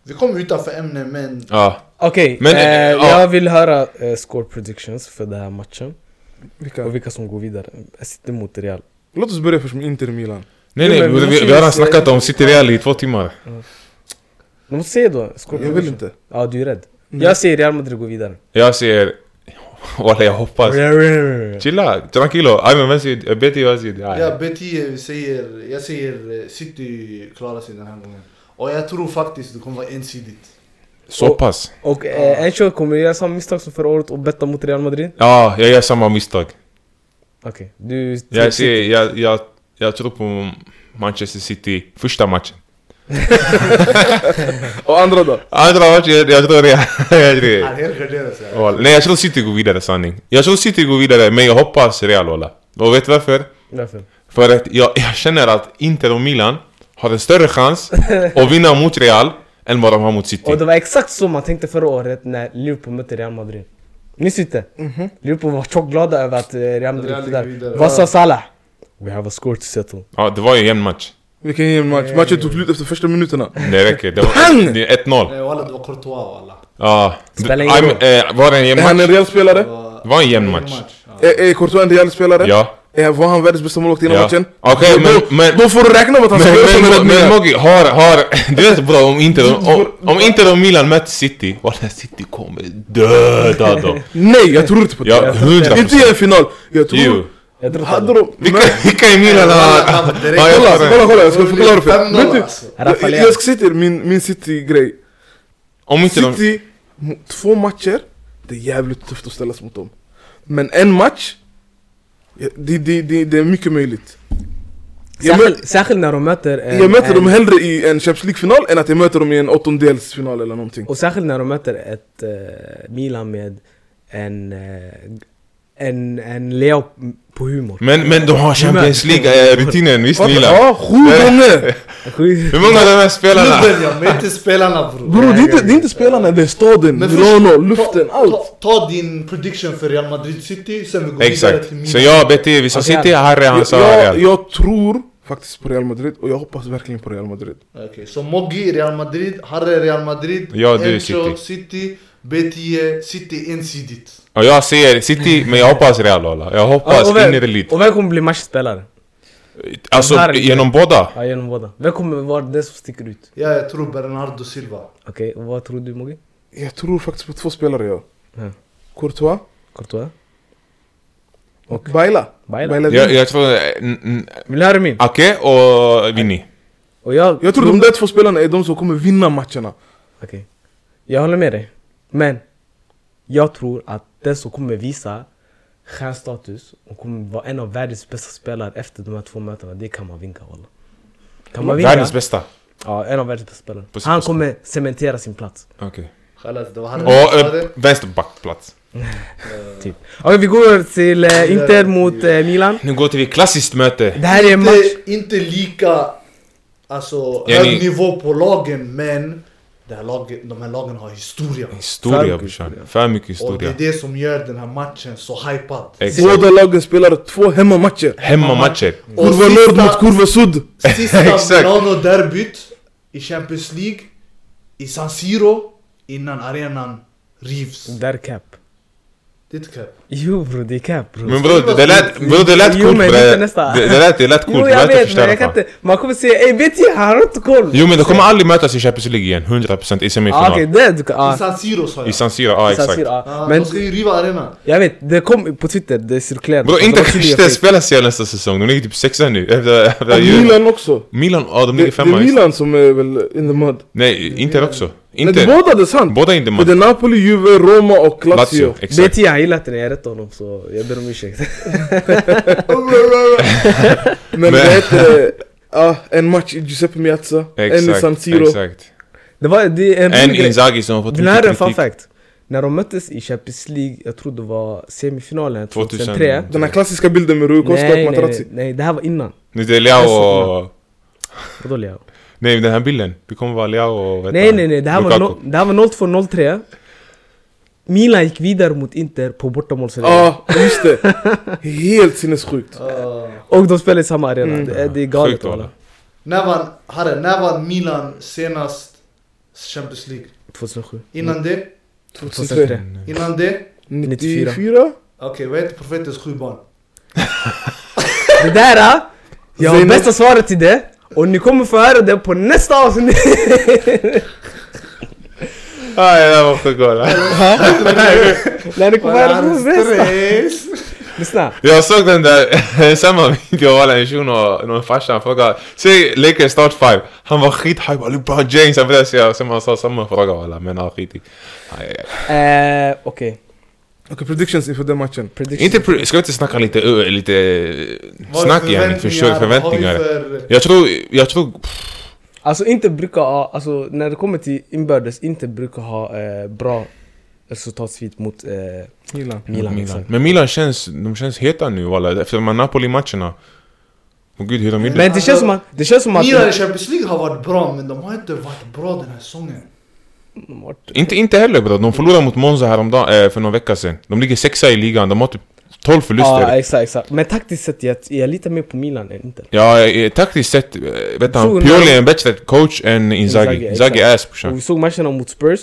Speaker 4: Vi kom utanför ämne men...
Speaker 2: Ja.
Speaker 1: Okej,
Speaker 2: Men,
Speaker 1: eh,
Speaker 2: eh, ja.
Speaker 1: jag vill höra eh, score predictions för den här matchen
Speaker 3: Vilka?
Speaker 1: och vilka som går vidare City mot Real
Speaker 3: Låt oss börja först med Inter Milan.
Speaker 2: Nej
Speaker 1: Jo,
Speaker 2: nej,
Speaker 1: men vi måste
Speaker 2: vi, vi,
Speaker 1: ju
Speaker 2: har redan
Speaker 1: säga-
Speaker 2: snackat om City Real i två timmar.
Speaker 1: Du måste säga då, score
Speaker 3: Jag vill inte.
Speaker 1: Ja du är rädd
Speaker 3: Nej.
Speaker 1: Jag säger Real Madrid går vidare
Speaker 2: Jag säger... Walla jag hoppas. Chilla, tranquilo. Aj men vem säger... Jag vet inte vad jag säger.
Speaker 4: Ja,
Speaker 2: Aj.
Speaker 4: B10 säger, jag säger eh, City klarar sig den här gången. Och jag tror faktiskt det kommer vara ensidigt.
Speaker 2: Så pass.
Speaker 1: Och eh, Encho kommer göra samma misstag som förra året och betta mot Real Madrid
Speaker 2: Ja, jag gör samma misstag.
Speaker 1: Okej, du...
Speaker 2: Jag säger... Jag, jag, jag tror på Manchester City första matchen.
Speaker 3: Och andra då?
Speaker 2: Andra matchen, jag, jag tror Real. jag tror-
Speaker 4: Han helgarderar sig.
Speaker 2: Walla. Nej jag tror City går vidare sanning. Jag tror City går vidare men jag hoppas Real walla. Och vet du varför?
Speaker 1: Varför?
Speaker 2: För att jag, jag känner att Inter och Milan har en större chans att vinna mot Real än vad de har mot City.
Speaker 1: Och det var exakt så man tänkte förra året när Liverpool mötte Real Madrid Minns du inte?
Speaker 3: Mhm.
Speaker 1: Liverpool var tjockt glada över att eh, Real Madrid
Speaker 4: Real
Speaker 1: var
Speaker 4: gick
Speaker 1: där
Speaker 4: vidare.
Speaker 1: Vad sa Salah? We have a score to settle
Speaker 2: Ja, det var ju en jämn match.
Speaker 3: Vilken jämn match. Matchen tog slut efter första minuterna.
Speaker 2: Det räcker. Det, var,
Speaker 3: Pang!
Speaker 2: det är 1-0.
Speaker 4: Nej walla, Eh, det var Courtois walla.
Speaker 2: Ja.
Speaker 1: Spelar ingen
Speaker 2: I'm-
Speaker 1: roll.
Speaker 2: eh, var det en jämn
Speaker 3: Är han en
Speaker 2: match?
Speaker 3: real spelare?
Speaker 4: var-
Speaker 2: Det var en jämn match.
Speaker 4: Ja.
Speaker 3: Är, är Courtois en real spelare?
Speaker 2: Ja.
Speaker 3: Är, var han världens bästa målvakt innan
Speaker 2: Ja.
Speaker 3: matchen?
Speaker 2: Okej,
Speaker 3: Då-
Speaker 2: men-
Speaker 3: då-
Speaker 2: men-
Speaker 3: Då får du räkna med att han ska
Speaker 2: Men,
Speaker 3: göra
Speaker 2: men,
Speaker 3: sådana
Speaker 2: men, men
Speaker 3: räddningar.
Speaker 2: Moggi, har, har... Du vet bra om Inter, om, om Inter och Milan möter City. Walla, City kommer döda dem.
Speaker 3: Nej, jag tror inte på det.
Speaker 2: Ja, hundra
Speaker 3: Inte i
Speaker 2: procent.
Speaker 3: en final. Jag
Speaker 2: Jo.
Speaker 3: tror...
Speaker 1: Jag tror
Speaker 3: Hade
Speaker 1: att
Speaker 3: de...
Speaker 2: Vilka,
Speaker 3: Men-
Speaker 2: vilka i Milan har...
Speaker 4: Walla, direkt.
Speaker 2: Ja, jag
Speaker 3: eh, Kolla,
Speaker 2: tror det.
Speaker 3: kolla, kolla, jag ska förklara för
Speaker 4: Fem noll,
Speaker 3: dig. Vet
Speaker 4: alltså.
Speaker 3: du, jag- Jag ska säga till er min, min City-grej.
Speaker 2: Om inte de...
Speaker 3: City, m- två matcher, det är jävligt tufft att ställas mot dem. Men en match, ja, det, det, det, det är mycket möjligt. Jag, mö,
Speaker 1: Särskilt, särskilt när de möter... En,
Speaker 3: jag möter
Speaker 1: en,
Speaker 3: dem hellre i en Champions League-final än att jag möter dem i en åttondelsfinal eller någonting.
Speaker 1: Och särskilt när de möter ett eh, Milan med en, eh, en, en Leo på humor.
Speaker 2: Men, men de har Champions League-rutinen, visst
Speaker 3: Fattar-
Speaker 2: Milan?
Speaker 3: Ja, sju gånger!
Speaker 1: Sju-
Speaker 2: Hur många av de här spelarna?
Speaker 4: Klubben ja, men inte spelarna bror.
Speaker 3: Bror, det, är inte- det är inte spelarna, det är staden,
Speaker 4: Men
Speaker 3: Milano,
Speaker 4: först-
Speaker 3: luften,
Speaker 4: ta,
Speaker 3: allt.
Speaker 4: Ta, ta din prediction för Real Madrid City, sen vi går vidare till
Speaker 2: Exakt.
Speaker 4: Milan.
Speaker 2: Så jag, Betty, vi sa
Speaker 1: Okej.
Speaker 2: City, Harry, han
Speaker 3: Jag,
Speaker 2: sa
Speaker 3: jag,
Speaker 2: Real.
Speaker 3: jag tror faktiskt på Real Madrid Oh, och jag hoppas verkligen på Real Madrid.
Speaker 4: Okej, så Moggi Real Madrid, Harre Real Madrid,
Speaker 2: Ja, du är
Speaker 4: Encho, City, B10 City ensidigt.
Speaker 2: Och jag säger City, men jag hoppas Real walla. Jag
Speaker 1: Ja,
Speaker 2: hoppas
Speaker 1: och, vem,
Speaker 2: innerligt.
Speaker 1: och vem kommer bli matchspelare?
Speaker 2: Alltså
Speaker 1: Den här-
Speaker 2: genom båda?
Speaker 1: Ja, genom båda. Vem kommer vara den som sticker ut?
Speaker 4: Ja, jag tror Bernardo Silva.
Speaker 1: Okej, och vad tror du Mogi?
Speaker 3: Jag tror faktiskt på två spelare jag.
Speaker 1: Ja.
Speaker 3: Courtois
Speaker 1: Courtois?
Speaker 3: och Baila.
Speaker 1: Baila.
Speaker 3: Vini.
Speaker 2: Jag, jag tror... eh, n- n-
Speaker 1: Vill ni höra min?
Speaker 2: Ake och Vinny.
Speaker 1: Och jag...
Speaker 3: Jag tror de där två spelarna är de som kommer vinna matcherna.
Speaker 1: Okej. Jag håller med dig. Men jag tror att den som kommer visa stjärnstatus och kommer vara en av världens bästa spelare efter de här två mötena, det är Kamavinga walla. Kamavinga,
Speaker 2: Världens bästa.
Speaker 1: ja, en av världens bästa spelare.
Speaker 2: Precis,
Speaker 1: Han
Speaker 2: precis.
Speaker 1: kommer cementera sin plats.
Speaker 2: Okej.
Speaker 4: Chalas, det var han.
Speaker 2: Och
Speaker 4: Ja,
Speaker 2: eh,
Speaker 4: det-
Speaker 2: vänsterbackplats.
Speaker 1: Typ. Okej, vi går till eh, Inter mot eh, Milan.
Speaker 2: Nu går vi till klassiskt möte.
Speaker 1: Det här är en match...
Speaker 4: inte, inte lika alltså,
Speaker 2: Ja,
Speaker 4: hög
Speaker 2: ni-
Speaker 4: nivå på lagen, men det här laget, de här lagen har historia.
Speaker 1: För
Speaker 2: Historia
Speaker 1: mycket
Speaker 2: brorsan.
Speaker 1: historia.
Speaker 2: För mycket
Speaker 4: Och det
Speaker 2: historia.
Speaker 4: är det som gör den här matchen så hypad.
Speaker 2: Exakt.
Speaker 3: Båda lagen spelar två hemmamatcher.
Speaker 2: Hemmamatcher.
Speaker 4: Och
Speaker 3: Kurva Nord mot Kurva Sud.
Speaker 4: sista
Speaker 2: Exakt.
Speaker 4: Milano-derbyt i Champions League, i San Siro, innan arenan rivs.
Speaker 1: Det där är cap.
Speaker 4: Det är inte cap.
Speaker 1: Jo bror, det är cap bror.
Speaker 2: Men bror, det lät, bror, det lät
Speaker 1: Jo,
Speaker 2: coolt
Speaker 1: men
Speaker 2: bre.
Speaker 1: inte nästa.
Speaker 2: Det, det lät, det lät coolt,
Speaker 1: Jo
Speaker 2: det
Speaker 1: jag
Speaker 2: lät att
Speaker 1: vet men jag kan
Speaker 2: förstöra fan.
Speaker 1: inte... Man kommer säga ey vet jag, han har inte koll!
Speaker 2: Jo men de kommer aldrig mötas i Champions League igen, 100% i
Speaker 1: ah,
Speaker 2: semifinal.
Speaker 1: Okej, det du kan...
Speaker 4: I
Speaker 1: Ah,
Speaker 4: San Siro sa jag.
Speaker 2: I San Siro, ja ah, exakt.
Speaker 1: Sassir, ah.
Speaker 4: Ja,
Speaker 1: Men
Speaker 4: de ska ju riva arenan.
Speaker 1: Jag vet, det kom på Twitter, det cirkulerade.
Speaker 2: Bror
Speaker 1: Så
Speaker 2: inte
Speaker 1: de skulle göra
Speaker 2: kanske
Speaker 1: fake.
Speaker 2: spelar CL nästa säsong, de ligger typ sexa nu efter, efter
Speaker 3: Och
Speaker 2: jul.
Speaker 3: Milan också.
Speaker 2: Milan, ja de
Speaker 3: Det,
Speaker 2: ligger
Speaker 3: det
Speaker 2: femma.
Speaker 3: är
Speaker 2: just.
Speaker 3: Milan som är väl in the mud.
Speaker 2: Nej, Inter också.
Speaker 3: Nej, det
Speaker 2: Inter.
Speaker 3: är båda, det är sant.
Speaker 2: Båda inte
Speaker 3: För det
Speaker 2: man.
Speaker 3: är Napoli, Juve, Roma och Lazio.
Speaker 2: Lazio,
Speaker 1: Det är
Speaker 2: exakt.
Speaker 1: tio, han gillar inte när jag rättar honom så jag ber om ursäkt.
Speaker 3: Men det hette... Ja, en match i Giuseppe Miazza, en i San
Speaker 2: Exakt,
Speaker 3: Siro.
Speaker 2: exakt.
Speaker 1: Det var det är en
Speaker 2: En
Speaker 1: rolig grej.
Speaker 2: Inzaghi som har fått
Speaker 1: Vill ni höra en
Speaker 2: mycket
Speaker 1: fun
Speaker 2: kritik.
Speaker 1: fact? När de möttes i Champions League, jag tror det var semifinalen
Speaker 2: 2000.
Speaker 1: 2003
Speaker 3: Den här klassiska bilden med Rui Costa
Speaker 1: Nej,
Speaker 3: och
Speaker 1: nej, nej,
Speaker 3: Materazzi.
Speaker 1: nej, det här var innan.
Speaker 2: Nu det är Leao och...
Speaker 1: Vadå Leo?
Speaker 2: Nej den här bilden, det kommer vara Leao och... vet
Speaker 1: Nej
Speaker 2: han,
Speaker 1: nej nej, det här var,
Speaker 2: Lukaku.
Speaker 1: no, det här var 02-03 Milan gick vidare mot Inter på bortamålsregeln
Speaker 3: Ja, Ah, just det. Helt sinnessjukt.
Speaker 4: Ah.
Speaker 1: Och de spelade i samma arena, det, är- det är galet
Speaker 2: Sjukt,
Speaker 1: walla
Speaker 2: walla.
Speaker 4: När vann, Harre, när vann Milan senast Champions League?
Speaker 1: 2007,
Speaker 2: Mm.
Speaker 4: Innan det?
Speaker 3: 2003.
Speaker 4: Innan det?
Speaker 3: 94?
Speaker 4: Okej, vad heter profetens sju barn?
Speaker 1: Det där! ah, Jag har
Speaker 3: Zeynep.
Speaker 1: bästa svaret till det och ni kommer få höra det på nästa avsnitt!
Speaker 2: Ah, det där var sjukt walla.
Speaker 1: När ni kommer höra det
Speaker 4: Vad
Speaker 1: på
Speaker 4: är
Speaker 1: nästa!
Speaker 4: stress?
Speaker 1: Lyssna!
Speaker 2: Jag såg den där, samma video walla, en shuno, någon farsa, han frågade Säg Lakers start five, han var skithype, LeBron James, han började säga, sen han sa samma fråga walla, men han skit i. Aj, aj, aj.
Speaker 1: Eh, Okej,
Speaker 3: Okej, predictions inför den matchen.
Speaker 1: prediction.
Speaker 2: Inte, pre- ska vi inte snacka lite, ö, lite eh,
Speaker 4: Vad är
Speaker 2: snack yani, försök,
Speaker 4: Har vi
Speaker 2: förväntningar.
Speaker 4: för...
Speaker 2: Jag tror, jag tror, pff,
Speaker 1: Alltså inte brukar ha, alltså när det kommer till inbördes, inte brukar ha eh, bra resultatsvit mot eh, Milan,
Speaker 3: Milan.
Speaker 2: Milan.
Speaker 1: exakt.
Speaker 2: Men Milan känns, de känns heta nu walla, efter de här Napoli-matcherna. Åh gud hur de gjorde.
Speaker 1: Men det känns som att, det känns som att...
Speaker 4: Milan i Champions League har varit bra, men de har inte varit bra den här säsongen.
Speaker 2: Inte, inte heller bror, de förlorade mot Monza häromdagen, eh, för någon vecka sedan. De ligger sexa i ligan, de har typ 12 förluster.
Speaker 1: Ja exakt, exakt. Men taktiskt sett jag, jag litar mer på Milan än Inter.
Speaker 2: Ja, eh, taktiskt sett, eh, vet
Speaker 1: Så
Speaker 2: han, Pioli är en bättre coach än Inzaghi.
Speaker 1: Inzaghi,
Speaker 2: Inzaghi är ass brorsan.
Speaker 1: Och vi såg matcherna mot Spurs.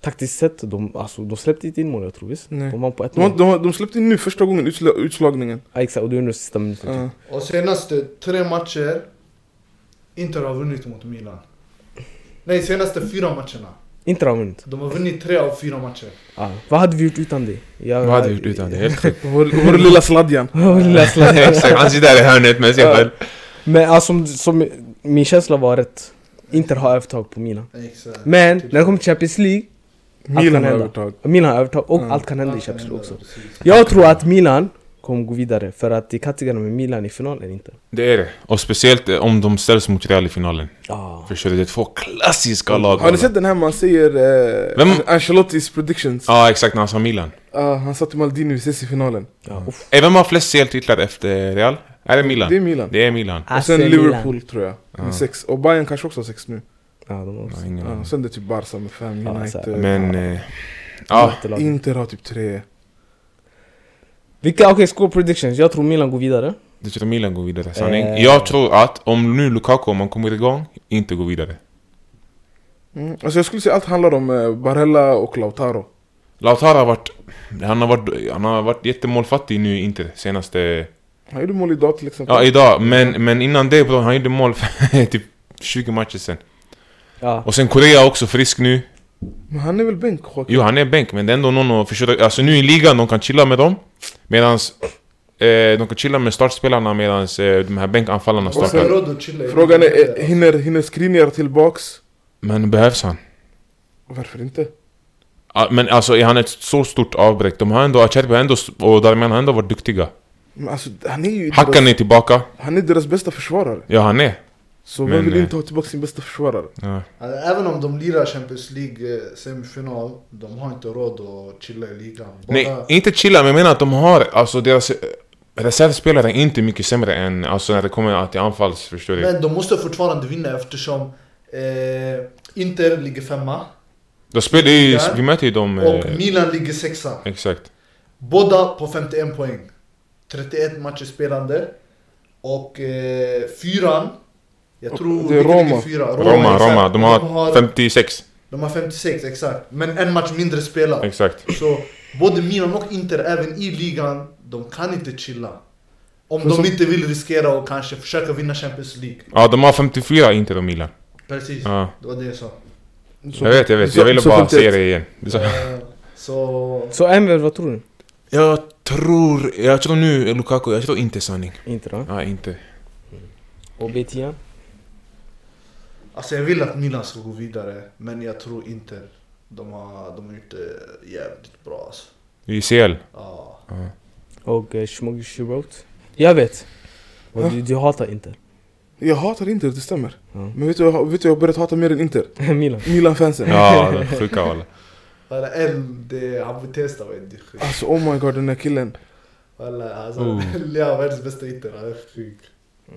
Speaker 1: Taktiskt sett, de, alltså, de släppte inte in mål jag tror visst?
Speaker 3: Nej.
Speaker 1: De var på 1-0.
Speaker 3: De, har- de, har- de släppte in nu första gången utsla, utslagningen.
Speaker 1: Ja, exakt, och det är under sista minuten.
Speaker 3: Ja.
Speaker 4: Och senaste tre matcher, Inter har vunnit mot Milan. Nej, senaste fyra matcherna.
Speaker 1: Inter har vunnit.
Speaker 4: De har vunnit tre av fyra matcher.
Speaker 1: Ja. Vad hade vi gjort utan dig? Jag-
Speaker 2: Vad hade vi gjort utan det? Helt sjukt.
Speaker 3: Vår, vår lilla sladjan.
Speaker 1: Lilla sladd.
Speaker 2: Exakt, han sitter där i hörnet med sig
Speaker 1: Ja.
Speaker 2: själv.
Speaker 1: Men alltså, som, som, min känsla var rätt. Inter har övertag på Milan.
Speaker 4: Exakt.
Speaker 1: Men när det kommer till Champions League,
Speaker 3: Milan har
Speaker 1: hända.
Speaker 3: övertag.
Speaker 1: Milan har övertag och
Speaker 3: Ja.
Speaker 1: allt kan hända i
Speaker 4: Allt kan
Speaker 1: Champions League
Speaker 4: hända,
Speaker 1: också.
Speaker 4: precis.
Speaker 1: Jag tror att Milan kommer gå vidare för att det är kattigarna med Milan i finalen inte.
Speaker 2: Det är det. Och speciellt eh, om de ställs mot Real i finalen.
Speaker 1: Ah.
Speaker 2: Förstår du? Det är två klassiska lag.
Speaker 3: Har ni sett den här man säger eh,
Speaker 2: Vem-
Speaker 3: An- Ancelottis predictions?
Speaker 2: Ja, exakt. När han sa Milan.
Speaker 3: Ah, han sa till Maldini vi ses i finalen.
Speaker 1: Ja. uff.
Speaker 2: Eh, Vem har flest CL-titlar efter Real? Är det Milan?
Speaker 3: Det är Milan. Ah,
Speaker 2: Det är Milan.
Speaker 3: Och
Speaker 1: AC
Speaker 3: sen
Speaker 1: Alltså, Milan.
Speaker 3: Liverpool tror jag. Med sex. Och Bayern kanske också har sex nu.
Speaker 1: Ja, de har också.
Speaker 2: Ja, ingen
Speaker 3: Ja,
Speaker 2: aning.
Speaker 3: sen det är typ Barca med fem,
Speaker 1: Ja, så här.
Speaker 3: United.
Speaker 2: Men... eh, Ja,
Speaker 1: jättelag.
Speaker 3: Inter har typ tre.
Speaker 1: Vilka, okej, score predictions. Jag tror Milan går vidare.
Speaker 2: det tror jag Milan går vidare. Sanning.
Speaker 1: Eh.
Speaker 2: Jag tror att om nu Lukaku, om han kommer igång, inte går vidare.
Speaker 3: Mm. Alltså jag skulle säga allt handlar om eh, Barella och Lautaro.
Speaker 2: Lautaro har varit... Han har varit, han har varit jättemålfattig nu inte senaste
Speaker 3: Han gjorde mål idag till exempel.
Speaker 2: Ja, idag. Men, men innan det, bro, han gjorde mål för typ 20 matcher sen.
Speaker 1: Ja.
Speaker 2: Och sen Korea också frisk nu.
Speaker 3: Men han är väl bänk? Joakim?
Speaker 2: Jo, han är bänk, men det är ändå någon att försöka... Alltså nu i ligan, de kan chilla med dem. Medans... Eh, de kan chilla med startspelarna medans eh, de här bänkanfallarna
Speaker 4: Och
Speaker 3: sen-
Speaker 2: startar.
Speaker 4: Ferrod och Chile.
Speaker 3: Frågan är, eh, hinner, hinner Skriniar tillbaks?
Speaker 2: Men behövs han?
Speaker 3: Varför inte?
Speaker 2: Ah, Men alltså, är han ett så stort avbräck? De har ändå... Acerbi har ändå... Och Darmian har ändå varit duktiga.
Speaker 3: Men alltså, han är ju
Speaker 2: Hackan är
Speaker 3: deras,
Speaker 2: tillbaka.
Speaker 3: han är deras bästa försvarare.
Speaker 2: Ja, han är.
Speaker 3: Så vem
Speaker 2: Men,
Speaker 3: vill
Speaker 2: eh,
Speaker 3: inte ha tillbaka sin bästa försvarare?
Speaker 2: Ja.
Speaker 4: Alltså, Även om de lirar Champions League eh, semifinal, de har inte råd att chilla i ligan. Båda-
Speaker 2: Nej, inte chilla, men jag menar att de har... Alltså deras... eh, Reservspelare är inte mycket sämre än... Alltså när det kommer till anfalls, förstår du?
Speaker 4: Men de måste fortfarande vinna eftersom eh, Inter ligger femma
Speaker 2: De spelar ju...
Speaker 4: Där.
Speaker 2: Vi möter ju dem...
Speaker 4: och
Speaker 2: eh,
Speaker 4: Milan ligger sexa.
Speaker 2: Exakt.
Speaker 4: Båda på 51 poäng. 31 matcher spelande. Och eh, fyran, jag
Speaker 3: Och
Speaker 4: tror...
Speaker 3: det är
Speaker 4: vilka ligger
Speaker 3: Roma.
Speaker 4: fyra?
Speaker 2: Roma,
Speaker 4: exakt.
Speaker 2: Roma. De har 56.
Speaker 4: de har 56, exakt. Men en match mindre spelad.
Speaker 2: Exakt.
Speaker 4: Så både Milan och Inter, även i ligan, de kan inte chilla. Om
Speaker 3: Men
Speaker 4: de
Speaker 3: som-
Speaker 4: inte vill riskera och kanske försöka vinna Champions League.
Speaker 2: Ja, de har 54 inte de Milan.
Speaker 4: Precis,
Speaker 2: Ja.
Speaker 4: det var det jag sa.
Speaker 3: Så-
Speaker 2: Jag vet, jag vet.
Speaker 3: så-
Speaker 2: Jag ville
Speaker 3: så
Speaker 2: bara
Speaker 3: 51.
Speaker 2: säga det igen. Det är så-
Speaker 4: Eh, Så...
Speaker 1: Så Enver, vad tror du?
Speaker 2: Jag tror... Jag tror nu Lukaku, jag tror inte sanning.
Speaker 1: Inte då?
Speaker 2: Ja, inte.
Speaker 1: Och B10?
Speaker 4: Alltså jag vill att Milan ska gå vidare, men jag tror inte. De har, de har gjort det jävligt bra alltså.
Speaker 2: ICL.
Speaker 4: Ja.
Speaker 1: Och eh, Shmogi Shirot? Jag vet! Och du, du hatar inte
Speaker 3: Jag hatar Inter, det stämmer.
Speaker 1: Ja.
Speaker 3: Men vet du, jag, vet du, jag har börjat hata mer än Inter.
Speaker 1: Milan?
Speaker 3: Milan-fansen.
Speaker 2: Ja, det är sjuka walla.
Speaker 4: Walla en, det, han Butesta var inte sjuk.
Speaker 3: Alltså oh my god, den här killen.
Speaker 4: Walla alltså,
Speaker 2: Oh.
Speaker 4: Lea världens bästa ytter, han är sjuk.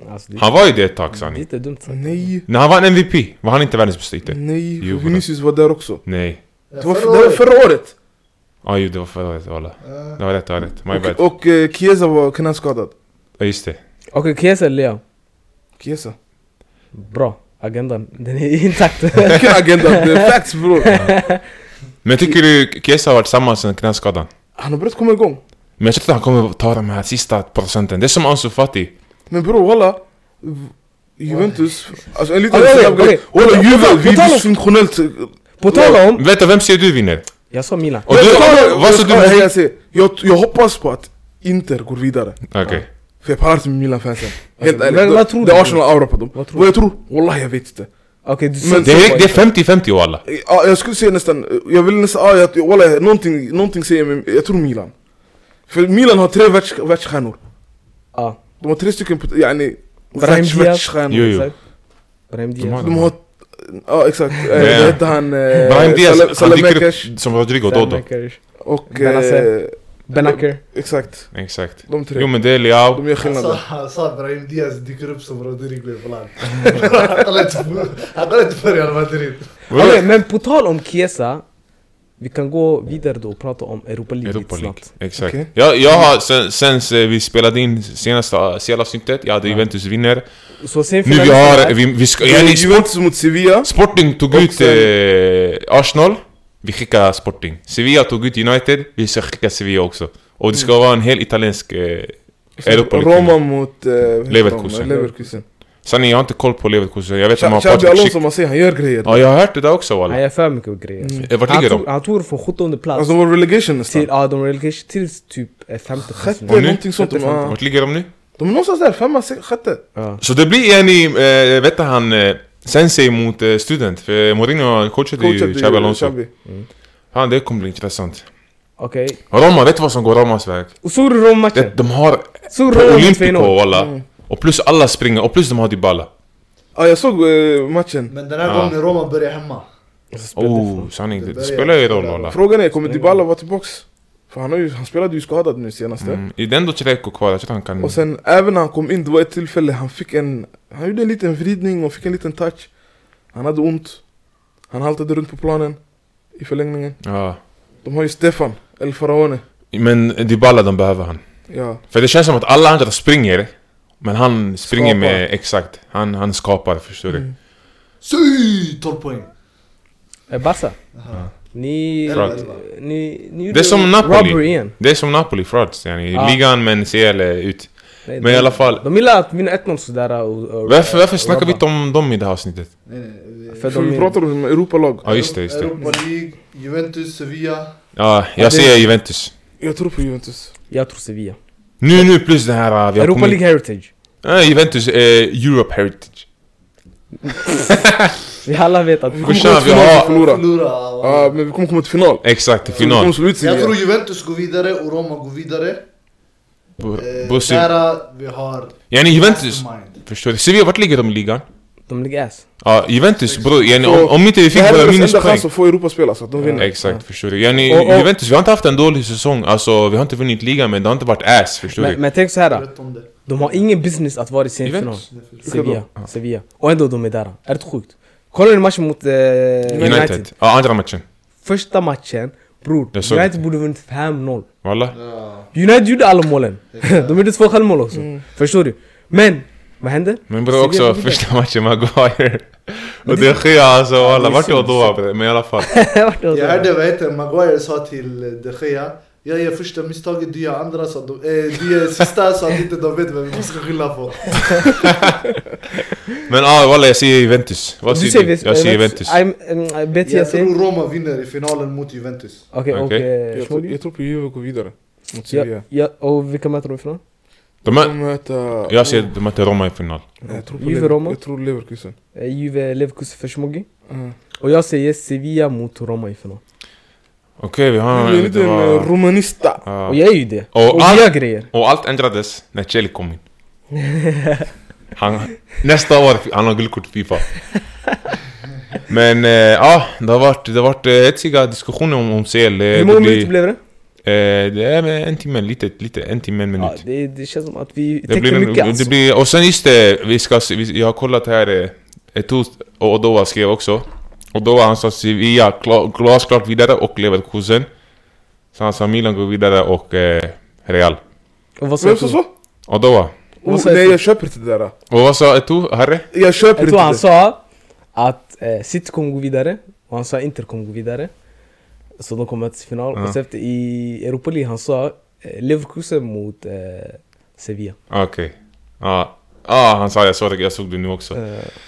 Speaker 1: Alltså, det,
Speaker 2: Han var ju det ett tag
Speaker 1: det är
Speaker 2: sanning.
Speaker 1: inte dumt sagt
Speaker 3: Nej,
Speaker 2: När han vann MVP, var han inte världens bästa ytter?
Speaker 3: nej.
Speaker 2: Jo,
Speaker 3: Vinicius var där också.
Speaker 2: Nej.
Speaker 4: Ja,
Speaker 3: Det var,
Speaker 4: förra
Speaker 3: det var
Speaker 4: året.
Speaker 3: förra året!
Speaker 2: Ja, ju det var förra året walla.
Speaker 4: Ja.
Speaker 2: Det var rätt, det var rätt. My
Speaker 3: Och,
Speaker 2: bad.
Speaker 3: och eh, Chiesa var knäskadad.
Speaker 2: Ja, just det.
Speaker 1: Okej, Chiesa eller Leo?
Speaker 3: Chiesa.
Speaker 1: Bra, agendan, den är intakt
Speaker 3: Vilken agenda? Det är facts bror.
Speaker 2: Men tycker du Chiesa har varit samma sen knäskadan?
Speaker 3: Han har börjat komma igång.
Speaker 2: Men jag tror att han kommer ta de här sista procenten. Det är som Ansu Fati.
Speaker 3: Men bror walla. v- Juventus, alltså en liten
Speaker 1: Okej, okej,
Speaker 3: snabb grej.
Speaker 1: okej.
Speaker 3: Walla Juve, vi
Speaker 1: På tal
Speaker 3: är
Speaker 1: om-
Speaker 3: dysfunktionellt.
Speaker 1: På tal om...
Speaker 2: Vänta, vem ser du vinner?
Speaker 1: Jag sa Milan
Speaker 2: Och du, vad sa
Speaker 3: Jag,
Speaker 2: du?
Speaker 3: jag, säger, jag, jag hoppas på att Inter går vidare.
Speaker 2: Okej.
Speaker 3: För jag pallar inte med Milan-fansen. Helt
Speaker 1: Alltså, Men
Speaker 3: ärligt.
Speaker 1: vad tror
Speaker 3: det
Speaker 1: du?
Speaker 3: är Arsenal-aura på dem.
Speaker 1: Vad tror
Speaker 3: Vad jag tror? Wallah jag vet inte.
Speaker 1: Okej, du sa...
Speaker 3: Men
Speaker 2: Det är, det är 50-50 walla.
Speaker 3: Ja, jag skulle säga nästan, jag vill nästan, ja, jag, wallah, någonting, någonting säger mig, jag tror Milan. För Milan har tre världs, världsstjärnor.
Speaker 1: Ja,
Speaker 3: De har tre stycken, pot- yani,
Speaker 1: Brahim
Speaker 3: världs,
Speaker 1: Diaz.
Speaker 3: världsstjärnor.
Speaker 2: Jo, jo.
Speaker 1: exakt Brahim
Speaker 2: De har-
Speaker 1: Diaz
Speaker 3: De har, ja exakt, eh,
Speaker 2: Nej.
Speaker 3: vad hette han? eh,
Speaker 2: Brahim Diaz,
Speaker 3: Salem-
Speaker 2: han dyker
Speaker 3: Salamekers
Speaker 2: upp som Rodrigo då då.
Speaker 1: Sernakers,
Speaker 3: och...
Speaker 1: Benacer.
Speaker 3: Eh,
Speaker 1: Benacker
Speaker 3: exakt,
Speaker 2: Exakt.
Speaker 3: de tre.
Speaker 2: Jo men Alltså. det är Leao.
Speaker 3: De
Speaker 4: Han
Speaker 3: gör skillnad
Speaker 4: sa-
Speaker 3: där.
Speaker 4: Han sa Brahim Diaz dyker upp som Rodrigo ibland. Han kan inte- han kan inte börja i Madrid.
Speaker 1: Okej, men på tal om Chiesa Vi kan gå vidare då och prata om Europa League lite
Speaker 2: Europa League.
Speaker 1: snabbt
Speaker 2: Exakt.
Speaker 3: Okej.
Speaker 2: Jag, jag har sen, sen eh, vi spelade in senaste eh, CL-avsnittet, jag hade Juventus vinner.
Speaker 1: Så
Speaker 2: Nu vi
Speaker 1: semifinalen
Speaker 2: har, vi, vi ska, liksom-
Speaker 3: Eh,
Speaker 2: jag,
Speaker 3: Juventus mot Sevilla,
Speaker 2: Sporting tog
Speaker 3: Och
Speaker 2: ut eh, Arsenal, vi skickar Sporting. Sevilla tog ut United, vi ska skicka Sevilla också. Och det ska vara en hel italiensk eh, Europa
Speaker 3: Roma
Speaker 2: League.
Speaker 3: mot... eh, vad heter de?
Speaker 2: Leverkusen.
Speaker 3: Leverkusen.
Speaker 2: Sanningen, jag har inte koll på Leverkusen, jag vet att man har
Speaker 3: Xabi
Speaker 2: Patrik
Speaker 3: Alonso,
Speaker 2: Schick.
Speaker 3: man säger han gör grejer.
Speaker 2: Ja, jag har hört det där också
Speaker 1: Han
Speaker 2: walla.
Speaker 1: gör för mycket grejer alltså.
Speaker 2: Eh, Vart
Speaker 1: han,
Speaker 2: ligger de?
Speaker 1: tog, han tog det från 17 plats
Speaker 3: Alltså de var relegation
Speaker 1: till,
Speaker 3: nästan.
Speaker 1: ja de relegation till typ eh, femte plats
Speaker 3: Sjätte,
Speaker 1: nu.
Speaker 2: Och nu?
Speaker 3: någonting sånt. De,
Speaker 1: Sjätte,
Speaker 3: ja.
Speaker 2: Vart ligger de nu?
Speaker 3: de är någonstans där, femma, se- sjätte.
Speaker 1: ja.
Speaker 2: Så det blir en i, eh, vet du han, eh, sensei mot eh, student. För Mourinho coachade
Speaker 3: Coachad
Speaker 2: ju
Speaker 3: i-
Speaker 2: Xabi Alonso.
Speaker 3: Xabi.
Speaker 2: Fan det kommer bli intressant.
Speaker 1: Okej,
Speaker 2: Roma, vet du vad som går Romas väg?
Speaker 1: och såg du Rom-matchen?
Speaker 2: Det, de har
Speaker 1: Såg du Rom mot
Speaker 2: Olympico
Speaker 1: Feyenoord?
Speaker 2: walla. Och plus alla springer, och plus de har Dybala.
Speaker 3: Ja, jag såg eh, matchen.
Speaker 4: Men den här
Speaker 2: Ja.
Speaker 4: gången Roma börjar hemma.
Speaker 2: Oh, sanning.
Speaker 4: Det
Speaker 2: Det,
Speaker 4: där
Speaker 2: det
Speaker 4: är-
Speaker 2: spelar ju roll walla.
Speaker 3: Frågan är, kommer Dybala vara tillbaks? För han, har ju, han spelade ju skadad nu senaste.
Speaker 2: Mm. Det är ändå Tjechenko kvar, jag tror han kan...
Speaker 3: Och sen, även när han kom in, det var ett tillfälle han fick en... Han gjorde en liten vridning och fick en liten touch. Han hade ont. Han haltade runt på planen. I förlängningen.
Speaker 2: Ja.
Speaker 3: De har ju Stefan, El Faraone.
Speaker 2: Men Dybala, de behöver han.
Speaker 3: Ja.
Speaker 2: För det känns som att alla andra springer, men han springer
Speaker 3: Skapar.
Speaker 2: med... Exakt. Han, han skapar, förstår du.
Speaker 4: Sy! 12 poäng.
Speaker 1: Eh, Barca?
Speaker 4: Aha.
Speaker 1: Ni...
Speaker 4: Elva,
Speaker 2: Front.
Speaker 4: elva.
Speaker 1: Ni, ni
Speaker 2: Det är
Speaker 1: gjorde
Speaker 2: som Napoli.
Speaker 1: robbery igen
Speaker 2: Det är som Napoli, frauds. Yani.
Speaker 1: Ja.
Speaker 2: Ligan men CL är ut.
Speaker 1: Nej,
Speaker 2: Men i alla fall.
Speaker 1: De gillar att vinna 1-0 sådär och... och
Speaker 2: Varför, varför
Speaker 1: och
Speaker 2: snackar vi
Speaker 1: rabba.
Speaker 2: inte om dem i det här avsnittet?
Speaker 4: Nej, nej,
Speaker 1: För
Speaker 3: För
Speaker 1: de
Speaker 3: vi
Speaker 1: är-
Speaker 3: pratar om Europalag.
Speaker 2: Ja just det, just det.
Speaker 4: Europa League, Juventus, Sevilla.
Speaker 1: Ja,
Speaker 2: Ja,
Speaker 1: det-
Speaker 2: jag säger Juventus.
Speaker 3: Jag tror på Juventus.
Speaker 1: Jag tror Sevilla.
Speaker 2: Nu, nu plus det här... Vi har
Speaker 1: Europa
Speaker 2: kommit-
Speaker 1: League Heritage.
Speaker 2: Nej, Juventus är Europe Heritage.
Speaker 1: Vi alla vet att...
Speaker 3: Vi kommer
Speaker 2: Brorsan,
Speaker 3: komma
Speaker 2: vi
Speaker 3: till final
Speaker 2: har-
Speaker 3: och förlora.
Speaker 4: Förlora.
Speaker 3: Ja, men vi kommer komma till final.
Speaker 2: Exakt,
Speaker 3: Vi kommer
Speaker 2: final.
Speaker 3: slå ut
Speaker 4: Jag
Speaker 3: Sevilla.
Speaker 4: tror Juventus går vidare och Roma går vidare.
Speaker 2: Bu-
Speaker 4: Eh,
Speaker 2: Bussi.
Speaker 4: Där vi har...
Speaker 2: Yani Juventus.
Speaker 4: Mastermind.
Speaker 2: Förstår du? Sevilla, vart ligger de i ligan?
Speaker 1: De ligger ass.
Speaker 2: Ja, Juventus bror. Yani om, om inte vi
Speaker 3: Det
Speaker 2: fick
Speaker 3: här är
Speaker 2: våra
Speaker 3: deras enda
Speaker 2: minuspoäng.
Speaker 3: chans att få Europaspel alltså, att de vinner.
Speaker 2: Exakt, förstår du? Yani
Speaker 1: Och- och-
Speaker 2: Juventus, vi har inte haft en dålig säsong. Alltså, vi har inte vunnit ligan men det har inte varit ass, förstår
Speaker 1: Men,
Speaker 2: du?
Speaker 1: men tänk så här. då.
Speaker 4: Berätta om det.
Speaker 1: De har ingen business att vara i semifinal.
Speaker 2: Juventus?
Speaker 1: Sevilla. Sevilla. Och ändå de är där. Är det sjukt? Kollar ni matchen mot eh, United.
Speaker 2: United. Ja, andra matchen.
Speaker 1: Första matchen, bror.
Speaker 2: Jag såg
Speaker 1: United borde vunnit 5-0.
Speaker 2: Walla.
Speaker 4: Ja.
Speaker 1: United gjorde alla målen. De gjorde två självmål också.
Speaker 4: Mm.
Speaker 1: Förstår du? Men, vad hände?
Speaker 2: Men bror också
Speaker 1: Sevilla-
Speaker 2: första matchen Maguire.
Speaker 1: Men
Speaker 2: Och
Speaker 1: det-
Speaker 2: det sker alltså
Speaker 1: det
Speaker 2: walla,
Speaker 1: är
Speaker 2: vart jag
Speaker 1: synd,
Speaker 2: då bre? Men i alla fall.
Speaker 1: Vart var
Speaker 4: Jag
Speaker 1: det?
Speaker 4: hörde vad heter det, Maguire sa till eh, De Gea. Jag gör första misstaget, du gör andra så att de, eh, du gör sista så att inte de vet vem de ska skylla på.
Speaker 2: Men ja walla jag säger Juventus. Vad
Speaker 1: Du
Speaker 2: säger
Speaker 1: säger
Speaker 2: du? Jag säger Juventus.
Speaker 1: eh, I'm, é Betty assim? jag
Speaker 4: Jag
Speaker 1: säger...
Speaker 4: tror Roma vinner i finalen mot Juventus.
Speaker 1: Okej, och...
Speaker 2: Okej.
Speaker 1: eh,
Speaker 3: Jag, tror-
Speaker 1: Shmoli?
Speaker 3: jag tror på Juve går vidare. Mot
Speaker 1: Ja,
Speaker 3: é Sevilla.
Speaker 1: ja, och vilka möter de ifrån?
Speaker 2: De
Speaker 3: De
Speaker 2: är,
Speaker 3: möter...
Speaker 2: jag säger de möter Roma i final.
Speaker 3: Nej, Jag tror på
Speaker 1: Juve,
Speaker 3: Lever-
Speaker 1: Roma.
Speaker 3: Jag tror Leverkusen.
Speaker 1: Eh, Juve, Leverkusen för Shmogi.
Speaker 3: Mm.
Speaker 1: Och jag säger é Sevilla mot Roma i final.
Speaker 2: Okej vi har...
Speaker 3: Du är en
Speaker 2: det
Speaker 3: liten
Speaker 2: var-
Speaker 3: eh, romanista.
Speaker 2: ja.
Speaker 1: Och jag är ju det.
Speaker 2: Och
Speaker 1: Och
Speaker 2: allt-
Speaker 1: jag grejer.
Speaker 2: Och allt ändrades när Chelsea kom in. Han, nästa år, han har guldkort i Fifa. Men eh, ja, det har varit, det har varit eh, hetsiga diskussioner om, om CL. Eh,
Speaker 1: Hur
Speaker 2: det
Speaker 1: många
Speaker 2: blir-
Speaker 1: minuter blev det?
Speaker 2: Eh, det är med en timme, lite, lite, en timme, en minut.
Speaker 1: Ja, det, det känns som att vi
Speaker 2: det,
Speaker 1: täcker
Speaker 2: blir, en-
Speaker 1: mycket alltså.
Speaker 2: det blir, och sen just det, vi ska, se- vi, jag har kollat här, eh, Etus och Odoa skrev också. Odoa han sa Sevilla kla- glasklart vidare och Leverkusen. Så han sa Milan går vidare och eh, Real.
Speaker 1: Och vad sa
Speaker 3: Vem
Speaker 1: du?
Speaker 3: sa så?
Speaker 2: Odoa.
Speaker 1: Vad
Speaker 3: Oh,
Speaker 1: sa
Speaker 3: nej
Speaker 1: jag?
Speaker 3: jag köper inte det där.
Speaker 2: Och vad sa Etu, Harry?
Speaker 3: Jag köper
Speaker 1: Jag
Speaker 3: inte
Speaker 1: tror han
Speaker 3: det.
Speaker 1: sa att eh, City kommer gå vidare och han sa Inter kommer gå vidare. Så de kommer till final.
Speaker 2: Ja.
Speaker 1: Och sen efter i Europa League han sa eh, Leverkusen mot eh, Sevilla.
Speaker 2: Ah, Okej. Ja. Ja, han sa jag såg det, jag såg det nu också.
Speaker 1: Eh,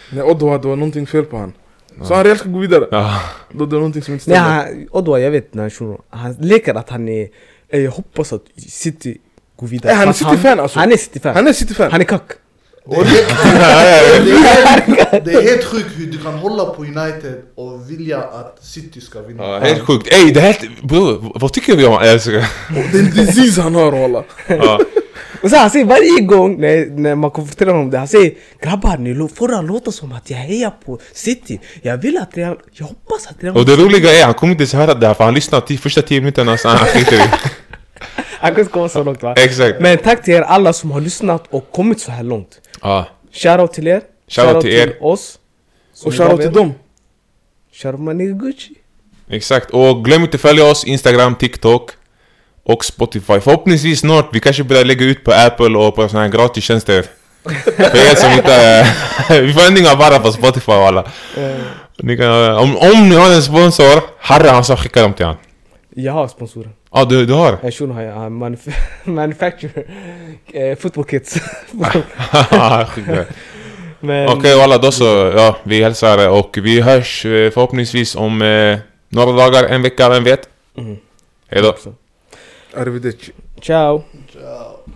Speaker 3: Nej Odoa, det var någonting fel på han. Så
Speaker 2: Ja.
Speaker 3: han reellt ska gå vidare.
Speaker 2: Ja.
Speaker 3: Då det är någonting som inte
Speaker 1: nej,
Speaker 3: stämmer.
Speaker 1: han, Odwa, jag vet när han shuno. Han leker att han är... eh, Jag hoppas att City går vidare.
Speaker 3: Nej, han är
Speaker 1: Fast
Speaker 3: City-fan, alltså.
Speaker 1: Han är City-fan. Han
Speaker 3: Han är City-fan.
Speaker 1: är, kack.
Speaker 4: Det är, helt, det, är helt, det är helt sjukt hur du kan hålla på United och vilja att City ska vinna.
Speaker 2: Ja, Ah, helt sjukt. Ey, det här... Bror, vad tycker vi om... Jag Ah. ska-
Speaker 3: Det är en disease han har walla.
Speaker 2: Ja.
Speaker 1: Och så han säger varje gång när, när man konfronterar honom det, han säger Grabbar ni lo- får det att låta som att jag hejar på City. Jag vill att Real... Jag hoppas att Real...
Speaker 2: Och det roliga är, han kommer inte ens höra det här för han lyssnar till första tio minuterna så han skiter i det.
Speaker 1: Han kanske kommer så långt va?
Speaker 2: Exakt.
Speaker 1: Men tack till er alla som har lyssnat och kommit så här långt.
Speaker 2: Ja.
Speaker 1: Shoutout till er.
Speaker 2: Shoutout till er.
Speaker 1: oss.
Speaker 3: Och shoutout till dem.
Speaker 1: Sharmani Gucci.
Speaker 2: Exakt. Och glöm inte följa oss Instagram, TikTok och Spotify. Förhoppningsvis snart, vi kanske börjar lägga ut på Apple och på såna här gratistjänster. För er som inte... är- vi får ändringar bara på Spotify och alla.
Speaker 1: Eh,
Speaker 2: Ni kan, om, om ni har en sponsor, Harry han sa skicka dem till han.
Speaker 1: Jag har sponsorer.
Speaker 2: Ja, du, du har?
Speaker 1: Jag shuno har jag. Han manuf manufacturer. Eh, football kits.
Speaker 2: Skicka.
Speaker 1: Men
Speaker 2: Okej walla, då så. Ja, vi hälsar och vi hörs eh, förhoppningsvis om eh, några dagar, en vecka, vem vet? Hejdå.
Speaker 3: Arrivederci.
Speaker 1: ciao.
Speaker 4: Ciao.